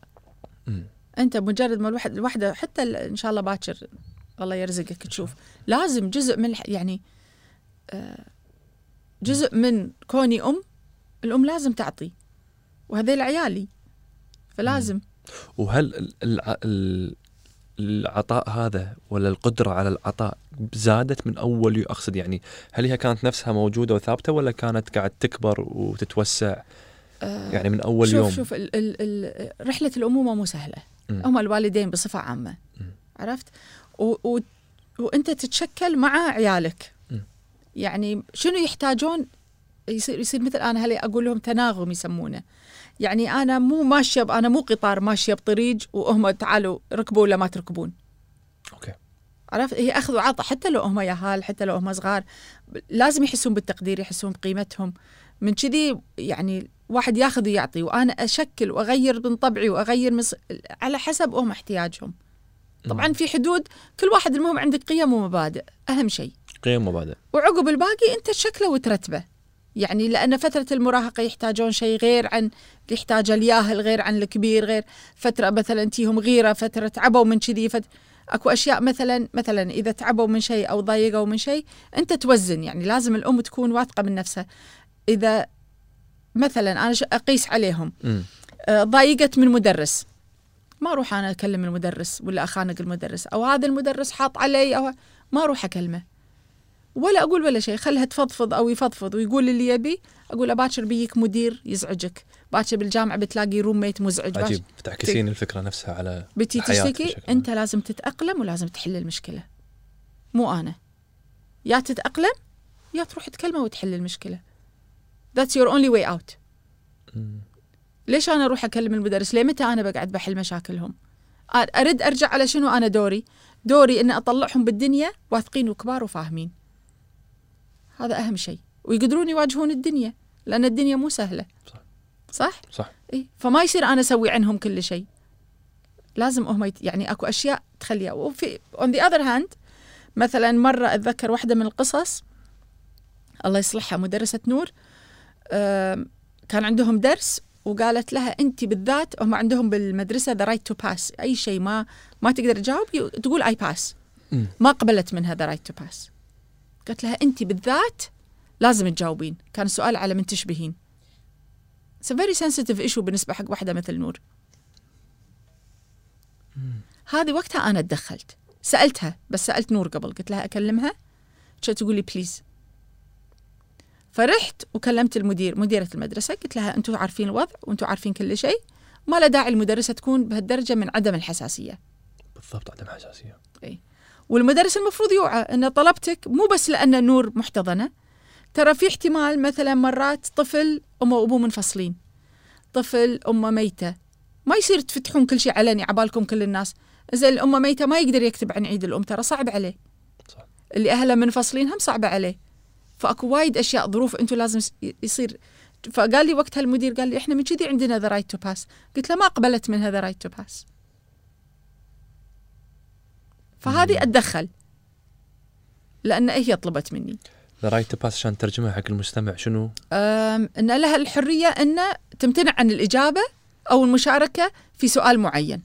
A: مم.
B: انت مجرد ما الواحد الواحده حتى ال- ان شاء الله باكر الله يرزقك تشوف لازم جزء من الح- يعني آه، جزء من كوني ام الام لازم تعطي وهذيل عيالي فلازم
A: وهل ال- الع- ال- العطاء هذا ولا القدره على العطاء زادت من اول يو- اقصد يعني هل هي كانت نفسها موجوده وثابته ولا كانت قاعد تكبر وتتوسع
B: آه،
A: يعني من اول
B: شوف
A: يوم
B: شوف ال ال ال رحلة الأمومة مو سهلة
A: مم.
B: هم الوالدين بصفة عامة
A: مم.
B: عرفت و و وأنت تتشكل مع عيالك
A: مم.
B: يعني شنو يحتاجون يصير يصير مثل أنا هلا أقول لهم تناغم يسمونه يعني أنا مو ماشية ب- أنا مو قطار ماشية بطريق وهم تعالوا ركبوا ولا ما تركبون
A: اوكي
B: عرفت هي أخذ وعطى حتى لو هم يهال حتى لو هم صغار لازم يحسون بالتقدير يحسون بقيمتهم من كذي يعني واحد ياخذ ويعطي وانا اشكل واغير من طبعي واغير من ص... على حسب هم احتياجهم طبعا
A: مم.
B: في حدود كل واحد المهم عندك قيم ومبادئ اهم شيء
A: قيم ومبادئ
B: وعقب الباقي انت شكله وترتبه يعني لان فتره المراهقه يحتاجون شيء غير عن اللي يحتاجه الياهل غير عن الكبير غير فتره مثلا تيهم غيره فتره تعبوا من كذي فت... اكو اشياء مثلا مثلا اذا تعبوا من شيء او ضايقوا من شيء انت توزن يعني لازم الام تكون واثقه من نفسها اذا مثلا انا ش- اقيس عليهم
A: مم.
B: آه، ضايقت من مدرس ما اروح انا اكلم المدرس ولا اخانق المدرس او هذا المدرس حاط علي او ما اروح اكلمه ولا اقول ولا شيء خلها تفضفض او يفضفض ويقول اللي يبي اقول باكر بيك مدير يزعجك باكر بالجامعه بتلاقي روم ميت مزعج باكر
A: عجيب تعكسين الفكره نفسها على
B: بتي
A: الحياة
B: تشتكي
A: بشكل عام.
B: انت لازم تتاقلم ولازم تحل المشكله مو انا يا تتاقلم يا تروح تكلمه وتحل المشكله ذاتس يور اونلي واي اوت
A: مم.
B: ليش انا اروح اكلم المدرس؟ ليه متى انا بقعد بحل مشاكلهم؟ أ- ارد ارجع على شنو انا دوري؟ دوري ان اطلعهم بالدنيا واثقين وكبار وفاهمين. هذا اهم شيء، ويقدرون يواجهون الدنيا، لان الدنيا مو سهله.
A: صح.
B: صح؟
A: صح.
B: إيه؟ فما يصير انا اسوي عنهم كل شيء. لازم هم يت... يعني اكو اشياء تخليها وفي اون ذا اذر هاند مثلا مره اتذكر واحده من القصص الله يصلحها مدرسه نور أم، كان عندهم درس وقالت لها انت بالذات هم عندهم بالمدرسه ذا رايت تو باس اي شيء ما ما تقدر تجاوب يو- تقول اي باس
A: مم.
B: ما قبلت منها ذا رايت تو باس قالت لها انت بالذات لازم تجاوبين كان السؤال على من تشبهين It's a very sensitive issue بالنسبة حق واحدة مثل نور هذه وقتها أنا تدخلت سألتها بس سألت نور قبل قلت لها أكلمها كانت تقول لي بليز فرحت وكلمت المدير مديرة المدرسة قلت لها أنتم عارفين الوضع وأنتم عارفين كل شيء ما له داعي المدرسة تكون بهالدرجة من عدم الحساسية
A: بالضبط عدم حساسيه
B: والمدرس المفروض يوعى ان طلبتك مو بس لان نور محتضنه ترى في احتمال مثلا مرات طفل امه وابوه منفصلين طفل امه ميته ما يصير تفتحون كل شيء علني عبالكم كل الناس اذا الامه ميته ما يقدر يكتب عن عيد الام ترى صعب عليه
A: صح.
B: اللي اهله منفصلين هم صعبه عليه فاكو وايد اشياء ظروف انتم لازم يس- يصير فقال لي وقتها المدير قال لي احنا من كذي عندنا ذا رايت تو باس قلت له ما قبلت من هذا رايت تو باس فهذه اتدخل لان هي طلبت مني
A: ذا رايت باس عشان ترجمها حق المستمع شنو؟
B: أم، ان لها الحريه ان تمتنع عن الاجابه او المشاركه في سؤال معين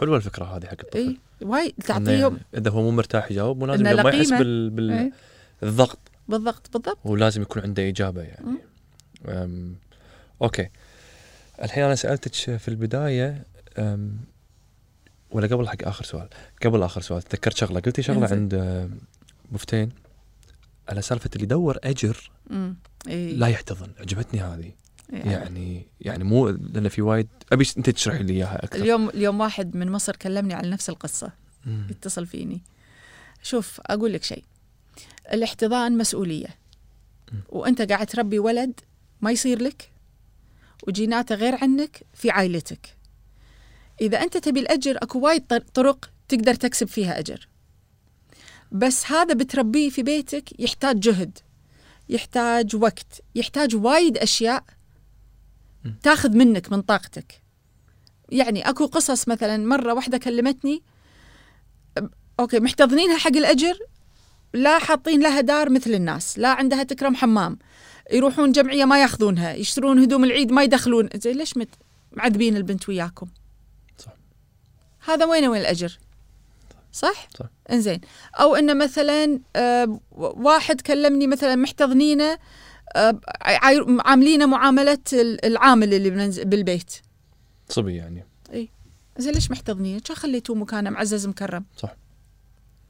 A: حلوه الفكره هذه حق الطفل
B: اي وايد
A: إنه
B: تعطيهم
A: يعني اذا هو مو مرتاح يجاوب مو لازم
B: إنه
A: يوم ما يحس
B: لقيمة.
A: بال... بال...
B: إيه.
A: الضغط
B: بالضبط بالضبط
A: ولازم يكون عنده اجابه يعني أم... اوكي الحين انا سالتك في البدايه أم... ولا قبل حق اخر سؤال قبل اخر سؤال تذكرت شغله قلتي شغله
B: إنزين.
A: عند أم، مفتين على سالفه اللي يدور اجر
B: أمم. إي.
A: لا يحتضن عجبتني هذه
B: يعني.
A: يعني يعني مو لان في وايد ابي انت تشرحي لي اياها اكثر
B: اليوم اليوم واحد من مصر كلمني على نفس القصه
A: مم.
B: اتصل فيني شوف اقول لك شيء الاحتضان مسؤوليه
A: م.
B: وانت قاعد تربي ولد ما يصير لك وجيناته غير عنك في عائلتك اذا انت تبي الاجر اكو وايد طر- طرق تقدر تكسب فيها اجر بس هذا بتربيه في بيتك يحتاج جهد يحتاج وقت يحتاج وايد اشياء
A: م.
B: تاخذ منك من طاقتك يعني اكو قصص مثلا مره واحده كلمتني اوكي محتضنينها حق الاجر لا حاطين لها دار مثل الناس لا عندها تكرم حمام يروحون جمعيه ما ياخذونها يشترون هدوم العيد ما يدخلون زين ليش مت... معذبين البنت وياكم
A: صح.
B: هذا وين وين الاجر صح
A: صح.
B: انزين او ان مثلا آه، و- واحد كلمني مثلا محتضنينه آه، عاي- عاملينه معامله ال- العامل اللي بننز- بالبيت
A: صبي يعني
B: زين ليش محتضنين؟ شو خليتوه مكانه معزز مكرم؟
A: صح.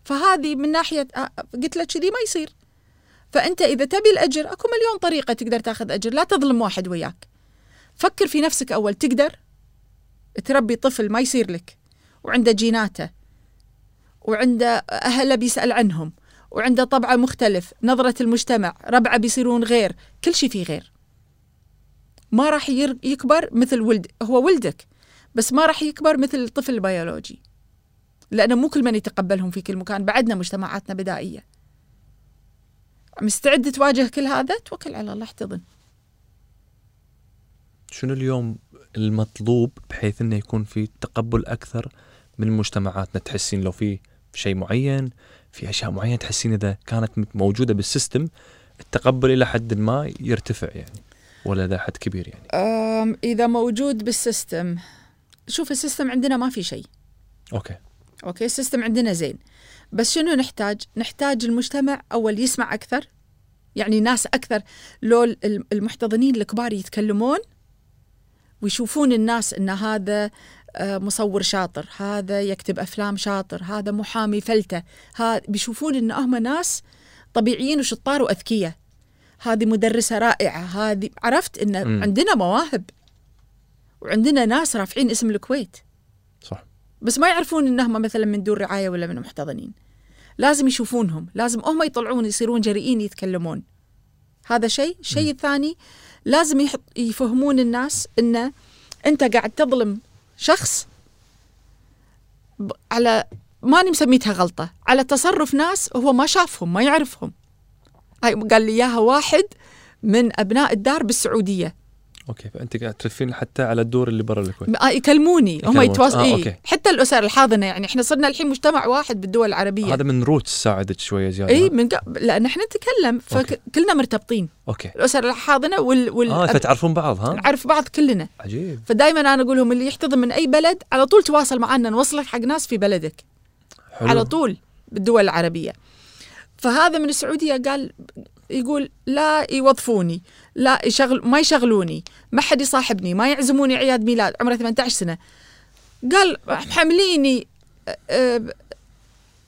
B: فهذه من ناحيه آه، قلت لك كذي ما يصير. فانت اذا تبي الاجر اكو مليون طريقه تقدر تاخذ اجر، لا تظلم واحد وياك. فكر في نفسك اول تقدر تربي طفل ما يصير لك وعنده جيناته وعنده اهله بيسال عنهم وعنده طبعه مختلف، نظره المجتمع، ربعه بيصيرون غير، كل شيء فيه غير. ما راح ير- يكبر مثل ولد، هو ولدك. بس ما راح يكبر مثل الطفل البيولوجي لأنه مو كل من يتقبلهم في كل مكان بعدنا مجتمعاتنا بدائية مستعد تواجه كل هذا توكل على الله احتضن
A: شنو اليوم المطلوب بحيث انه يكون في تقبل اكثر من مجتمعاتنا تحسين لو في شيء معين في اشياء معينه تحسين اذا كانت م- موجوده بالسيستم التقبل الى حد ما يرتفع يعني ولا الى حد كبير يعني
B: أم إذا موجود بالسيستم شوف السيستم عندنا ما في شيء
A: اوكي
B: اوكي السيستم عندنا زين بس شنو نحتاج نحتاج المجتمع اول يسمع اكثر يعني ناس اكثر لو ال- المحتضنين الكبار يتكلمون ويشوفون الناس ان هذا آه، مصور شاطر هذا يكتب افلام شاطر هذا محامي فلته ها بيشوفون ان هم ناس طبيعيين وشطار واذكياء هذه مدرسه رائعه هذه عرفت ان
A: مم.
B: عندنا مواهب وعندنا ناس رافعين اسم الكويت
A: صح
B: بس ما يعرفون انهم مثلا من دون رعايه ولا من محتضنين لازم يشوفونهم لازم هم يطلعون يصيرون جريئين يتكلمون هذا شيء الشيء الثاني لازم يحط يفهمون الناس ان انت قاعد تظلم شخص ب- على ماني مسميتها غلطه على تصرف ناس هو ما شافهم ما يعرفهم هاي قال لي اياها واحد من ابناء الدار بالسعوديه
A: اوكي فانت قاعد تلفين حتى على الدور اللي برا الكويت
B: آه، يكلموني هم
A: يكلمون.
B: يتواصلوا
A: آه،
B: إيه.
A: أوكي.
B: حتى الاسر الحاضنه يعني احنا صرنا الحين مجتمع واحد بالدول العربيه
A: هذا من روت ساعدك شويه زياده
B: اي من ق... لان احنا نتكلم
A: أوكي.
B: فكلنا مرتبطين
A: اوكي
B: الاسر الحاضنه وال, وال...
A: اه فتعرفون بعض ها
B: نعرف بعض كلنا
A: عجيب
B: فدائما انا اقول لهم اللي يحتضن من اي بلد على طول تواصل معنا نوصلك حق ناس في بلدك
A: حلو
B: على
A: *laughs*
B: طول بالدول العربيه فهذا من السعوديه قال يقول لا يوظفوني لا يشغل ما يشغلوني ما حد يصاحبني ما يعزموني عياد ميلاد عمره 18 سنه قال محمليني أ- أ-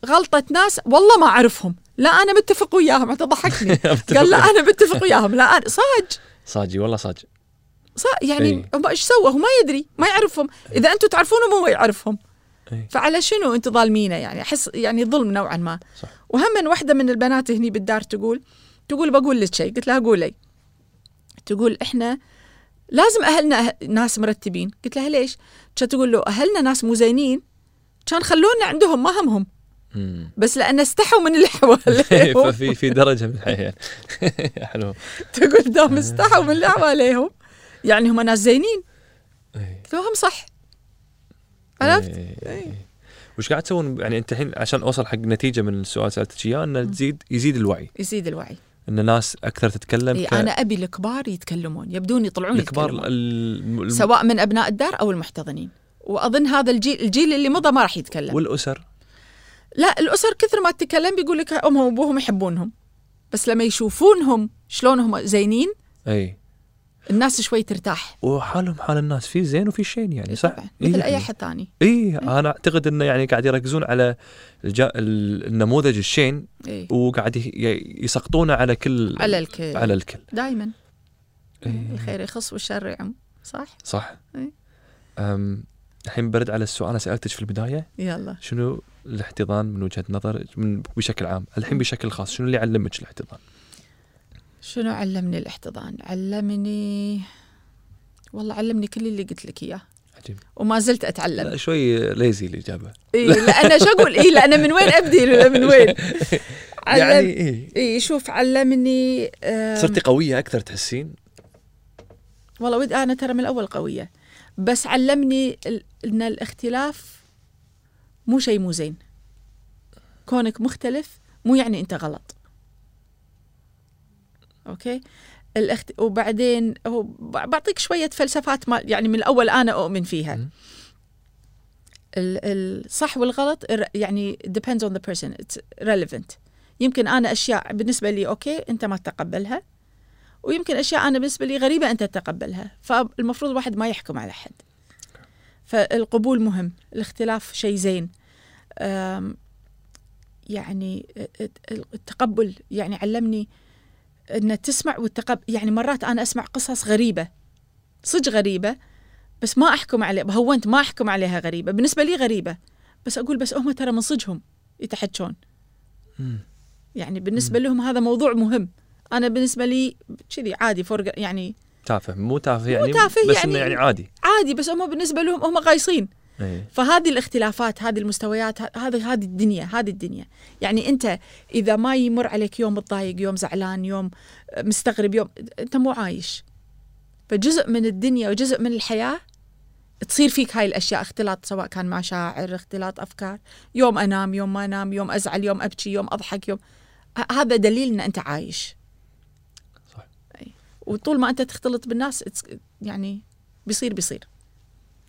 B: غلطة ناس والله ما أعرفهم لا أنا متفق وياهم حتى ضحكني
A: *laughs*
B: قال لا أنا متفق وياهم لا أنا صاج
A: صاجي والله صاج
B: صا- يعني
A: إي.
B: هم ايش سوى هو ما يدري ما يعرفهم اذا انتم تعرفونهم هو يعرفهم
A: إي.
B: فعلى شنو انتم ظالمينه يعني احس يعني ظلم نوعا ما
A: صح.
B: وهم واحده من البنات هني بالدار تقول تقول بقول لك شيء قلت لها قولي تقول احنا لازم اهلنا أه- ناس مرتبين قلت لها ليش كانت تقول له اهلنا ناس مو زينين كان خلونا عندهم ما همهم *laughs*
A: مم. *laughs*
B: بس لان استحوا من اللي حواليهم
A: إيه، ففي في درجه من الحياه *laughs* حلو
B: تقول دوم استحوا من اللي حواليهم يعني هم ناس زينين
A: إي.
B: قلت لهم صح عرفت إيه.
A: إي. إيه، وش قاعد تسوون يعني انت الحين عشان اوصل حق نتيجه من السؤال سالتك اياه انه تزيد يزيد الوعي
B: يزيد الوعي
A: ان الناس اكثر تتكلم
B: إيه انا ابي الكبار يتكلمون يبدون يطلعون
A: الكبار
B: يتكلمون
A: ال- ال-
B: سواء من ابناء الدار او المحتضنين واظن هذا الجيل الجيل اللي مضى ما راح يتكلم
A: والاسر
B: لا الاسر كثر ما تتكلم بيقول لك امهم وابوهم يحبونهم بس لما يشوفونهم شلون هم زينين
A: اي
B: الناس شوي ترتاح
A: وحالهم حال الناس في زين وفي شين يعني صح
B: طبعاً،
A: إيه
B: مثل
A: يعني.
B: اي احد ثاني
A: اي انا اعتقد انه يعني قاعد يركزون على الجا... ال- النموذج الشين
B: إيه.
A: وقاعد ي- ي- يسقطونه على كل
B: على الكل
A: على الكل
B: دائما
A: إيه.
B: الخير يخص والشر يعم صح
A: صح
B: إيه.
A: أم... الحين برد على السؤال انا سالتك في البدايه
B: يلا
A: شنو الاحتضان من وجهه نظرك من بشكل عام الحين بشكل خاص شنو اللي علمك الاحتضان
B: شنو علمني الاحتضان علمني والله علمني كل اللي قلت لك اياه
A: عجيب
B: وما زلت اتعلم
A: لا شوي ليزي الاجابه
B: إيه لان شو اقول إيه لان من وين ابدي ولا من وين علم
A: يعني اي
B: إيه شوف علمني آه، آم،
A: صرتي قويه اكثر تحسين
B: والله ود انا ترى من الاول قويه بس علمني ال- ان الاختلاف مو شيء مو زين كونك مختلف مو يعني انت غلط اوكي الاخت... وبعدين هو ب- بعطيك شويه فلسفات ما يعني من الاول انا اؤمن فيها
A: مم.
B: ال- الصح والغلط الر- يعني depends on the person it's relevant يمكن انا اشياء بالنسبه لي اوكي انت ما تتقبلها ويمكن اشياء انا بالنسبه لي غريبه انت تتقبلها فالمفروض الواحد ما يحكم على حد فالقبول مهم الاختلاف شيء زين أم، يعني الت- التقبل يعني علمني ان تسمع والتقبل يعني مرات انا اسمع قصص غريبه صدق غريبه بس ما احكم عليها هونت ما احكم عليها غريبه بالنسبه لي غريبه بس اقول بس هم ترى من صدقهم يتحجون
A: مم.
B: يعني بالنسبه لهم هذا موضوع مهم انا بالنسبه لي كذي عادي فرق يعني
A: تافه مو تافه يعني
B: تافه
A: بس
B: يعني-
A: انه يعني عادي
B: عادي بس هم بالنسبه لهم هم قايصين
A: إيه.
B: فهذه الاختلافات هذه المستويات ه- هذه هذه الدنيا هذه الدنيا يعني انت اذا ما يمر عليك يوم متضايق يوم زعلان يوم مستغرب يوم انت مو عايش فجزء من الدنيا وجزء من الحياه تصير فيك هاي الاشياء اختلاط سواء كان مشاعر اختلاط افكار يوم انام يوم ما انام يوم ازعل يوم ابكي يوم اضحك يوم ه- هذا دليل ان انت عايش
A: صح.
B: أي. وطول ما انت تختلط بالناس it's- يعني بيصير بيصير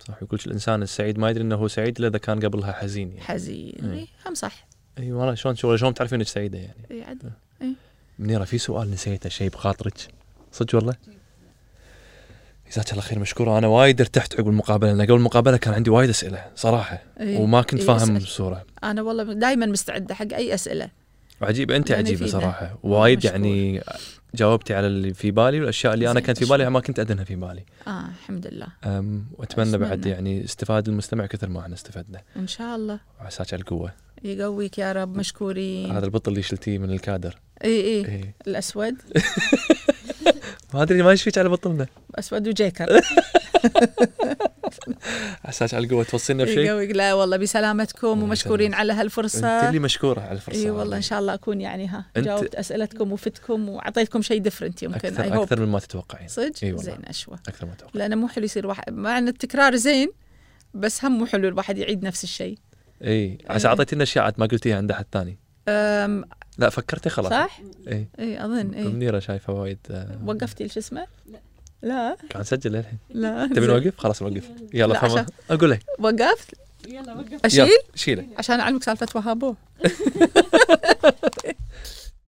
A: صح يقول الانسان السعيد ما يدري انه هو سعيد الا اذا كان قبلها حزين يعني
B: حزين
A: أي.
B: إي، هم صح إيه،
A: اي والله شلون شلون شلون تعرفين انك سعيده يعني
B: إي، عدل.
A: منيره في سؤال نسيته شيء بخاطرك صدق والله جزاك الله خير مشكوره انا وايد ارتحت عقب المقابله لان قبل المقابله كان عندي وايد اسئله صراحه
B: إي.
A: وما كنت
B: إي،
A: فاهم
B: اسأل.
A: الصوره
B: انا والله دائما مستعده حق اي اسئله
A: وعجيبه انت
B: لأن
A: عجيبه
B: يفيدنا.
A: صراحه وايد
B: مشكور.
A: يعني جاوبتي على اللي في بالي والاشياء اللي انا
B: زين،
A: كانت في بالي ما كنت ادنها في بالي
B: اه الحمد لله
A: أم، واتمنى بعد
B: أتمنى.
A: يعني استفاد المستمع كثر ما احنا استفدنا
B: ان شاء الله
A: وعساك على القوه
B: يقويك يا رب مشكورين
A: هذا البط اللي شلتيه من الكادر
B: اي اي
A: إي.
B: الاسود
A: ما ادري ما يشفيك على بطلنا
B: اسود وجيكر
A: عساك على القوه توصلنا بشيء
B: يقويك لا والله بسلامتكم
A: الله
B: ومشكورين
A: يسلمك.
B: على
A: انت
B: هالفرصه
A: اللي مشكوره على الفرصه
B: اي
A: هذه.
B: إيه، والله ان شاء الله اكون يعني ها
A: أنت-
B: جاوبت اسئلتكم وفتكم واعطيتكم شيء ديفرنت يمكن I
A: اكثر
B: hope.
A: اكثر من ما تتوقعين
B: صدق
A: إي والله.
B: زين اشوى
A: اكثر ما تتوقعين
B: لانه مو حلو يصير واحد مع ان التكرار زين بس هم مو حلو الواحد يعيد نفس الشيء
A: اي عسى
B: إيه.
A: اعطيتينا اشياء عاد ما قلتيها عند احد ثاني
B: أم،
A: لا فكرتي خلاص
B: صح؟ إيه.
A: اي
B: اي اظن اي
A: منيره شايفه وايد آه،
B: وقفتي شو اسمه؟ لا
A: قاعد نسجل للحين
B: لا
A: تبي
B: زين.
A: نوقف خلاص نوقف يلا
B: لا،
A: فما
B: عشان-
A: اقول لك
B: وقفت؟
C: يلا وقف
B: اشيل؟
A: شيله
B: عشان اعلمك سالفه وهابو